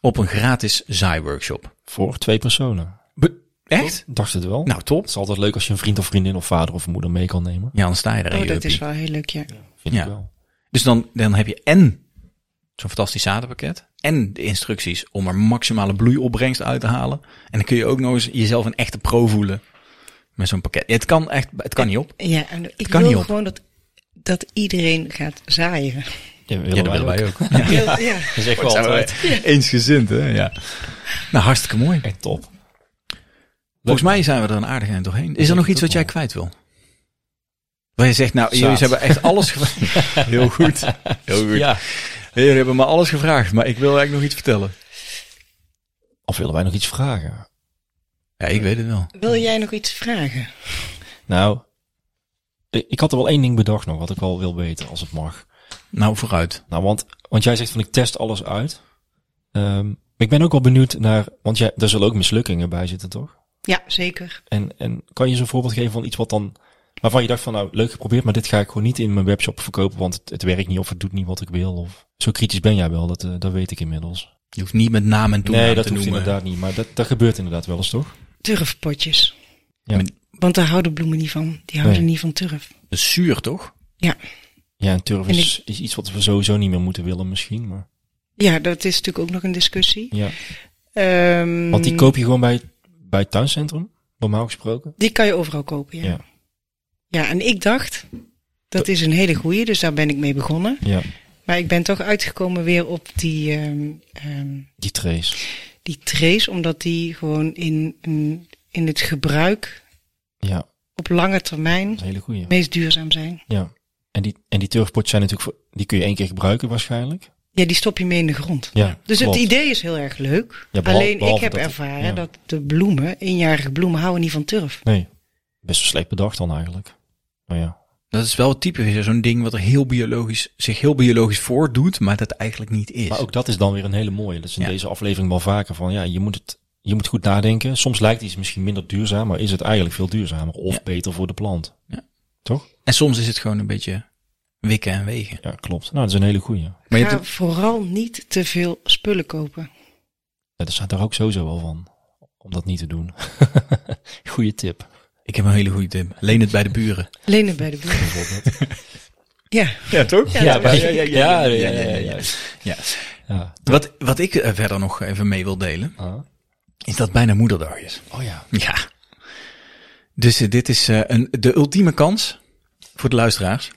[SPEAKER 1] op een gratis zaaiworkshop.
[SPEAKER 2] Voor twee personen.
[SPEAKER 1] Be- Echt?
[SPEAKER 2] Dacht het wel.
[SPEAKER 1] Nou, top.
[SPEAKER 2] Het is altijd leuk als je een vriend of vriendin of vader of moeder mee kan nemen.
[SPEAKER 1] Ja, dan sta je er
[SPEAKER 5] Oh,
[SPEAKER 1] een
[SPEAKER 5] dat is
[SPEAKER 1] juppie.
[SPEAKER 5] wel heel leuk, ja.
[SPEAKER 2] Vind
[SPEAKER 1] Ja.
[SPEAKER 2] ik wel.
[SPEAKER 1] Dus dan, dan heb je en zo'n fantastisch zadenpakket. En de instructies om er maximale bloeiopbrengst uit te halen. En dan kun je ook nog eens jezelf een echte pro voelen met zo'n pakket. Het kan echt, het kan niet op.
[SPEAKER 5] Ja, en ik
[SPEAKER 1] kan niet
[SPEAKER 5] wil
[SPEAKER 1] op.
[SPEAKER 5] gewoon dat, dat iedereen gaat zaaien.
[SPEAKER 2] Ja, willen
[SPEAKER 1] Ja, dat
[SPEAKER 2] wij
[SPEAKER 1] willen
[SPEAKER 2] ook.
[SPEAKER 1] wij ook.
[SPEAKER 5] Ja. ja.
[SPEAKER 2] Dat is echt wel altijd.
[SPEAKER 1] Eensgezind, hè? Ja. Nou, hartstikke mooi.
[SPEAKER 2] Echt top.
[SPEAKER 1] Volgens mij zijn we er een aardig eind doorheen. Is er
[SPEAKER 2] denk
[SPEAKER 1] nog
[SPEAKER 2] ik
[SPEAKER 1] iets wat
[SPEAKER 2] ook
[SPEAKER 1] jij
[SPEAKER 2] wel.
[SPEAKER 1] kwijt wil? Waar je zegt, nou,
[SPEAKER 2] Zaad.
[SPEAKER 1] jullie hebben echt alles gevraagd. Heel goed. Heel goed.
[SPEAKER 2] Ja.
[SPEAKER 1] Jullie hebben me alles gevraagd, maar ik wil eigenlijk nog iets vertellen.
[SPEAKER 2] Of willen wij nog iets vragen?
[SPEAKER 1] Ja, ik weet het wel.
[SPEAKER 5] Wil jij nog iets vragen?
[SPEAKER 2] Nou, ik ik had er wel één ding bedacht nog, wat ik wel wil weten, als het mag.
[SPEAKER 1] Nou, vooruit.
[SPEAKER 2] Nou, want, want jij zegt van ik test alles uit. Ehm, ik ben ook wel benieuwd naar, want jij, daar zullen ook mislukkingen bij zitten, toch?
[SPEAKER 5] Ja, zeker.
[SPEAKER 2] En, en kan je eens een voorbeeld geven van iets wat dan, waarvan je dacht van nou, leuk geprobeerd, maar dit ga ik gewoon niet in mijn webshop verkopen, want het, het werkt niet of het doet niet wat ik wil. Of, zo kritisch ben jij wel, dat, eh, dat weet ik inmiddels.
[SPEAKER 1] Je hoeft niet met naam en toenaam
[SPEAKER 2] nee, dat
[SPEAKER 1] te
[SPEAKER 2] hoeft
[SPEAKER 1] noemen.
[SPEAKER 2] inderdaad niet, maar dat, dat gebeurt inderdaad wel eens, toch?
[SPEAKER 5] Turfpotjes.
[SPEAKER 2] Ja.
[SPEAKER 5] Want daar houden bloemen niet van. Die houden
[SPEAKER 2] Nee.
[SPEAKER 5] niet van turf.
[SPEAKER 1] Dat is zuur, toch?
[SPEAKER 5] Ja.
[SPEAKER 2] Ja, en turf
[SPEAKER 5] En
[SPEAKER 2] is, is iets wat we sowieso niet meer moeten willen misschien, maar
[SPEAKER 5] ja, dat is natuurlijk ook nog een discussie.
[SPEAKER 2] ja.
[SPEAKER 5] Ehm,
[SPEAKER 2] Want die koop je gewoon bij, bij het tuincentrum, normaal gesproken.
[SPEAKER 5] die kan je overal kopen, ja.
[SPEAKER 2] Ja.
[SPEAKER 5] ja. en ik dacht, dat is een hele goeie, dus daar ben ik mee begonnen.
[SPEAKER 2] Ja,
[SPEAKER 5] Maar ik ben toch uitgekomen weer op die, ehm, ehm,
[SPEAKER 2] die trace.
[SPEAKER 5] die trace, omdat die gewoon in, in, in het gebruik
[SPEAKER 2] Ja, dat
[SPEAKER 5] op lange termijn
[SPEAKER 2] is een hele goeie.
[SPEAKER 5] het meest duurzaam zijn.
[SPEAKER 2] Ja. En die, en die turfpots zijn natuurlijk voor, die kun je één keer gebruiken waarschijnlijk.
[SPEAKER 5] Ja, die stop je mee in de grond.
[SPEAKER 2] Ja,
[SPEAKER 5] Dus
[SPEAKER 2] klopt.
[SPEAKER 5] het idee is heel erg leuk.
[SPEAKER 2] Ja, behal-
[SPEAKER 5] Alleen ik
[SPEAKER 2] behalve
[SPEAKER 5] heb
[SPEAKER 2] dat-
[SPEAKER 5] ervaren
[SPEAKER 2] ja.
[SPEAKER 5] dat de bloemen, eenjarige bloemen, houden niet van turf.
[SPEAKER 2] Nee, best wel slecht bedacht dan eigenlijk. Maar ja,
[SPEAKER 1] Dat is wel typisch weer zo'n ding wat er heel biologisch, zich heel biologisch voordoet, maar dat eigenlijk niet is.
[SPEAKER 2] Maar ook dat is dan weer een hele mooie. Dat is in
[SPEAKER 1] Ja.
[SPEAKER 2] deze aflevering wel vaker van ja, je moet het je moet goed nadenken. Soms lijkt iets misschien minder duurzaam, maar is het eigenlijk veel duurzamer of
[SPEAKER 1] Ja.
[SPEAKER 2] beter voor de plant.
[SPEAKER 1] Ja.
[SPEAKER 2] Toch?
[SPEAKER 1] En soms is het gewoon een beetje wikken en wegen.
[SPEAKER 2] Ja, klopt. Nou, dat is een hele goeie.
[SPEAKER 1] Maar je
[SPEAKER 5] Ga
[SPEAKER 1] hebt het-
[SPEAKER 5] vooral niet te veel spullen kopen.
[SPEAKER 2] Ja, daar staat er ook sowieso wel van. Om dat niet te doen. goeie tip.
[SPEAKER 1] ik heb een hele goede tip. Leen het bij de buren.
[SPEAKER 5] Leen het bij de boer.
[SPEAKER 2] Bijvoorbeeld.
[SPEAKER 5] Ja,
[SPEAKER 6] Ja, toch?
[SPEAKER 2] Ja, ja, ja, ja, ja, ja, ja, ja.
[SPEAKER 1] Ja.
[SPEAKER 2] Ja.
[SPEAKER 1] Wat, wat ik eh, verder nog even mee wil delen,
[SPEAKER 2] Ah.
[SPEAKER 1] is dat bijna moederdag is.
[SPEAKER 2] Oh ja.
[SPEAKER 1] Ja. Dus eh, dit is eh, een, de ultieme kans voor de luisteraars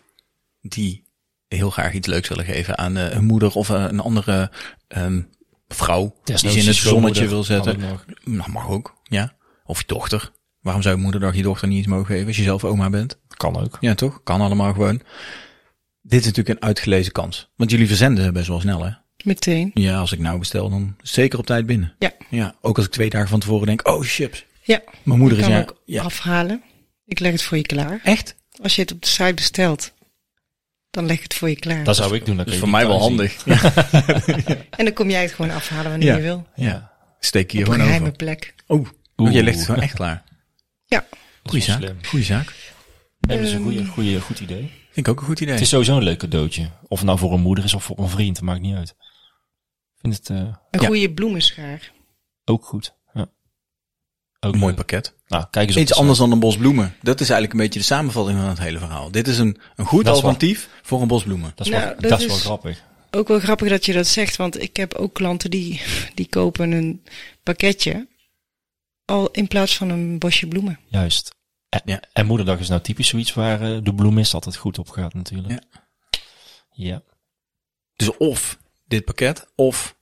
[SPEAKER 1] die heel graag iets leuks willen geven aan eh, hun moeder of eh, een andere ehm, vrouw die
[SPEAKER 2] Desnoods
[SPEAKER 1] ze in
[SPEAKER 2] je
[SPEAKER 1] het zonnetje
[SPEAKER 2] schoonmoeder,
[SPEAKER 1] wil zetten.
[SPEAKER 2] kan ook nog.
[SPEAKER 1] Nou, mag ook, ja. Of je dochter. Waarom zou je moederdag je dochter niet eens mogen geven als je zelf oma bent?
[SPEAKER 2] Kan ook.
[SPEAKER 1] Ja, toch? Kan allemaal gewoon. Dit is natuurlijk een uitgelezen kans. Want jullie verzenden ze best wel snel, hè?
[SPEAKER 5] meteen.
[SPEAKER 1] Ja, als ik nou bestel, dan is het zeker op tijd binnen.
[SPEAKER 5] Ja.
[SPEAKER 1] Ja, ook als ik twee dagen van tevoren denk, oh chips.
[SPEAKER 5] Ja,
[SPEAKER 1] Mijn moeder
[SPEAKER 2] Dus
[SPEAKER 1] is
[SPEAKER 5] kan
[SPEAKER 1] ja,
[SPEAKER 5] ook
[SPEAKER 1] ja.
[SPEAKER 5] afhalen. Ik leg het voor je klaar.
[SPEAKER 1] Echt?
[SPEAKER 5] Als je het op de site bestelt, dan leg ik het voor je klaar.
[SPEAKER 2] Dat zou ik doen. Dat
[SPEAKER 1] Dat is voor mij wel handig. Ja.
[SPEAKER 5] En dan kom jij het gewoon afhalen wanneer
[SPEAKER 1] Ja.
[SPEAKER 5] je wil.
[SPEAKER 1] ja. Steek je hier
[SPEAKER 5] Op een
[SPEAKER 1] gewoon
[SPEAKER 5] geheime
[SPEAKER 1] over.
[SPEAKER 5] plek.
[SPEAKER 1] Oh,
[SPEAKER 2] Oeh.
[SPEAKER 1] je legt het gewoon echt klaar.
[SPEAKER 5] Ja,
[SPEAKER 1] Goeie
[SPEAKER 2] wel
[SPEAKER 1] zaak.
[SPEAKER 2] slim.
[SPEAKER 1] Goeie zaak.
[SPEAKER 2] Nee, dat is een goeie, goeie, goed idee.
[SPEAKER 1] Vind ik ook een goed idee.
[SPEAKER 2] Het is sowieso een leuk cadeautje. Of het nou voor een moeder is of voor een vriend, dat maakt niet uit. Ik vind het eh,
[SPEAKER 5] een
[SPEAKER 1] Ja.
[SPEAKER 5] goede bloemenschaar.
[SPEAKER 2] ook goed. Ja. Ook
[SPEAKER 1] een mooi
[SPEAKER 2] leuk.
[SPEAKER 1] pakket.
[SPEAKER 2] Nou, kijk eens op
[SPEAKER 1] Iets
[SPEAKER 2] de
[SPEAKER 1] anders dan een bos bloemen. Dat is eigenlijk een beetje de samenvatting van het hele verhaal. Dit is een, een goed
[SPEAKER 2] Dat is waar.
[SPEAKER 1] alternatief voor een bos bloemen.
[SPEAKER 2] site. Dat is, wel,
[SPEAKER 5] Nou,
[SPEAKER 2] dat
[SPEAKER 5] dat
[SPEAKER 2] is wel
[SPEAKER 5] is-
[SPEAKER 2] grappig.
[SPEAKER 5] Ook wel grappig dat je dat zegt, want ik heb ook klanten die, die kopen een pakketje. Al in plaats van een bosje bloemen.
[SPEAKER 2] Juist. En,
[SPEAKER 1] Ja.
[SPEAKER 2] en moederdag is nou typisch zoiets waar eh, de bloemist altijd goed op gaat natuurlijk. Ja. ja.
[SPEAKER 1] Dus of dit pakket, of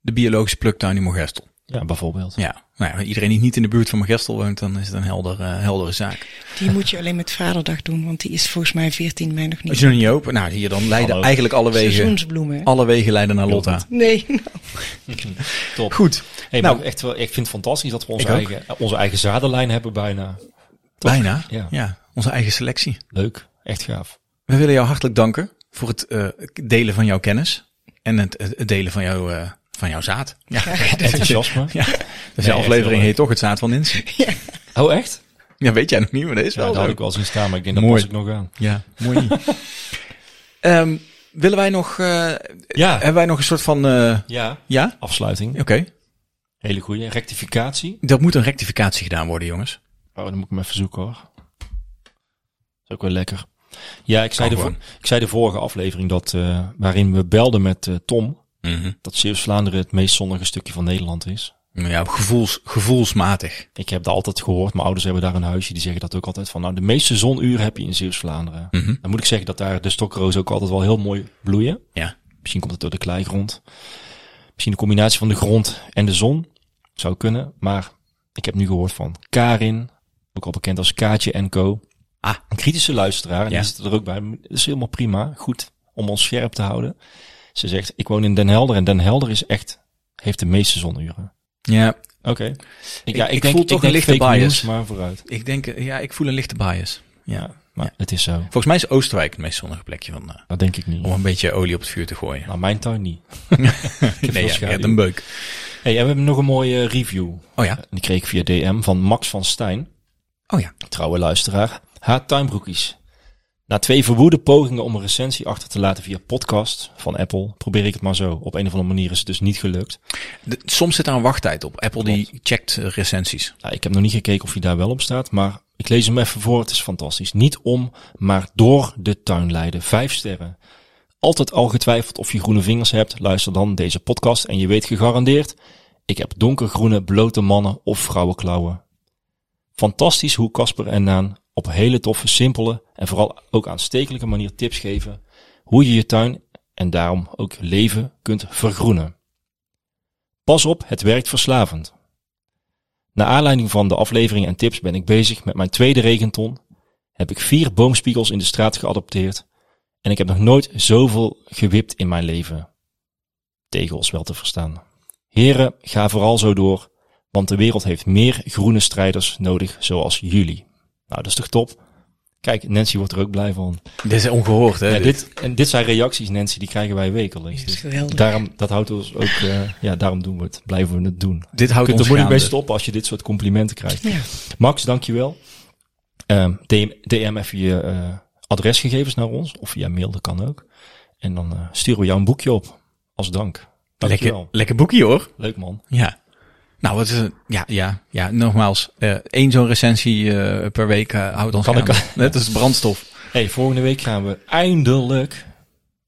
[SPEAKER 1] de biologische pluktuin in Mogestel.
[SPEAKER 2] bijvoorbeeld.
[SPEAKER 1] Ja, nou ja, iedereen die niet in de buurt van Mogestel woont, dan is het een helder, eh, heldere zaak.
[SPEAKER 5] Die moet je alleen met Vaderdag doen, want die is volgens mij 14 mei nog
[SPEAKER 1] Als
[SPEAKER 5] niet.
[SPEAKER 1] je nog niet open, nou hier dan leiden
[SPEAKER 2] Hallo.
[SPEAKER 1] eigenlijk alle wegen,
[SPEAKER 5] Seizoensbloemen. hè?
[SPEAKER 1] alle wegen leiden naar Lotta.
[SPEAKER 5] Nee, nou,
[SPEAKER 2] Top.
[SPEAKER 1] Goed,
[SPEAKER 2] Hey,
[SPEAKER 1] Nou.
[SPEAKER 2] nou, echt wel, ik vind het fantastisch dat we onze
[SPEAKER 1] Ik ook.
[SPEAKER 2] eigen, eh, onze eigen zadenlijn hebben bijna.
[SPEAKER 1] bijna.
[SPEAKER 2] Ja.
[SPEAKER 1] Ja. onze eigen selectie.
[SPEAKER 2] Leuk. Echt gaaf.
[SPEAKER 1] We willen jou hartelijk danken voor het eh, delen van jouw kennis en het, het delen van, jou, eh, van jouw zaad. Ja,
[SPEAKER 2] Enthousiasme.
[SPEAKER 1] ja. Dus
[SPEAKER 2] echt
[SPEAKER 1] de aflevering
[SPEAKER 2] heel
[SPEAKER 1] heet toch het zaad van insect.
[SPEAKER 2] Oh, echt?
[SPEAKER 1] Ja, weet jij nog niet, maar dat is
[SPEAKER 2] Ja,
[SPEAKER 1] wel
[SPEAKER 2] dat had
[SPEAKER 1] zo.
[SPEAKER 2] ik wel zien staan, maar ik denk dat
[SPEAKER 1] Mooi.
[SPEAKER 2] pas ik nog aan.
[SPEAKER 1] Ja, mooi. Ehm, willen wij nog, eh,
[SPEAKER 2] Ja.
[SPEAKER 1] hebben wij nog een soort van, eh,
[SPEAKER 2] Ja.
[SPEAKER 1] ja?
[SPEAKER 2] Afsluiting.
[SPEAKER 1] Oké.
[SPEAKER 2] Hele goede rectificatie.
[SPEAKER 1] Dat moet een rectificatie gedaan worden, jongens.
[SPEAKER 2] Oh, dan moet ik hem even zoeken hoor. is ook wel lekker. Ja, ik zei, de,
[SPEAKER 1] gewoon.
[SPEAKER 2] vo- ik zei de vorige aflevering dat, eh, waarin we belden met eh, Tom,
[SPEAKER 1] Mhm.
[SPEAKER 2] dat Zeeuws-Vlaanderen het meest zonnige stukje van Nederland is.
[SPEAKER 1] Ja, gevoels, gevoelsmatig.
[SPEAKER 2] Ik heb dat altijd gehoord. Mijn ouders hebben daar een huisje, die zeggen dat ook altijd van, nou, de meeste zonuren heb je in Zeeuws-Vlaanderen.
[SPEAKER 1] Mhm.
[SPEAKER 2] Dan moet ik zeggen dat daar de stokrozen ook altijd wel heel mooi bloeien.
[SPEAKER 1] Ja.
[SPEAKER 2] Misschien komt het door de kleigrond. Misschien een combinatie van de grond en de zon. Zou kunnen. Maar ik heb nu gehoord van Karin. Ook al bekend als Kaatje en Co.
[SPEAKER 1] Ah.
[SPEAKER 2] Een kritische luisteraar. En
[SPEAKER 1] Ja.
[SPEAKER 2] die zit er ook bij. Dat is helemaal prima. Goed om ons scherp te houden. Ze zegt, ik woon in Den Helder. En Den Helder is echt, heeft de meeste zonuren.
[SPEAKER 1] Ja,
[SPEAKER 2] Oké. Ik, ja,
[SPEAKER 1] Ik-
[SPEAKER 2] ik,
[SPEAKER 1] ik
[SPEAKER 2] denk,
[SPEAKER 1] voel
[SPEAKER 2] ik
[SPEAKER 1] toch een
[SPEAKER 2] denk
[SPEAKER 1] lichte
[SPEAKER 2] fake
[SPEAKER 1] bias.
[SPEAKER 2] news, maar vooruit.
[SPEAKER 1] ik denk, eh, ja, ik voel een lichte bias. Ja.
[SPEAKER 2] Ja, maar het is zo.
[SPEAKER 1] Volgens mij is Oostenrijk het meest zonnige plekje van, eh,
[SPEAKER 2] Dat denk ik niet.
[SPEAKER 1] om een beetje olie op het vuur te gooien.
[SPEAKER 2] Oh, Nou, mijn tuin niet. veel
[SPEAKER 1] nee, ja, je
[SPEAKER 2] schaduw.
[SPEAKER 1] hebt een beuk.
[SPEAKER 2] Hey, en we hebben nog een mooie review.
[SPEAKER 1] Oh ja,
[SPEAKER 2] Die kreeg ik via DM van Max van Stijn.
[SPEAKER 1] oh ja.
[SPEAKER 2] trouwe luisteraar, haar tuinbroekies. Na twee verwoede pogingen om een recensie achter te laten via podcast van Apple, probeer ik het maar zo. Op een of andere manier is het dus niet gelukt.
[SPEAKER 1] De- soms zit daar een wachttijd op. Apple die checkt eh, recensies.
[SPEAKER 2] Nou, ik heb nog niet gekeken of hij daar wel op staat, maar ik lees hem even voor. Het is fantastisch. Niet om, maar door de tuin leiden. Vijf sterren. Altijd al getwijfeld of je groene vingers hebt? Luister dan deze podcast en je weet gegarandeerd Ik heb donkergroene, blote mannen of vrouwenklauwen. Fantastisch hoe Casper en Naan op hele toffe, simpele en vooral ook aanstekelijke manier tips geven hoe je je tuin en daarom ook leven kunt vergroenen. Pas op, het werkt verslavend. Na aanleiding van de aflevering en tips ben ik bezig met mijn tweede regenton. Heb ik vier boomspiegels in de straat geadopteerd. En ik heb nog nooit zoveel gewipt in mijn leven. Tegels wel te verstaan. Heren, ga vooral zo door. Want de wereld heeft meer groene strijders nodig zoals jullie. Nou, dat is toch top? Kijk, Nancy wordt er ook blij van.
[SPEAKER 1] Dit is ongehoord, hè?
[SPEAKER 2] Ja,
[SPEAKER 1] dit.
[SPEAKER 2] dit, en dit zijn reacties, Nancy, die krijgen wij wekelijks.
[SPEAKER 5] Dat is
[SPEAKER 2] Dus
[SPEAKER 5] geweldig.
[SPEAKER 2] Daarom, dat houdt ons ook, eh, ja, daarom doen we het. Blijven we het doen.
[SPEAKER 1] Dit houdt
[SPEAKER 2] Je kunt
[SPEAKER 1] ons
[SPEAKER 2] er moeilijk mee
[SPEAKER 1] gaande.
[SPEAKER 2] stoppen als je dit soort complimenten krijgt. Max, dankjewel. Ehm DM, DM even je eh, adresgegevens naar ons. Of via mail, dat kan ook. En dan eh, sturen we jou een boekje op. Als dank.
[SPEAKER 1] Lekker,
[SPEAKER 2] Dankjewel.
[SPEAKER 1] lekker boekje, hoor.
[SPEAKER 2] Leuk man.
[SPEAKER 1] Ja. Nou, wat is een, ja, ja, ja, nogmaals. eh één zo'n recensie eh, per week eh, houdt ons
[SPEAKER 2] Kan
[SPEAKER 1] gaande.
[SPEAKER 2] ik-
[SPEAKER 1] Net als brandstof.
[SPEAKER 2] Hey, volgende week gaan we eindelijk,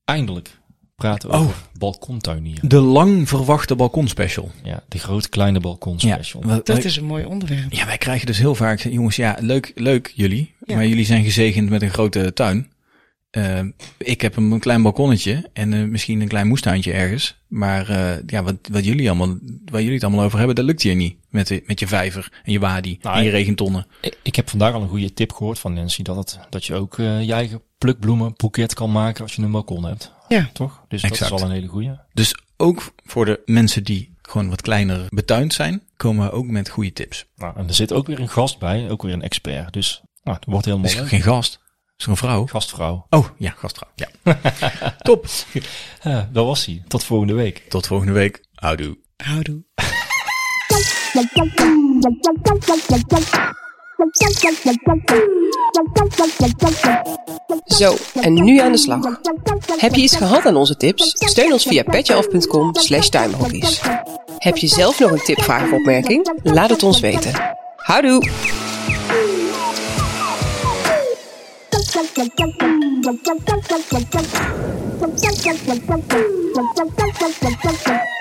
[SPEAKER 2] eindelijk praten over
[SPEAKER 1] Oh.
[SPEAKER 2] balkontuinieren.
[SPEAKER 1] De lang verwachte balkonspecial.
[SPEAKER 2] Ja, de groot-kleine balkonspecial.
[SPEAKER 1] Ja,
[SPEAKER 5] Dat
[SPEAKER 1] wij-
[SPEAKER 5] is een mooi onderwerp.
[SPEAKER 1] ja, wij krijgen dus heel vaak, jongens, ja, leuk, leuk jullie. Maar jullie zijn gezegend met een grote tuin. Eh, ik heb een klein balkonnetje en eh, misschien een klein moestuintje ergens. Maar eh, ja, wat, wat jullie allemaal, waar jullie het allemaal over hebben, dat lukt hier niet. Met, de- met je vijver en je wadi
[SPEAKER 2] Nou,
[SPEAKER 1] en je
[SPEAKER 2] ik-
[SPEAKER 1] regentonnen.
[SPEAKER 2] Ik, ik heb vandaag al een goede tip gehoord van Nancy. Dat, het, dat je ook eh, je eigen plukbloemen boeket kan maken als je een balkon hebt.
[SPEAKER 5] Ja.
[SPEAKER 2] Toch? Dus
[SPEAKER 1] Exact.
[SPEAKER 2] dat is al een hele goeie.
[SPEAKER 1] Dus ook voor de mensen die gewoon wat kleiner betuind zijn, komen we ook met goede tips.
[SPEAKER 2] Nou, en er zit ook weer een gast bij. Ook weer een expert. Dus nou, het
[SPEAKER 1] Dat
[SPEAKER 2] wordt helemaal
[SPEAKER 1] is
[SPEAKER 2] leuk.
[SPEAKER 1] geen gast, dat is een vrouw.
[SPEAKER 2] Gastvrouw.
[SPEAKER 1] Oh ja, gastvrouw. Ja. Top.
[SPEAKER 2] Ja, dat was hij. Tot volgende week.
[SPEAKER 1] Tot volgende week. Houdoe.
[SPEAKER 5] Houdoe.
[SPEAKER 4] Zo, en nu aan de slag. Heb je iets gehad aan onze tips? Steun ons via petjeaf.com slash tuinbroekies. Heb je zelf nog een tip, vraag of opmerking? Laat het ons weten. Houdoe!
[SPEAKER 3] Thank you.